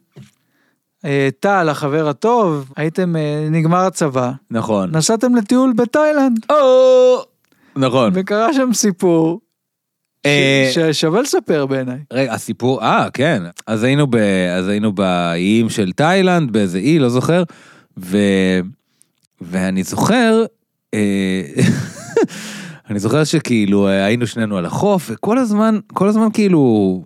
[SPEAKER 2] אה, טל, החבר הטוב, הייתם, אה, נגמר הצבא,
[SPEAKER 1] נכון.
[SPEAKER 2] נסעתם לטיול בתאילנד,
[SPEAKER 1] נכון.
[SPEAKER 2] וקרה שם סיפור
[SPEAKER 1] אה,
[SPEAKER 2] ש- ששווה לספר בעיניי.
[SPEAKER 1] רגע, הסיפור, אה, כן. אז היינו, ב, אז היינו באיים של תאילנד, באיזה אי, לא זוכר, ו, ואני זוכר, אה, אני זוכר שכאילו אה, היינו שנינו על החוף, וכל הזמן, כל הזמן כאילו...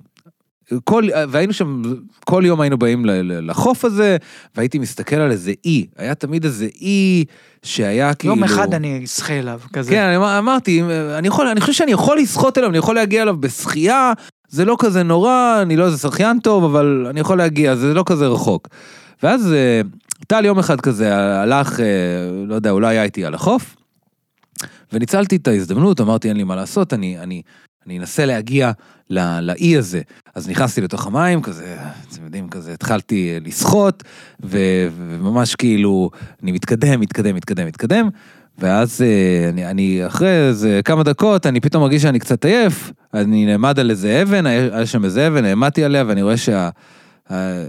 [SPEAKER 1] כל, והיינו שם, כל יום היינו באים ל- ל- לחוף הזה, והייתי מסתכל על איזה אי. היה תמיד איזה אי שהיה כאילו...
[SPEAKER 2] יום אחד אני אשחה אליו, כזה.
[SPEAKER 1] כן, אני אמר- אמרתי, אני, יכול, אני חושב שאני יכול לסחוט אליו, אני יכול להגיע אליו בשחייה, זה לא כזה נורא, אני לא איזה שחיין טוב, אבל אני יכול להגיע, זה לא כזה רחוק. ואז אה, טל יום אחד כזה הלך, אה, לא יודע, אולי היה איתי על החוף, וניצלתי את ההזדמנות, אמרתי, אין לי מה לעשות, אני, אני, אני אנסה להגיע ל- לאי הזה. אז נכנסתי לתוך המים, כזה, אתם יודעים, כזה, התחלתי אה, לשחות, ו- וממש כאילו, אני מתקדם, מתקדם, מתקדם, מתקדם, ואז אה, אני, אני אחרי איזה כמה דקות, אני פתאום מרגיש שאני קצת עייף, אני נעמד על איזה אבן, היה היה שם איזה אבן, העמדתי עליה, ואני רואה שה... ה- ה-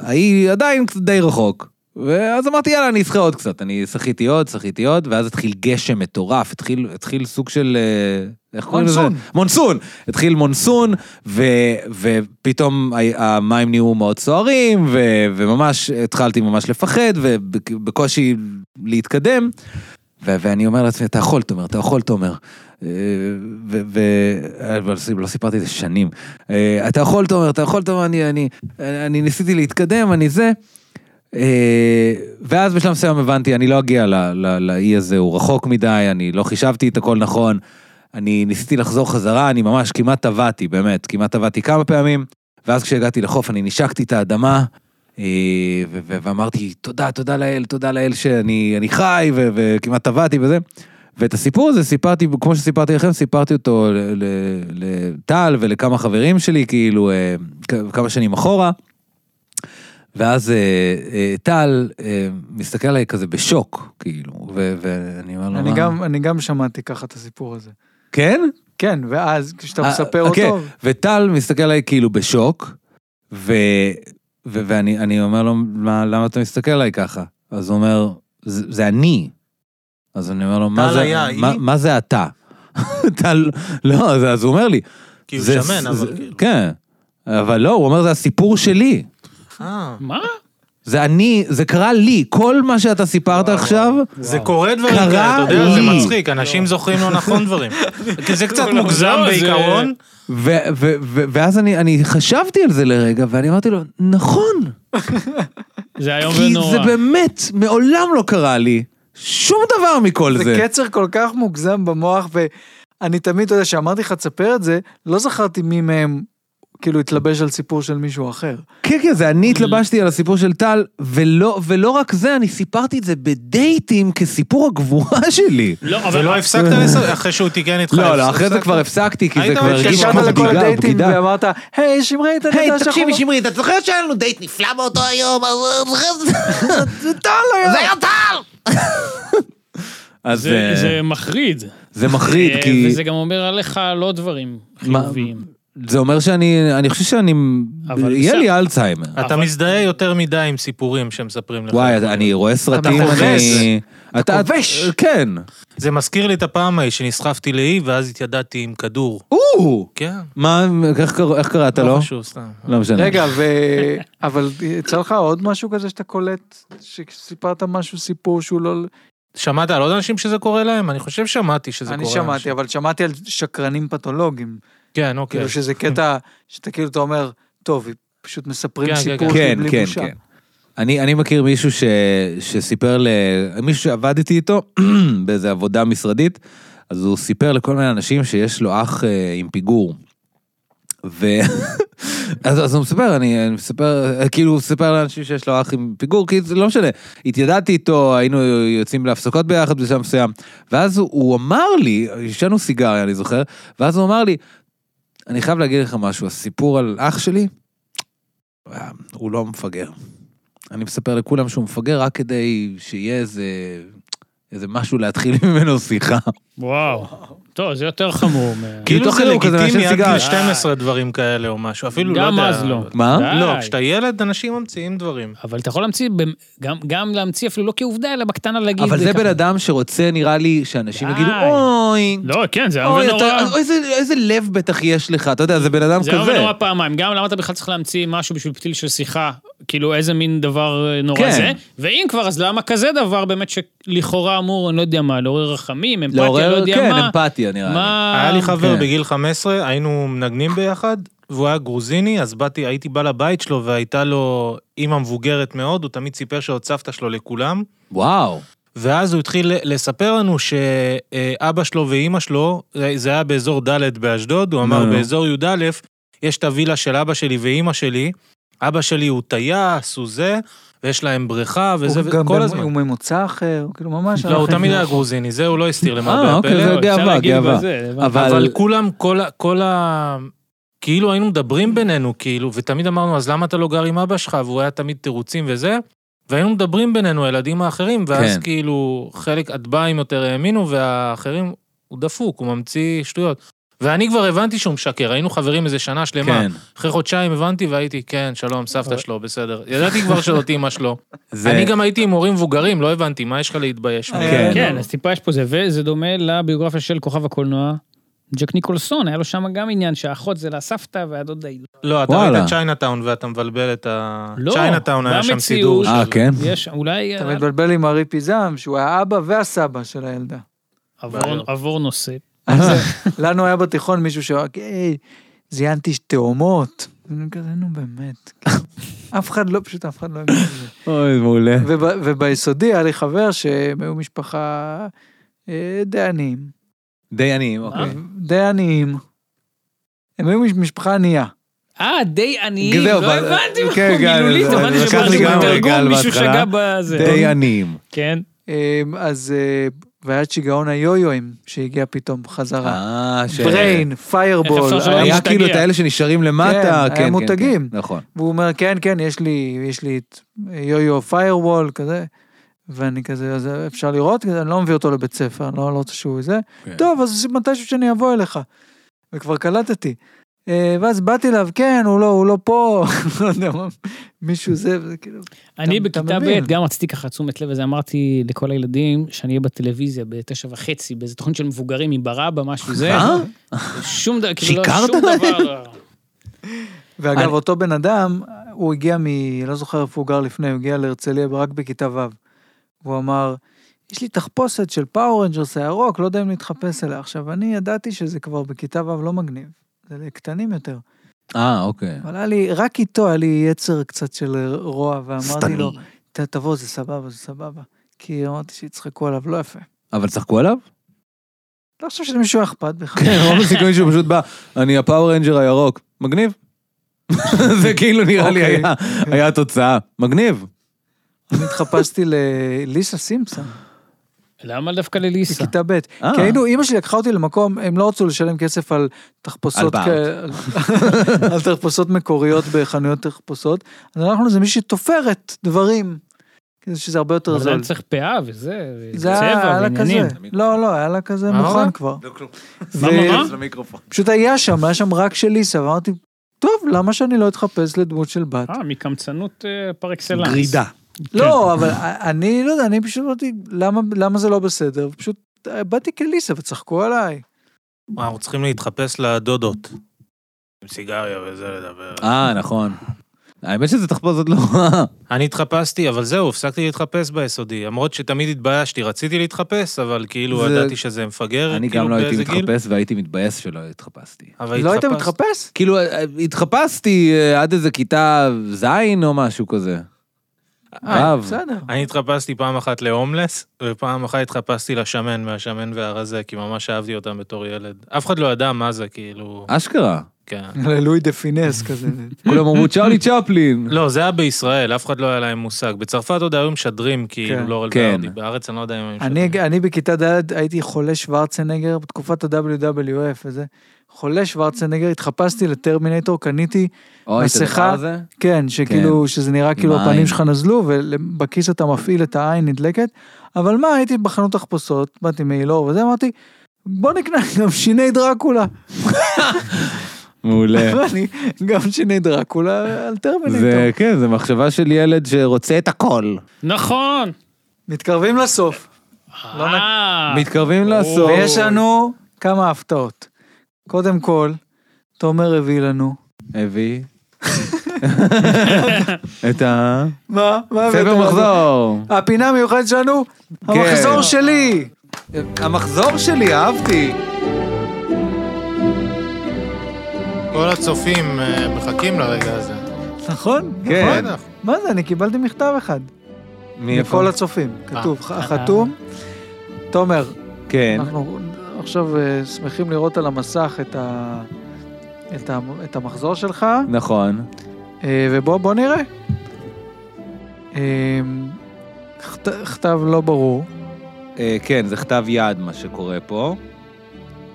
[SPEAKER 1] האי עדיין קצת די רחוק. ואז אמרתי, יאללה, אני אשחה עוד קצת. אני שחיתי עוד, שחיתי עוד, ואז התחיל גשם מטורף, התחיל, התחיל סוג של... אה, איך קוראים לזה?
[SPEAKER 2] מונסון.
[SPEAKER 1] מונסון. התחיל מונסון, ו, ופתאום ה- המים נהיו מאוד סוערים, ו, וממש התחלתי ממש לפחד, ובקושי להתקדם. ו- ואני אומר לעצמי, אתה יכול, תומר, אתה יכול, תומר. אה, ו... ו- אבל ס- לא סיפרתי את זה שנים. אה, אתה יכול, תומר, אתה יכול, תומר, אני, אני, אני ניסיתי להתקדם, אני זה. אה, ואז בשלב מסוים הבנתי, אני לא אגיע ל- ל- לאי הזה, הוא רחוק מדי, אני לא חישבתי את הכל נכון. אני ניסיתי לחזור חזרה, אני ממש כמעט טבעתי, באמת, כמעט טבעתי כמה פעמים. ואז כשהגעתי לחוף, אני נשקתי את האדמה, אה, ו- ו- ואמרתי, תודה, תודה לאל, תודה לאל שאני אני חי, ו- וכמעט טבעתי וזה. ואת הסיפור הזה סיפרתי, כמו שסיפרתי לכם, סיפרתי אותו ל- ל- לטל ולכמה חברים שלי, כאילו, אה, כ- כמה שנים אחורה. ואז אה, אה, טל אה, מסתכל עליי כזה בשוק, כאילו, ו- ואני אומר לו,
[SPEAKER 2] אני
[SPEAKER 1] "מה?"
[SPEAKER 2] גם- אני גם שמעתי ככה את הסיפור הזה.
[SPEAKER 1] כן?
[SPEAKER 2] כן, ואז כשאתה
[SPEAKER 1] אה,
[SPEAKER 2] מספר
[SPEAKER 1] אוקיי.
[SPEAKER 2] אותו,
[SPEAKER 1] וטל מסתכל עליי כאילו בשוק, ו... ו... ואני אני אומר לו, מה, למה אתה מסתכל עליי ככה? אז הוא אומר, זה, זה אני. אז אני אומר לו, מה
[SPEAKER 4] טל
[SPEAKER 1] זה,
[SPEAKER 4] היה
[SPEAKER 1] מה,
[SPEAKER 4] היא?"
[SPEAKER 1] מה זה אתה? טל, לא, אז, אז הוא אומר לי.
[SPEAKER 4] כי הוא
[SPEAKER 1] "זה-
[SPEAKER 4] שמן,
[SPEAKER 1] זה-
[SPEAKER 4] אבל כאילו.
[SPEAKER 1] כן. אבל לא, הוא אומר, זה הסיפור שלי.
[SPEAKER 4] אה.
[SPEAKER 3] מה?
[SPEAKER 1] זה אני, זה קרה לי. כל מה שאתה סיפרת עכשיו,
[SPEAKER 4] זה קורה דברים
[SPEAKER 1] קרה
[SPEAKER 4] כאלה, אתה יודע, זה
[SPEAKER 1] לי.
[SPEAKER 4] מצחיק, אנשים זוכרים לא נכון דברים. כי זה קצת
[SPEAKER 3] לא,
[SPEAKER 4] מוגזם
[SPEAKER 3] לא, זה-
[SPEAKER 4] בעיקרון.
[SPEAKER 1] ו- ו- ו- ואז אני, אני חשבתי על זה לרגע, ואני אמרתי לו, נכון,
[SPEAKER 3] זה איום
[SPEAKER 1] כי
[SPEAKER 3] ונורא.
[SPEAKER 1] זה באמת, מעולם לא קרה לי שום דבר מכל זה.
[SPEAKER 2] זה קצר כל כך מוגזם במוח, ואני תמיד, אתה יודע, כשאמרתי לך תספר את זה, לא זכרתי מי מהם כאילו התלבש על סיפור של מישהו אחר.
[SPEAKER 1] כן, כן, זה אני התלבשתי על הסיפור של טל, ולא, ולא רק זה, אני סיפרתי את זה בדייטים כסיפור הגבורה שלי.
[SPEAKER 3] לא, אבל...
[SPEAKER 4] ולא הפסקת לספר, אחרי שהוא טיגן איתך.
[SPEAKER 1] לא, לא, אחרי
[SPEAKER 4] הפסקת?
[SPEAKER 1] זה כבר הפסקתי, כי זה
[SPEAKER 4] היית
[SPEAKER 1] כבר
[SPEAKER 4] מתקשר
[SPEAKER 1] הרגיש
[SPEAKER 2] ישבת
[SPEAKER 1] כמו
[SPEAKER 4] כמו
[SPEAKER 2] לכל
[SPEAKER 1] בגידה,
[SPEAKER 2] הדייטים
[SPEAKER 1] בגידה.
[SPEAKER 2] ואמרת, היי, שמרי, אתה
[SPEAKER 1] היי,
[SPEAKER 2] יודע
[SPEAKER 1] תקשיבי, שמרי, אתה זוכר שהיה לנו דייט נפלא באותו היום? אז-
[SPEAKER 2] זה טל היה.
[SPEAKER 1] זה היה טל! אז
[SPEAKER 3] זה
[SPEAKER 1] אה,
[SPEAKER 3] זה מחריד.
[SPEAKER 1] זה מחריד,
[SPEAKER 3] אה,
[SPEAKER 1] כי
[SPEAKER 3] וזה גם אומר עליך לא דברים
[SPEAKER 1] מה-
[SPEAKER 3] חיוביים.
[SPEAKER 1] זה אומר שאני, אני חושב שאני,
[SPEAKER 3] אבל
[SPEAKER 1] יהיה
[SPEAKER 3] בסדר.
[SPEAKER 1] לי אלצהיימר.
[SPEAKER 4] אתה מזדהה יותר מדי עם סיפורים שמספרים לך.
[SPEAKER 1] וואי, אני רואה סרטים,
[SPEAKER 2] חובש.
[SPEAKER 1] אני... אתה
[SPEAKER 2] כובש.
[SPEAKER 1] כן.
[SPEAKER 4] זה מזכיר לי את הפעם ההיא שנסחפתי לאי ואז התיידדתי עם כדור.
[SPEAKER 1] או!
[SPEAKER 4] כן.
[SPEAKER 1] מה, איך קרא- איך קראת לו?
[SPEAKER 4] לא חשוב, סתם.
[SPEAKER 1] לא משנה.
[SPEAKER 2] רגע, ו... אבל יצא לך עוד משהו כזה שאתה קולט, שסיפרת משהו, סיפור שהוא לא...
[SPEAKER 4] שמעת על עוד אנשים שזה קורה להם? אני חושב שמעתי שזה קורה.
[SPEAKER 2] אני
[SPEAKER 4] לאנשים.
[SPEAKER 2] שמעתי, אבל שמעתי על שקרנים פתולוגים.
[SPEAKER 4] כן, אוקיי.
[SPEAKER 2] כאילו שזה קטע שאתה כאילו, אתה אומר, טוב, פשוט מספרים
[SPEAKER 4] כן, כן,
[SPEAKER 2] סיפור
[SPEAKER 4] כן.
[SPEAKER 1] כן,
[SPEAKER 2] בלי
[SPEAKER 1] כן,
[SPEAKER 2] בושה.
[SPEAKER 1] כן. אני, אני מכיר מישהו ש, שסיפר ל... מישהו שעבדתי איתו באיזה עבודה משרדית, אז הוא סיפר לכל מיני אנשים שיש לו אח אה, עם פיגור. ו... אז, אז הוא מספר, אני, אני מספר, אה, כאילו הוא מספר לאנשים שיש לו אח עם פיגור, כי זה לא משנה. התיידדתי איתו, היינו יוצאים להפסקות ביחד בשלב מסוים, ואז הוא, הוא אמר לי, עישנו סיגריה, אני זוכר, ואז הוא אמר לי, אני חייב להגיד לך משהו, הסיפור על אח שלי, אה, הוא לא מפגר. אני מספר לכולם שהוא מפגר רק כדי שיהיה איזה, איזה משהו להתחיל ממנו שיחה.
[SPEAKER 3] וואו. טוב, זה יותר חמור. מה-
[SPEAKER 1] כי-
[SPEAKER 4] כאילו
[SPEAKER 1] תוך
[SPEAKER 4] זה
[SPEAKER 1] כדי הוא כזה
[SPEAKER 4] לגיטימי
[SPEAKER 1] מעשן
[SPEAKER 4] עד
[SPEAKER 1] סיגר.
[SPEAKER 4] גיל 12 דברים כאלה או משהו, אפילו לא יודע.
[SPEAKER 3] גם אז לא.
[SPEAKER 1] מה?
[SPEAKER 3] די.
[SPEAKER 4] לא, כשאתה ילד אנשים ממציאים דברים.
[SPEAKER 3] אבל אתה יכול להמציא, במ- גם- גם להמציא אפילו לא כעובדה, אלא בקטנה להגיד...
[SPEAKER 1] אבל זה
[SPEAKER 3] ככה.
[SPEAKER 1] בן אדם שרוצה, נראה לי, שאנשים
[SPEAKER 3] די.
[SPEAKER 1] יגידו, אוי,
[SPEAKER 3] לא, כן, זה
[SPEAKER 1] אוי,
[SPEAKER 3] הרבה נורא.
[SPEAKER 1] אתה- איזה- איזה לב בטח יש לך, אתה יודע, זה בן אדם
[SPEAKER 3] זה הרבה
[SPEAKER 1] כזה.
[SPEAKER 3] נורא פעמיים, גם למה אתה בכלל צריך להמציא משהו בשביל פתיל של שיחה, כאילו איזה מין דבר אה, נורא
[SPEAKER 1] כן.
[SPEAKER 3] זה, ואם כבר, אז למה כזה דבר באמת שלכאורה אמור, אני לא יודע מה, לעורר רחמים, אמפתיה,
[SPEAKER 1] לעורר-
[SPEAKER 3] לא יודע
[SPEAKER 1] כן,
[SPEAKER 3] מה,
[SPEAKER 1] אמפתיה נראה לי.
[SPEAKER 3] מה...
[SPEAKER 4] היה לי חבר
[SPEAKER 1] כן.
[SPEAKER 4] בגיל 15, היינו מנגנים ביחד, והוא היה גרוזיני, אז באתי, הייתי בא לבית שלו והייתה לו אימא מבוגרת מאוד, הוא תמיד סיפר שעוד סבתא שלו לכולם,
[SPEAKER 1] וואו.
[SPEAKER 4] ואז הוא התחיל לספר לנו שאבא שלו ואימא שלו, זה זה היה באזור ד' באשדוד, הוא אמר
[SPEAKER 1] נו, נו.
[SPEAKER 4] באזור י"א, יש את הווילה של אבא שלי ואימא שלי, אבא שלי הוא טייס, הוא זה, ויש להם בריכה וזה,
[SPEAKER 2] הוא גם
[SPEAKER 4] כל
[SPEAKER 2] במ-
[SPEAKER 4] הזמן.
[SPEAKER 2] הוא ממוצא אחר, הוא כאילו ממש...
[SPEAKER 4] לא, הוא
[SPEAKER 2] הלך
[SPEAKER 4] תמיד
[SPEAKER 2] עם-
[SPEAKER 4] היה גרוזיני, זה הוא לא הסתיר למרבה
[SPEAKER 1] אה, אוקיי,
[SPEAKER 4] הפלא.
[SPEAKER 1] זה
[SPEAKER 3] לא, אפשר
[SPEAKER 1] גאווה,
[SPEAKER 3] להגיד
[SPEAKER 1] גאווה.
[SPEAKER 3] בזה, הבנתי.
[SPEAKER 1] אבל
[SPEAKER 4] אבל כולם, כל ה... כל ה... כאילו היינו מדברים בינינו, כאילו, ותמיד אמרנו, אז למה אתה לא גר עם אבא שלך? והוא היה תמיד תירוצים וזה, והיינו מדברים בינינו, הילדים האחרים, ואז
[SPEAKER 1] כן.
[SPEAKER 4] כאילו, חלק הטבעים יותר האמינו, והאחרים, הוא דפוק, הוא ממציא שטויות. ואני כבר הבנתי שהוא משקר, היינו חברים איזה שנה שלמה.
[SPEAKER 1] כן.
[SPEAKER 4] אחרי חודשיים הבנתי והייתי, כן, שלום, סבתא שלו, בסדר. ידעתי כבר שזאת אימא שלו.
[SPEAKER 1] זה-
[SPEAKER 4] אני גם הייתי עם הורים מבוגרים, לא הבנתי, מה יש לך להתבייש?
[SPEAKER 2] אה,
[SPEAKER 1] כן.
[SPEAKER 3] כן, אז טיפה יש פה זה, וזה דומה לביוגרפיה של כוכב הקולנוע. ג'ק ניקולסון, היה לו שם גם עניין שהאחות זה לסבתא והדודה היא...
[SPEAKER 4] לא, אתה
[SPEAKER 1] וואלה.
[SPEAKER 4] ראית צ'יינאטאון ואתה מבלבל את ה...
[SPEAKER 3] לא,
[SPEAKER 4] צ'יינאטאון היה שם
[SPEAKER 3] במציאות.
[SPEAKER 4] סידור.
[SPEAKER 1] אה,
[SPEAKER 4] של-
[SPEAKER 1] כן?
[SPEAKER 3] יש, אולי...
[SPEAKER 2] אתה מתבלבל עם ארי פיזם, שהוא האבא והסבא של הילדה.
[SPEAKER 3] עבור- עבור נושא.
[SPEAKER 2] אז לנו היה בתיכון מישהו שרק, היי, זיינתי תאומות. ואני כזה, נו באמת. אף אחד לא, פשוט אף אחד לא הבין את זה.
[SPEAKER 1] אוי, מעולה.
[SPEAKER 2] וב- וביסודי היה לי חבר שהם היו משפחה אה, די עניים.
[SPEAKER 1] די עניים,
[SPEAKER 4] אה?
[SPEAKER 3] אה,
[SPEAKER 1] אוקיי.
[SPEAKER 2] די עניים. הם היו מש- משפחה ענייה.
[SPEAKER 3] אה, די עניים,
[SPEAKER 1] זהו,
[SPEAKER 3] לא
[SPEAKER 1] אבל-
[SPEAKER 3] הבנתי מה
[SPEAKER 1] כן, גל,
[SPEAKER 3] מילולית,
[SPEAKER 1] זה-
[SPEAKER 3] הבנתי
[SPEAKER 1] לקח
[SPEAKER 3] שמשהו
[SPEAKER 1] לי גם רגל
[SPEAKER 3] בתרגום, מישהו
[SPEAKER 1] בהתחלה.
[SPEAKER 3] שגע בזה.
[SPEAKER 1] די עניים.
[SPEAKER 3] כן.
[SPEAKER 2] אה, אז, אה, והיה את שיגעון היו-יואים שהגיע פתאום חזרה.
[SPEAKER 1] אה, ש...
[SPEAKER 2] בריין,
[SPEAKER 3] איך
[SPEAKER 2] פיירבול.
[SPEAKER 3] אפשר שלא
[SPEAKER 1] היה
[SPEAKER 3] משתגע.
[SPEAKER 1] כאילו את האלה שנשארים
[SPEAKER 2] כן,
[SPEAKER 1] למטה.
[SPEAKER 2] היה
[SPEAKER 1] כן, כן, כן.
[SPEAKER 2] מותגים.
[SPEAKER 1] נכון.
[SPEAKER 2] והוא אומר, כן, כן, יש לי, יש לי את יו-יו פיירוול כזה, ואני כזה, אז אפשר לראות, כזה, אני לא מביא אותו לבית ספר, אני לא, לא רוצה שהוא זה.
[SPEAKER 1] כן.
[SPEAKER 2] טוב, אז מתישהו שאני אבוא אליך. וכבר קלטתי. אה, ואז באתי אליו, כן, הוא לא, הוא לא פה, לא יודע מה, מישהו זה, וזה כאילו,
[SPEAKER 3] אני
[SPEAKER 2] אתה
[SPEAKER 3] בכיתה ב'
[SPEAKER 2] מבין.
[SPEAKER 3] גם רציתי ככה תשומת לב, אז אמרתי לכל הילדים שאני אהיה בטלוויזיה בתשע וחצי, באיזה תוכנית של מבוגרים עם ברבא, משהו זה.
[SPEAKER 1] אה?
[SPEAKER 3] שום דבר, כאילו, לא,
[SPEAKER 1] שיקרת
[SPEAKER 3] שום דבר. לא.
[SPEAKER 2] ואגב,
[SPEAKER 1] אני-
[SPEAKER 2] אותו בן אדם, הוא הגיע מ... לא זוכר איפה הוא גר לפני, הוא הגיע להרצליה רק בכיתה ו'. והוא אמר, יש לי תחפושת של פאור רנג'רס הירוק, לא יודע אם להתחפש אליה. עכשיו, אני ידעתי שזה כבר בכיתה ו' לא מגניב. זה לקטנים יותר.
[SPEAKER 1] אה, אוקיי.
[SPEAKER 2] אבל היה לי, רק איתו היה לי יצר קצת של רוע, ואמרתי
[SPEAKER 1] שטני.
[SPEAKER 2] לו, "ת- תבוא, זה סבבה, זה סבבה. כי אמרתי שיצחקו עליו, לא יפה.
[SPEAKER 1] אבל צחקו עליו?
[SPEAKER 2] לא חושב שלמישהו היה אכפת בכלל.
[SPEAKER 1] כן, רוב הסיכויים שהוא פשוט בא, אני הפאור רנג'ר הירוק. מגניב. זה כאילו נראה לי
[SPEAKER 2] אוקיי.
[SPEAKER 1] היה- היה התוצאה. מגניב.
[SPEAKER 2] אני התחפשתי לליסה סימפסון,
[SPEAKER 3] למה דווקא לליסה?
[SPEAKER 2] בכיתה ב'.
[SPEAKER 1] אה.
[SPEAKER 2] כי היינו, אימא שלי לקחה אותי למקום, הם לא רצו לשלם כסף על תחפושות,
[SPEAKER 1] על
[SPEAKER 2] כאלה- על תחפושות מקוריות בחנויות תחפושות, אז הלכנו לאיזה מישהי תופרת דברים, כדי שזה הרבה יותר
[SPEAKER 3] אבל
[SPEAKER 2] זול.
[SPEAKER 3] היה צריך פאה וזה,
[SPEAKER 2] זה היה
[SPEAKER 3] צבע
[SPEAKER 2] לה
[SPEAKER 3] ועניינים.
[SPEAKER 2] כזה, לא, לא, היה לה כזה
[SPEAKER 4] מה,
[SPEAKER 2] מוכן
[SPEAKER 4] מה?
[SPEAKER 2] כבר.
[SPEAKER 3] מה, מה, מה?
[SPEAKER 2] פשוט היה שם, היה שם רק של ליסה, ואמרתי, טוב, למה שאני לא אתחפש לדמות של בת?
[SPEAKER 3] אה, כן. מקמצנות אה, פר אקסלנס.
[SPEAKER 1] גרידה.
[SPEAKER 2] לא, אבל אני, לא יודע, אני פשוט אמרתי, "למה- למה זה לא בסדר? פשוט אה, באתי כליסה וצחקו עליי.
[SPEAKER 4] אנחנו צריכים להתחפש לדודות. עם סיגריה וזה לדבר.
[SPEAKER 1] אה, נכון. האמת שזה תחפושת לא רעה.
[SPEAKER 4] אני התחפשתי, אבל זהו, הפסקתי להתחפש ביסודי. למרות שתמיד התביישתי, רציתי להתחפש, אבל כאילו
[SPEAKER 1] זה-
[SPEAKER 4] ידעתי שזה מפגר,
[SPEAKER 1] אני
[SPEAKER 4] כאילו
[SPEAKER 1] גם לא הייתי
[SPEAKER 4] באיזה גיל.
[SPEAKER 1] מתחפש והייתי מתבאס שלא התחפשתי.
[SPEAKER 4] אבל
[SPEAKER 2] לא היית
[SPEAKER 4] התחפשתי.
[SPEAKER 2] מתחפש?
[SPEAKER 1] כאילו, אה, התחפשתי אה, עד איזה כיתה ז' או משהו כזה.
[SPEAKER 2] אה,
[SPEAKER 1] ו'.
[SPEAKER 2] בסדר.
[SPEAKER 4] אני התחפשתי פעם אחת להומלס, ופעם אחת התחפשתי לשמן, מהשמן והרזה, כי ממש אהבתי אותם בתור ילד. אף אחד לא ידע מה זה, כאילו...
[SPEAKER 1] אה, אשכרה.
[SPEAKER 4] כן.
[SPEAKER 2] ללואי דה פינס כזה.
[SPEAKER 1] כולם אמרו צ'רלי צ'פלין.
[SPEAKER 4] לא, זה היה בישראל, אף אחד לא היה להם מושג. בצרפת עוד היו משדרים, כאילו,
[SPEAKER 2] כן.
[SPEAKER 4] לא
[SPEAKER 1] כן.
[SPEAKER 4] רלוונטי. בארץ אני לא יודע אם הם משדרים.
[SPEAKER 2] אני, אני בכיתה ד' הייתי חולה שוורצנגר בתקופת ה-WWF וזה. חולה שוורצנגר, התחפשתי לטרמינטור, קניתי,
[SPEAKER 1] אוי, את הדבר
[SPEAKER 2] מסכה.
[SPEAKER 1] הזה?
[SPEAKER 2] כן, שכאילו, שזה נראה כאילו
[SPEAKER 1] מים.
[SPEAKER 2] הפנים שלך נזלו, ובכיס אתה מפעיל את העין נדלקת. אבל מה, הייתי בחנות תחפושות, באתי מאילור וזה, אמרתי, בוא נקנה גם שיני דרקולה.
[SPEAKER 1] מעולה.
[SPEAKER 2] אני, גם שיני דרקולה על
[SPEAKER 1] כן. זה,
[SPEAKER 2] טרמינטור.
[SPEAKER 1] כן, זה מחשבה של ילד שרוצה את הכל.
[SPEAKER 3] נכון.
[SPEAKER 2] מתקרבים לסוף, לא נ-
[SPEAKER 3] אה,
[SPEAKER 1] מתקרבים
[SPEAKER 3] ברור.
[SPEAKER 1] לעשור.
[SPEAKER 2] ויש לנו כמה הפתעות. קודם כל, תומר הביא לנו.
[SPEAKER 1] הביא. את ה...
[SPEAKER 2] מה? מה הבאת
[SPEAKER 1] ספר
[SPEAKER 2] לנו?
[SPEAKER 1] מחזור.
[SPEAKER 2] הפינה המיוחדת שלנו, המחזור שלי.
[SPEAKER 1] המחזור שלי, אהבתי.
[SPEAKER 4] כל הצופים אה, מחכים לרגע הזה.
[SPEAKER 2] נכון?
[SPEAKER 1] כן.
[SPEAKER 4] בטח.
[SPEAKER 2] מה זה, אני קיבלתי מכתב אחד.
[SPEAKER 1] מאיפה?
[SPEAKER 2] מכל הצופים, כתוב, ח- חתום. תומר,
[SPEAKER 1] כן.
[SPEAKER 2] אנחנו עכשיו אה, שמחים לראות על המסך את ה... את, ה, את המחזור שלך,
[SPEAKER 1] נכון.
[SPEAKER 2] אה, ובוא בוא נראה. אה, כת- כתב לא ברור.
[SPEAKER 1] אה, כן, זה כתב יד מה שקורה פה.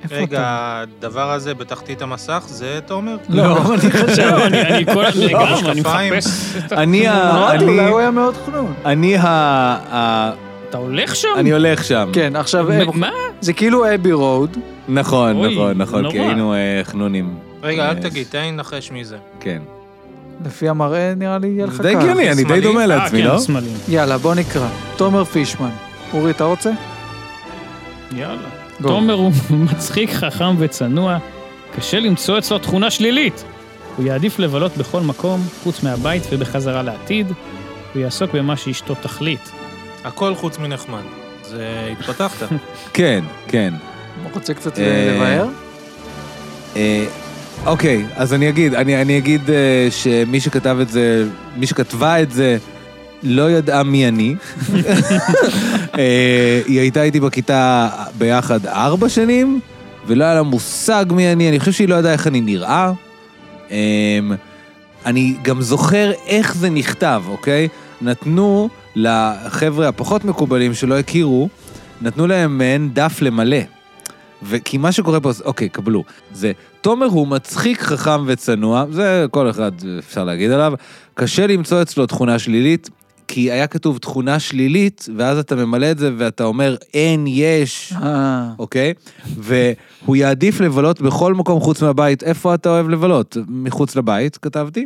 [SPEAKER 2] איפה
[SPEAKER 4] רגע,
[SPEAKER 2] אתה?
[SPEAKER 4] הדבר הזה בתחתית המסך, זה תומר?
[SPEAKER 2] לא, אני
[SPEAKER 3] עכשיו אני אני כל
[SPEAKER 1] לא,
[SPEAKER 3] הזמן, גם, אני
[SPEAKER 4] משקפיים.
[SPEAKER 3] מחפש את ה...
[SPEAKER 1] אני ה...
[SPEAKER 2] אמרתי,
[SPEAKER 1] אני-
[SPEAKER 2] לא, אולי הוא היה מאוד חנון.
[SPEAKER 1] אני ה... ה-
[SPEAKER 3] אתה הולך שם?
[SPEAKER 1] אני הולך שם.
[SPEAKER 2] כן, עכשיו, אה,
[SPEAKER 3] מ- מה?
[SPEAKER 2] זה כאילו אבי רוד,
[SPEAKER 1] נכון,
[SPEAKER 3] אוי,
[SPEAKER 1] נכון,
[SPEAKER 3] זה
[SPEAKER 1] נכון, כי
[SPEAKER 3] נורא.
[SPEAKER 1] היינו אה, חנונים.
[SPEAKER 4] רגע,
[SPEAKER 1] אה,
[SPEAKER 4] אל תגיד, תן לי לנחש מי זה.
[SPEAKER 1] כן.
[SPEAKER 2] לפי המראה נראה לי יהיה לך
[SPEAKER 1] זה די
[SPEAKER 2] קל.
[SPEAKER 1] הגיוני, אני די
[SPEAKER 4] שמאלי?
[SPEAKER 1] דומה
[SPEAKER 3] אה,
[SPEAKER 1] לעצמי,
[SPEAKER 3] כן,
[SPEAKER 1] לא?
[SPEAKER 3] שמאלי.
[SPEAKER 2] יאללה, בוא נקרא. תומר פישמן. אורי, אתה רוצה?
[SPEAKER 3] יאללה.
[SPEAKER 2] גו.
[SPEAKER 3] תומר הוא מצחיק, חכם וצנוע. קשה למצוא אצלו תכונה שלילית. הוא יעדיף לבלות בכל מקום, חוץ מהבית ובחזרה לעתיד. הוא יעסוק במה שאשתו תחליט.
[SPEAKER 4] הכל חוץ מנחמד. זה התפתחת.
[SPEAKER 1] כן, כן.
[SPEAKER 2] רוצה קצת
[SPEAKER 1] אה,
[SPEAKER 2] לבאר?
[SPEAKER 1] אה, אוקיי, אז אני אגיד, אני, אני אגיד אה, שמי שכתב את זה, מי שכתבה את זה, לא ידעה מי אני. אה, היא הייתה איתי בכיתה ביחד ארבע שנים, ולא היה לה מושג מי אני, אני חושב שהיא לא ידעה איך אני נראה. אה, אני גם זוכר איך זה נכתב, אוקיי? נתנו לחבר'ה הפחות מקובלים שלא הכירו, נתנו להם מעין דף למלא. וכי מה שקורה פה, זה- אוקיי, קבלו, זה תומר הוא מצחיק, חכם וצנוע, זה כל אחד אפשר להגיד עליו, קשה למצוא אצלו תכונה שלילית, כי היה כתוב תכונה שלילית, ואז אתה ממלא את זה ואתה אומר, אין, יש,
[SPEAKER 2] אה,
[SPEAKER 1] אוקיי? והוא יעדיף לבלות בכל מקום חוץ מהבית, איפה אתה אוהב לבלות? מחוץ לבית, כתבתי.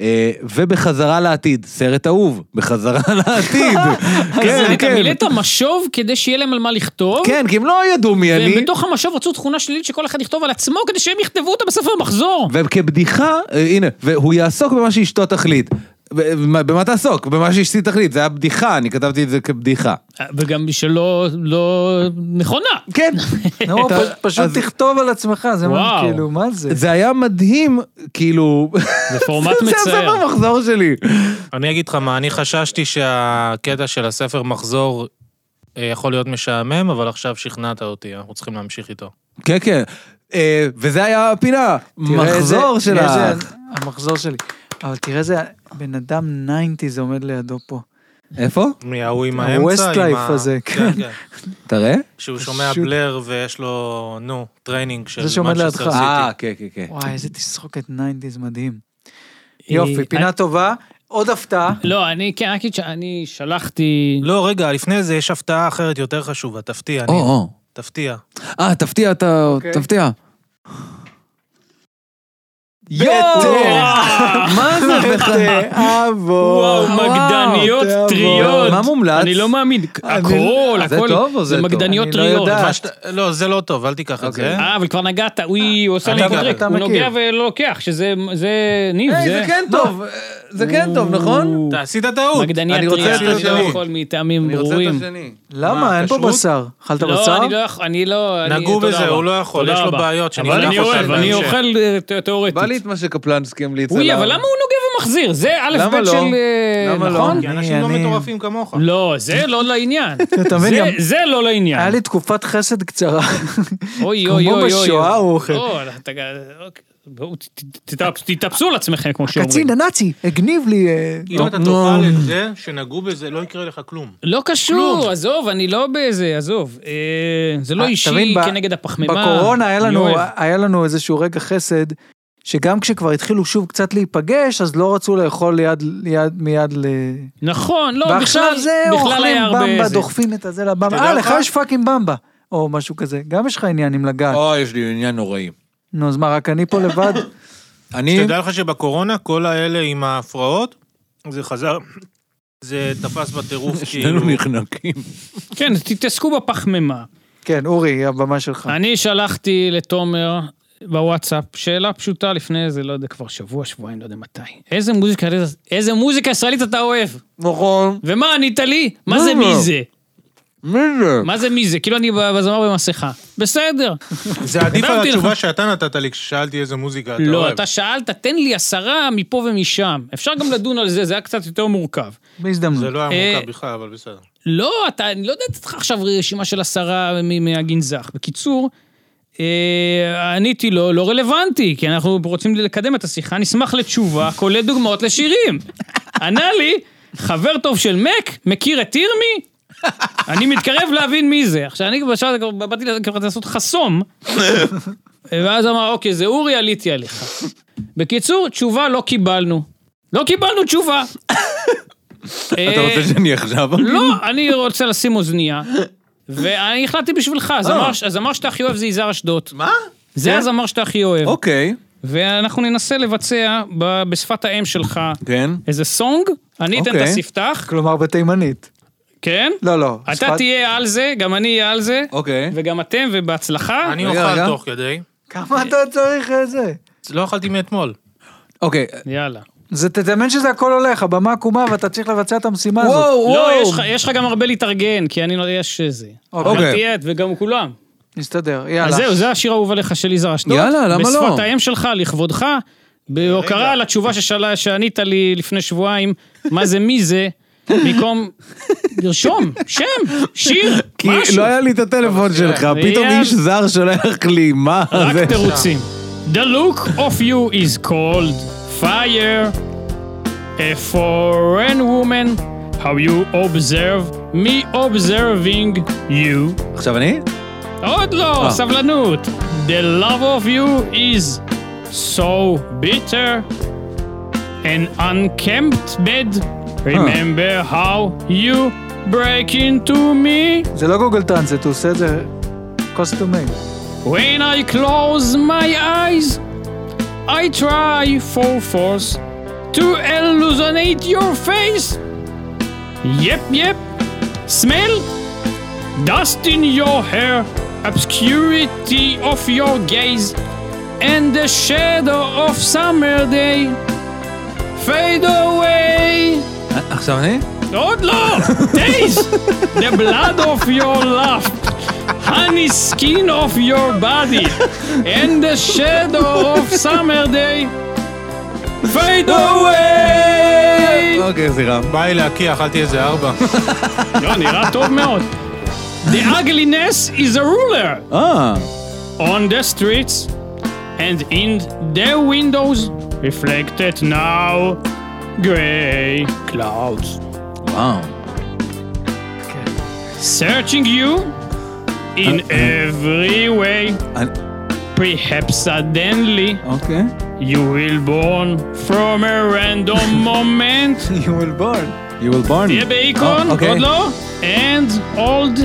[SPEAKER 1] אה, ובחזרה לעתיד, סרט אהוב, בחזרה לעתיד.
[SPEAKER 3] אז
[SPEAKER 1] כן,
[SPEAKER 3] אתה
[SPEAKER 1] כן.
[SPEAKER 3] מילאת משוב כדי שיהיה להם על מה לכתוב?
[SPEAKER 1] כן, כי הם לא ידעו מי אני.
[SPEAKER 3] והם בתוך המשוב רצו תכונה שלילית שכל אחד יכתוב על עצמו כדי שהם יכתבו אותה בספר המחזור.
[SPEAKER 1] וכבדיחה, אה, הנה, והוא יעסוק במה שאשתו תחליט. ו- מה- במה תעסוק? במה שאשתי תחליט, זה היה בדיחה, אני כתבתי את זה כבדיחה.
[SPEAKER 3] אה, וגם שלא לא נכונה.
[SPEAKER 1] כן.
[SPEAKER 2] נו,
[SPEAKER 1] אתה-
[SPEAKER 2] פ- פשוט
[SPEAKER 1] אז-
[SPEAKER 2] תכתוב על עצמך, זה מה,
[SPEAKER 3] וואו.
[SPEAKER 2] כאילו, מה זה?
[SPEAKER 1] זה היה מדהים, כאילו...
[SPEAKER 3] זה פורמט
[SPEAKER 1] זה
[SPEAKER 3] מצער.
[SPEAKER 1] הספר המחזור שלי.
[SPEAKER 4] אני אגיד לך מה, אני חששתי שהקטע של הספר מחזור אה, יכול להיות משעמם, אבל עכשיו שכנעת אותי, אנחנו צריכים להמשיך איתו.
[SPEAKER 1] כן, כן. אה, וזה היה הפינה,
[SPEAKER 2] תראה איזה-
[SPEAKER 1] מחזור
[SPEAKER 2] תראה איזה-
[SPEAKER 1] שלך.
[SPEAKER 2] המחזור שלי. אבל תראה איזה בן אדם 90's עומד לידו פה.
[SPEAKER 1] איפה?
[SPEAKER 4] מההוא עם האמצע, עם
[SPEAKER 2] ה-West Life
[SPEAKER 4] ה-
[SPEAKER 2] הזה,
[SPEAKER 4] כן, כן.
[SPEAKER 1] תראה.
[SPEAKER 4] שהוא שומע
[SPEAKER 2] פשוט-
[SPEAKER 4] בלר ויש לו, נו, טריינינג של
[SPEAKER 2] זה שעומד
[SPEAKER 4] מנצ'סטר
[SPEAKER 2] לידך.
[SPEAKER 4] סיטי.
[SPEAKER 1] אה, כן, כן, כן.
[SPEAKER 2] וואי, איזה תסרוקת 90's מדהים.
[SPEAKER 3] אה,
[SPEAKER 2] יופי,
[SPEAKER 3] אה,
[SPEAKER 2] פינה טובה. עוד הפתעה.
[SPEAKER 3] לא, אני, כן, רק אגיד שאני שלחתי...
[SPEAKER 4] לא, רגע, לפני זה יש הפתעה אחרת יותר חשובה, תפתיע,
[SPEAKER 1] או,
[SPEAKER 4] ניר.
[SPEAKER 1] או.
[SPEAKER 4] תפתיע.
[SPEAKER 1] אה, תפתיע, אתה...
[SPEAKER 2] אוקיי.
[SPEAKER 1] תפתיע. מה זה בכלל?
[SPEAKER 2] אבו.
[SPEAKER 3] וואו,
[SPEAKER 1] וואו,
[SPEAKER 3] מגדניות
[SPEAKER 2] תיאבון.
[SPEAKER 3] טריות.
[SPEAKER 1] מה מומלץ? לא-
[SPEAKER 3] אני לא מאמין, הכל,
[SPEAKER 1] זה
[SPEAKER 3] הכל.
[SPEAKER 1] טוב או זה טוב?
[SPEAKER 3] מגדניות
[SPEAKER 2] אני לא
[SPEAKER 3] טריות.
[SPEAKER 2] יודע.
[SPEAKER 4] מה שאתה- לא, זה לא טוב, אל תיקח את זה.
[SPEAKER 1] אוקיי.
[SPEAKER 3] אה, אבל כבר נגעת, אוי, הוא עושה
[SPEAKER 4] אני
[SPEAKER 3] לנו
[SPEAKER 4] גם-
[SPEAKER 3] טריק,
[SPEAKER 2] אתה
[SPEAKER 3] הוא נוגע
[SPEAKER 2] מכיר.
[SPEAKER 3] ולא לוקח, שזה זה- ניב,
[SPEAKER 1] היי,
[SPEAKER 3] זה...
[SPEAKER 1] זה כן טוב, אה, זה כן טוב, נכון?
[SPEAKER 4] אתה עשית טעות.
[SPEAKER 3] מגדניה
[SPEAKER 1] אני רוצה
[SPEAKER 3] טריה,
[SPEAKER 1] את
[SPEAKER 3] אתה לא
[SPEAKER 1] השני.
[SPEAKER 3] יכול מטעמים
[SPEAKER 1] אני רוצה את
[SPEAKER 3] ברורים.
[SPEAKER 1] השני.
[SPEAKER 2] למה?
[SPEAKER 4] מה,
[SPEAKER 2] אין פה
[SPEAKER 4] כשרות?
[SPEAKER 2] בשר. אכלת בשר?
[SPEAKER 3] לא, אני לא יכול, אני לא... אני-
[SPEAKER 4] נגעו
[SPEAKER 3] תודה
[SPEAKER 4] בזה,
[SPEAKER 3] רבה.
[SPEAKER 4] הוא לא יכול,
[SPEAKER 3] תודה
[SPEAKER 4] יש לו
[SPEAKER 3] רבה.
[SPEAKER 4] בעיות שאני
[SPEAKER 3] אבל
[SPEAKER 1] אקח
[SPEAKER 3] אני
[SPEAKER 1] אותן
[SPEAKER 3] אוהב, אני
[SPEAKER 4] בהמשך.
[SPEAKER 3] אוכל אה, ת- תיאורטית.
[SPEAKER 1] לא בא לי את מה שקפלנסקי המליץ עליו.
[SPEAKER 3] אוי, אבל למה הוא נוגע ומחזיר? זה א'
[SPEAKER 1] למה
[SPEAKER 3] ב'
[SPEAKER 1] לא?
[SPEAKER 3] של... אה,
[SPEAKER 1] למה לא?
[SPEAKER 3] נכון?
[SPEAKER 4] כי אנשים
[SPEAKER 2] אני-
[SPEAKER 4] לא
[SPEAKER 2] אני-
[SPEAKER 4] מטורפים כמוך.
[SPEAKER 3] לא, זה לא לעניין.
[SPEAKER 2] אתה מבין,
[SPEAKER 3] זה-
[SPEAKER 2] גם-
[SPEAKER 3] זה לא לעניין.
[SPEAKER 2] היה לי תקופת חסד קצרה.
[SPEAKER 3] אוי, אוי,
[SPEAKER 2] כמו
[SPEAKER 3] אוי, אוי.
[SPEAKER 2] בשואה הוא אוכל.
[SPEAKER 3] אוי, אתה- אוקיי, בואו, ת- ת- תתאפ- תתאפסו על עצמכם, כמו שאומרים.
[SPEAKER 2] הקצין הנאצי הגניב לי... אה,
[SPEAKER 4] אם
[SPEAKER 1] לא-
[SPEAKER 4] אתה תאכל את זה, שנגעו בזה, לא יקרה לך כלום.
[SPEAKER 3] לא קשור, עזוב, אני לא באיזה, עזוב. אה, זה לא
[SPEAKER 2] אה,
[SPEAKER 3] אישי
[SPEAKER 2] תבין, ב-
[SPEAKER 3] כנגד הפחמימה.
[SPEAKER 2] בקורונה היה
[SPEAKER 3] אני
[SPEAKER 2] לנו,
[SPEAKER 3] אוהב.
[SPEAKER 2] היה לנו איזשהו רגע חסד, שגם כשכבר התחילו שוב קצת להיפגש, אז לא רצו לאכול ליד, ליד, מיד ל...
[SPEAKER 3] נכון, לא,
[SPEAKER 2] ועכשיו
[SPEAKER 3] בכלל,
[SPEAKER 2] זה,
[SPEAKER 3] בכלל
[SPEAKER 2] אוכלים
[SPEAKER 3] היה הרבה
[SPEAKER 2] במבה,
[SPEAKER 3] איזה.
[SPEAKER 2] דוחפים את הזה לבמבה.
[SPEAKER 4] אתה יודע
[SPEAKER 2] אה, לך
[SPEAKER 4] מה?
[SPEAKER 2] יש פאקינג במבה. או משהו כזה. גם יש לך עניין עם לגעת.
[SPEAKER 1] אוי, יש לי עניין נוראי.
[SPEAKER 2] נו, אז מה, רק אני פה לבד?
[SPEAKER 1] אני...
[SPEAKER 4] שתדע לך שבקורונה, כל האלה עם ההפרעות, זה חזר, זה תפס בטירוף, כאילו.
[SPEAKER 1] שנינו נחנקים.
[SPEAKER 3] כן, תתעסקו בפחמימה.
[SPEAKER 2] כן, אורי, הבמה שלך.
[SPEAKER 3] אני שלחתי לתומר בוואטסאפ שאלה פשוטה לפני איזה, לא יודע, כבר שבוע, שבועיים, לא יודע מתי. איזה מוזיקה, איזה מוזיקה ישראלית אתה אוהב?
[SPEAKER 1] נכון.
[SPEAKER 3] ומה ענית לי? מה
[SPEAKER 2] לא,
[SPEAKER 3] זה
[SPEAKER 1] למה?
[SPEAKER 3] מי זה?
[SPEAKER 1] מי זה?
[SPEAKER 3] מה זה מי זה? כאילו אני בזמר במסכה. בסדר.
[SPEAKER 4] זה עדיף על
[SPEAKER 3] כתבתי לך.
[SPEAKER 4] התשובה שאתה נתת לי כששאלתי איזה מוזיקה אתה
[SPEAKER 3] לא,
[SPEAKER 4] אוהב.
[SPEAKER 3] אתה שאלת, תן לי עשרה מפה ומשם. אפשר גם לדון על זה, זה היה קצת יותר מורכב.
[SPEAKER 4] זה
[SPEAKER 2] בהזדמנות.
[SPEAKER 4] לא היה
[SPEAKER 3] אה,
[SPEAKER 4] מורכב בכלל, אבל בסדר.
[SPEAKER 3] לא, אתה, אני לא יודע לתת לך עכשיו רשימה של עשרה מ- מהגנזך. בקיצור, אה, עניתי לו, לא רלוונטי, כי אנחנו רוצים לקדם את השיחה, נשמח לתשובה, כולל דוגמאות לשירים. ענה לי, חבר טוב של מק, מכיר את ירמי? אני מתקרב להבין מי זה. עכשיו, אני בשלב הזה כבר באתי כבר לעשות חסום, ואז אמר, אוקיי, זה אורי, עליתי עליך. בקיצור, תשובה לא קיבלנו. לא קיבלנו תשובה. אה,
[SPEAKER 1] אתה רוצה שאני עכשיו?
[SPEAKER 3] לא, אני רוצה לשים אוזנייה. ואני החלטתי בשבילך, הזמר ש- הזמר שאתה הכי אוהב זה יזהר אשדוד. מה? זה הזמר שאתה הכי אוהב.
[SPEAKER 1] אוקיי,
[SPEAKER 3] ואנחנו ננסה לבצע ב- בשפת האם שלך
[SPEAKER 1] כן.
[SPEAKER 3] איזה סונג, אני אתן את
[SPEAKER 1] אוקיי.
[SPEAKER 3] הספתח,
[SPEAKER 2] כלומר, בתימנית.
[SPEAKER 3] כן?
[SPEAKER 2] לא, לא.
[SPEAKER 3] אתה
[SPEAKER 2] שפת-
[SPEAKER 3] תהיה על זה, גם אני אהיה על זה,
[SPEAKER 1] אוקיי.
[SPEAKER 3] וגם אתם, ובהצלחה.
[SPEAKER 4] אני
[SPEAKER 1] רגע, רגע.
[SPEAKER 4] אוכל תוך כדי.
[SPEAKER 2] כמה אתה צריך את זה?
[SPEAKER 4] לא אכלתי מאתמול.
[SPEAKER 1] אוקיי.
[SPEAKER 3] יאללה.
[SPEAKER 2] זה תדמיין שזה הכל הולך, הבמה עקומה ואתה צריך לבצע את המשימה הזאת.
[SPEAKER 1] וואו,
[SPEAKER 3] לא,
[SPEAKER 1] וואו.
[SPEAKER 3] יש לך- יש לך גם הרבה להתארגן, כי אני לא יודע שזה.
[SPEAKER 2] אוקיי.
[SPEAKER 3] גם תהיה את וגם כולם.
[SPEAKER 2] נסתדר,
[SPEAKER 3] אז
[SPEAKER 2] יאללה.
[SPEAKER 3] זהו, זה השיר האהוב עליך של יזהר אשדוד.
[SPEAKER 1] יאללה, למה לא?
[SPEAKER 3] בשפת האם שלך, לכבודך, בהוקרה על התשובה ששאלה, שענית לי לפני שבועיים, מה זה מי זה, במקום לרשום, שם, שיר,
[SPEAKER 1] כי
[SPEAKER 3] משהו.
[SPEAKER 1] לא היה לי את הטלפון שלך, פתאום
[SPEAKER 3] אייל.
[SPEAKER 1] איש זר שולח לי, מה זה?
[SPEAKER 3] רק תירוצים. The look of you is called fire. A foreign woman, how you observe me observing you.
[SPEAKER 1] עכשיו אני?
[SPEAKER 3] עוד לא,
[SPEAKER 1] אה.
[SPEAKER 3] סבלנות. The love of you is so bitter and unkempt bed. Remember how you break into me
[SPEAKER 2] זה לא גוגל טרנסט, הוא עושה את זה קוסטומי.
[SPEAKER 3] when I close my eyes. I try for force to illuminate your face. Yep, yep. Smell dust in your hair, obscurity of your gaze, and the shadow of summer day. Fade away.
[SPEAKER 1] עכשיו אני?
[SPEAKER 3] עוד לא! Taste the blood of your love, honey skin of your body, and the shadow of summer day. Fade away!
[SPEAKER 1] אוקיי, סליחה.
[SPEAKER 4] בא לי להקיא, אכלתי איזה ארבע.
[SPEAKER 3] לא, נראה טוב מאוד. The ugliness is a ruler.
[SPEAKER 1] אה,
[SPEAKER 3] on the streets and in their windows reflected now gray clouds.
[SPEAKER 1] וואו.
[SPEAKER 3] Searching you
[SPEAKER 2] אה,
[SPEAKER 3] in every way. Perhaps suddenly
[SPEAKER 2] אוקיי.
[SPEAKER 3] you will born from a random moment.
[SPEAKER 2] You will born.
[SPEAKER 1] You will burn.
[SPEAKER 3] תהיה באיקון,
[SPEAKER 2] Oh,
[SPEAKER 1] אה, אוקיי.
[SPEAKER 3] עוד לא, and old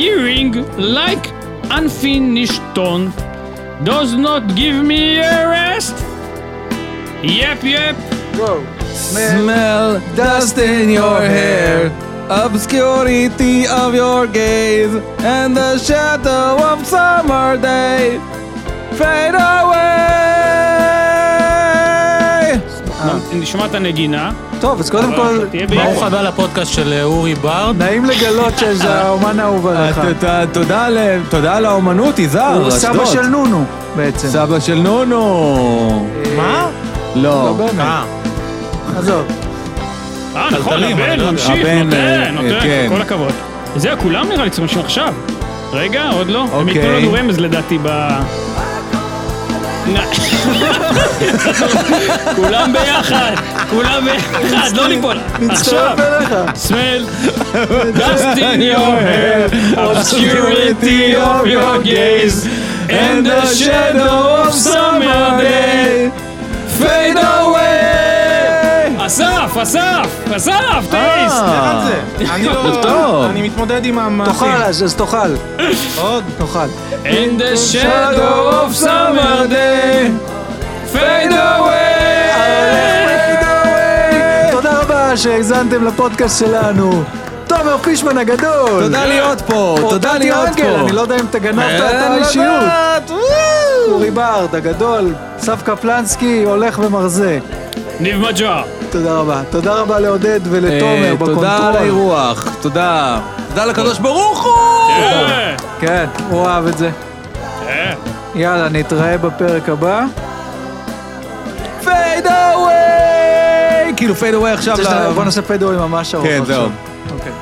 [SPEAKER 3] hearing like unfinished tone does not give me a rest. יפ יפ,
[SPEAKER 1] smell dust in your hair, obscurity of your gaze, and the shadow of summer day fade away.
[SPEAKER 3] נשמע את הנגינה. אה,
[SPEAKER 2] טוב, אז Ah. קודם כל,
[SPEAKER 3] תהיה
[SPEAKER 4] ברוך
[SPEAKER 3] באיקון.
[SPEAKER 4] הבא לפודקאסט של אה, אורי ברד.
[SPEAKER 2] נעים לגלות שזה האומן האהוב עליך.
[SPEAKER 1] תודה- אה, תודה ל- תודה לאומנות, יזהר,
[SPEAKER 2] אה, הוא סבא
[SPEAKER 1] אשדוד.
[SPEAKER 2] של נונו, בעצם.
[SPEAKER 1] סבא של נונו.
[SPEAKER 4] מה?
[SPEAKER 1] לא.
[SPEAKER 2] לא באמת,
[SPEAKER 4] אה,
[SPEAKER 2] עזוב.
[SPEAKER 3] אה, נכון,
[SPEAKER 4] טלטלים,
[SPEAKER 3] הבן
[SPEAKER 4] אני לא יודע.
[SPEAKER 3] ממשיך,
[SPEAKER 1] הבן,
[SPEAKER 3] נותן,
[SPEAKER 1] אה,
[SPEAKER 3] נותן,
[SPEAKER 1] כן.
[SPEAKER 3] כל הכבוד. זהו, כולם נראה לי צריכים לשמוע עכשיו. רגע, עוד לא. הם
[SPEAKER 1] אוקיי.
[SPEAKER 3] ייתנו לנו רמז לדעתי ב... נ- כולם ביחד, כולם ביחד, לא ליפול. עכשיו,
[SPEAKER 2] מצטרף אליך.
[SPEAKER 3] smell dust in your hair, obscurity of your gaze, and the shadow of summer day.
[SPEAKER 1] fade away.
[SPEAKER 3] אסף, אסף, אסף, טייסט.
[SPEAKER 1] אה,
[SPEAKER 4] אני
[SPEAKER 1] טוב.
[SPEAKER 4] לא... אני מתמודד עם המעשים.
[SPEAKER 2] תאכל, אז אז תאכל.
[SPEAKER 4] עוד?
[SPEAKER 2] תאכל.
[SPEAKER 3] In the shadow of summer day, fade away.
[SPEAKER 2] תודה רבה שהאזנתם לפודקאסט שלנו. תומר אה, פישמן הגדול. אה,
[SPEAKER 1] תודה להיות פה, תודה
[SPEAKER 2] אותנטי
[SPEAKER 1] להיות
[SPEAKER 2] אנגל,
[SPEAKER 1] פה.
[SPEAKER 2] אני לא יודע אם אתה גנבת
[SPEAKER 1] אין
[SPEAKER 2] את האישיות.
[SPEAKER 1] לדעת, וואו.
[SPEAKER 2] לא, אורי בארד הגדול, סף קפלנסקי הולך ומרזה.
[SPEAKER 3] ניב מג'ואר.
[SPEAKER 2] תודה רבה. תודה רבה לעודד ולתומר
[SPEAKER 1] אה, תודה על
[SPEAKER 2] בקונטרול.
[SPEAKER 1] האירוח, תודה. תודה לקדוש ברוך הוא!
[SPEAKER 3] אה,
[SPEAKER 2] כן, הוא אהב את זה.
[SPEAKER 1] כן.
[SPEAKER 3] אה.
[SPEAKER 2] יאללה, נתראה בפרק הבא.
[SPEAKER 1] fade away! כאילו fade away עכשיו.
[SPEAKER 2] רוצה שאתה-
[SPEAKER 1] ל-
[SPEAKER 2] בוא נעשה פדואים ממש ארוך
[SPEAKER 1] כן,
[SPEAKER 2] עכשיו.
[SPEAKER 1] זהו.
[SPEAKER 2] אוקיי.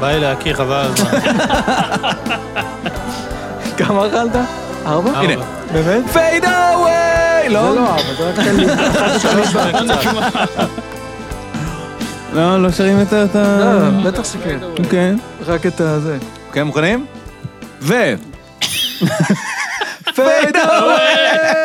[SPEAKER 4] בא אלי הקיר, חבל על הזמן.
[SPEAKER 2] כמה אכלת? ארבע?
[SPEAKER 1] הנה.
[SPEAKER 2] באמת?
[SPEAKER 1] fade away!
[SPEAKER 2] זה
[SPEAKER 1] לא?
[SPEAKER 2] לא ארבע, זה רק תן לי.
[SPEAKER 1] לא, לא שרים את ה... את ה-
[SPEAKER 2] לא, בטח שכן.
[SPEAKER 1] אוקיי.
[SPEAKER 2] רק את הזה.
[SPEAKER 1] אוקיי, מוכנים? ו...
[SPEAKER 2] פדואים!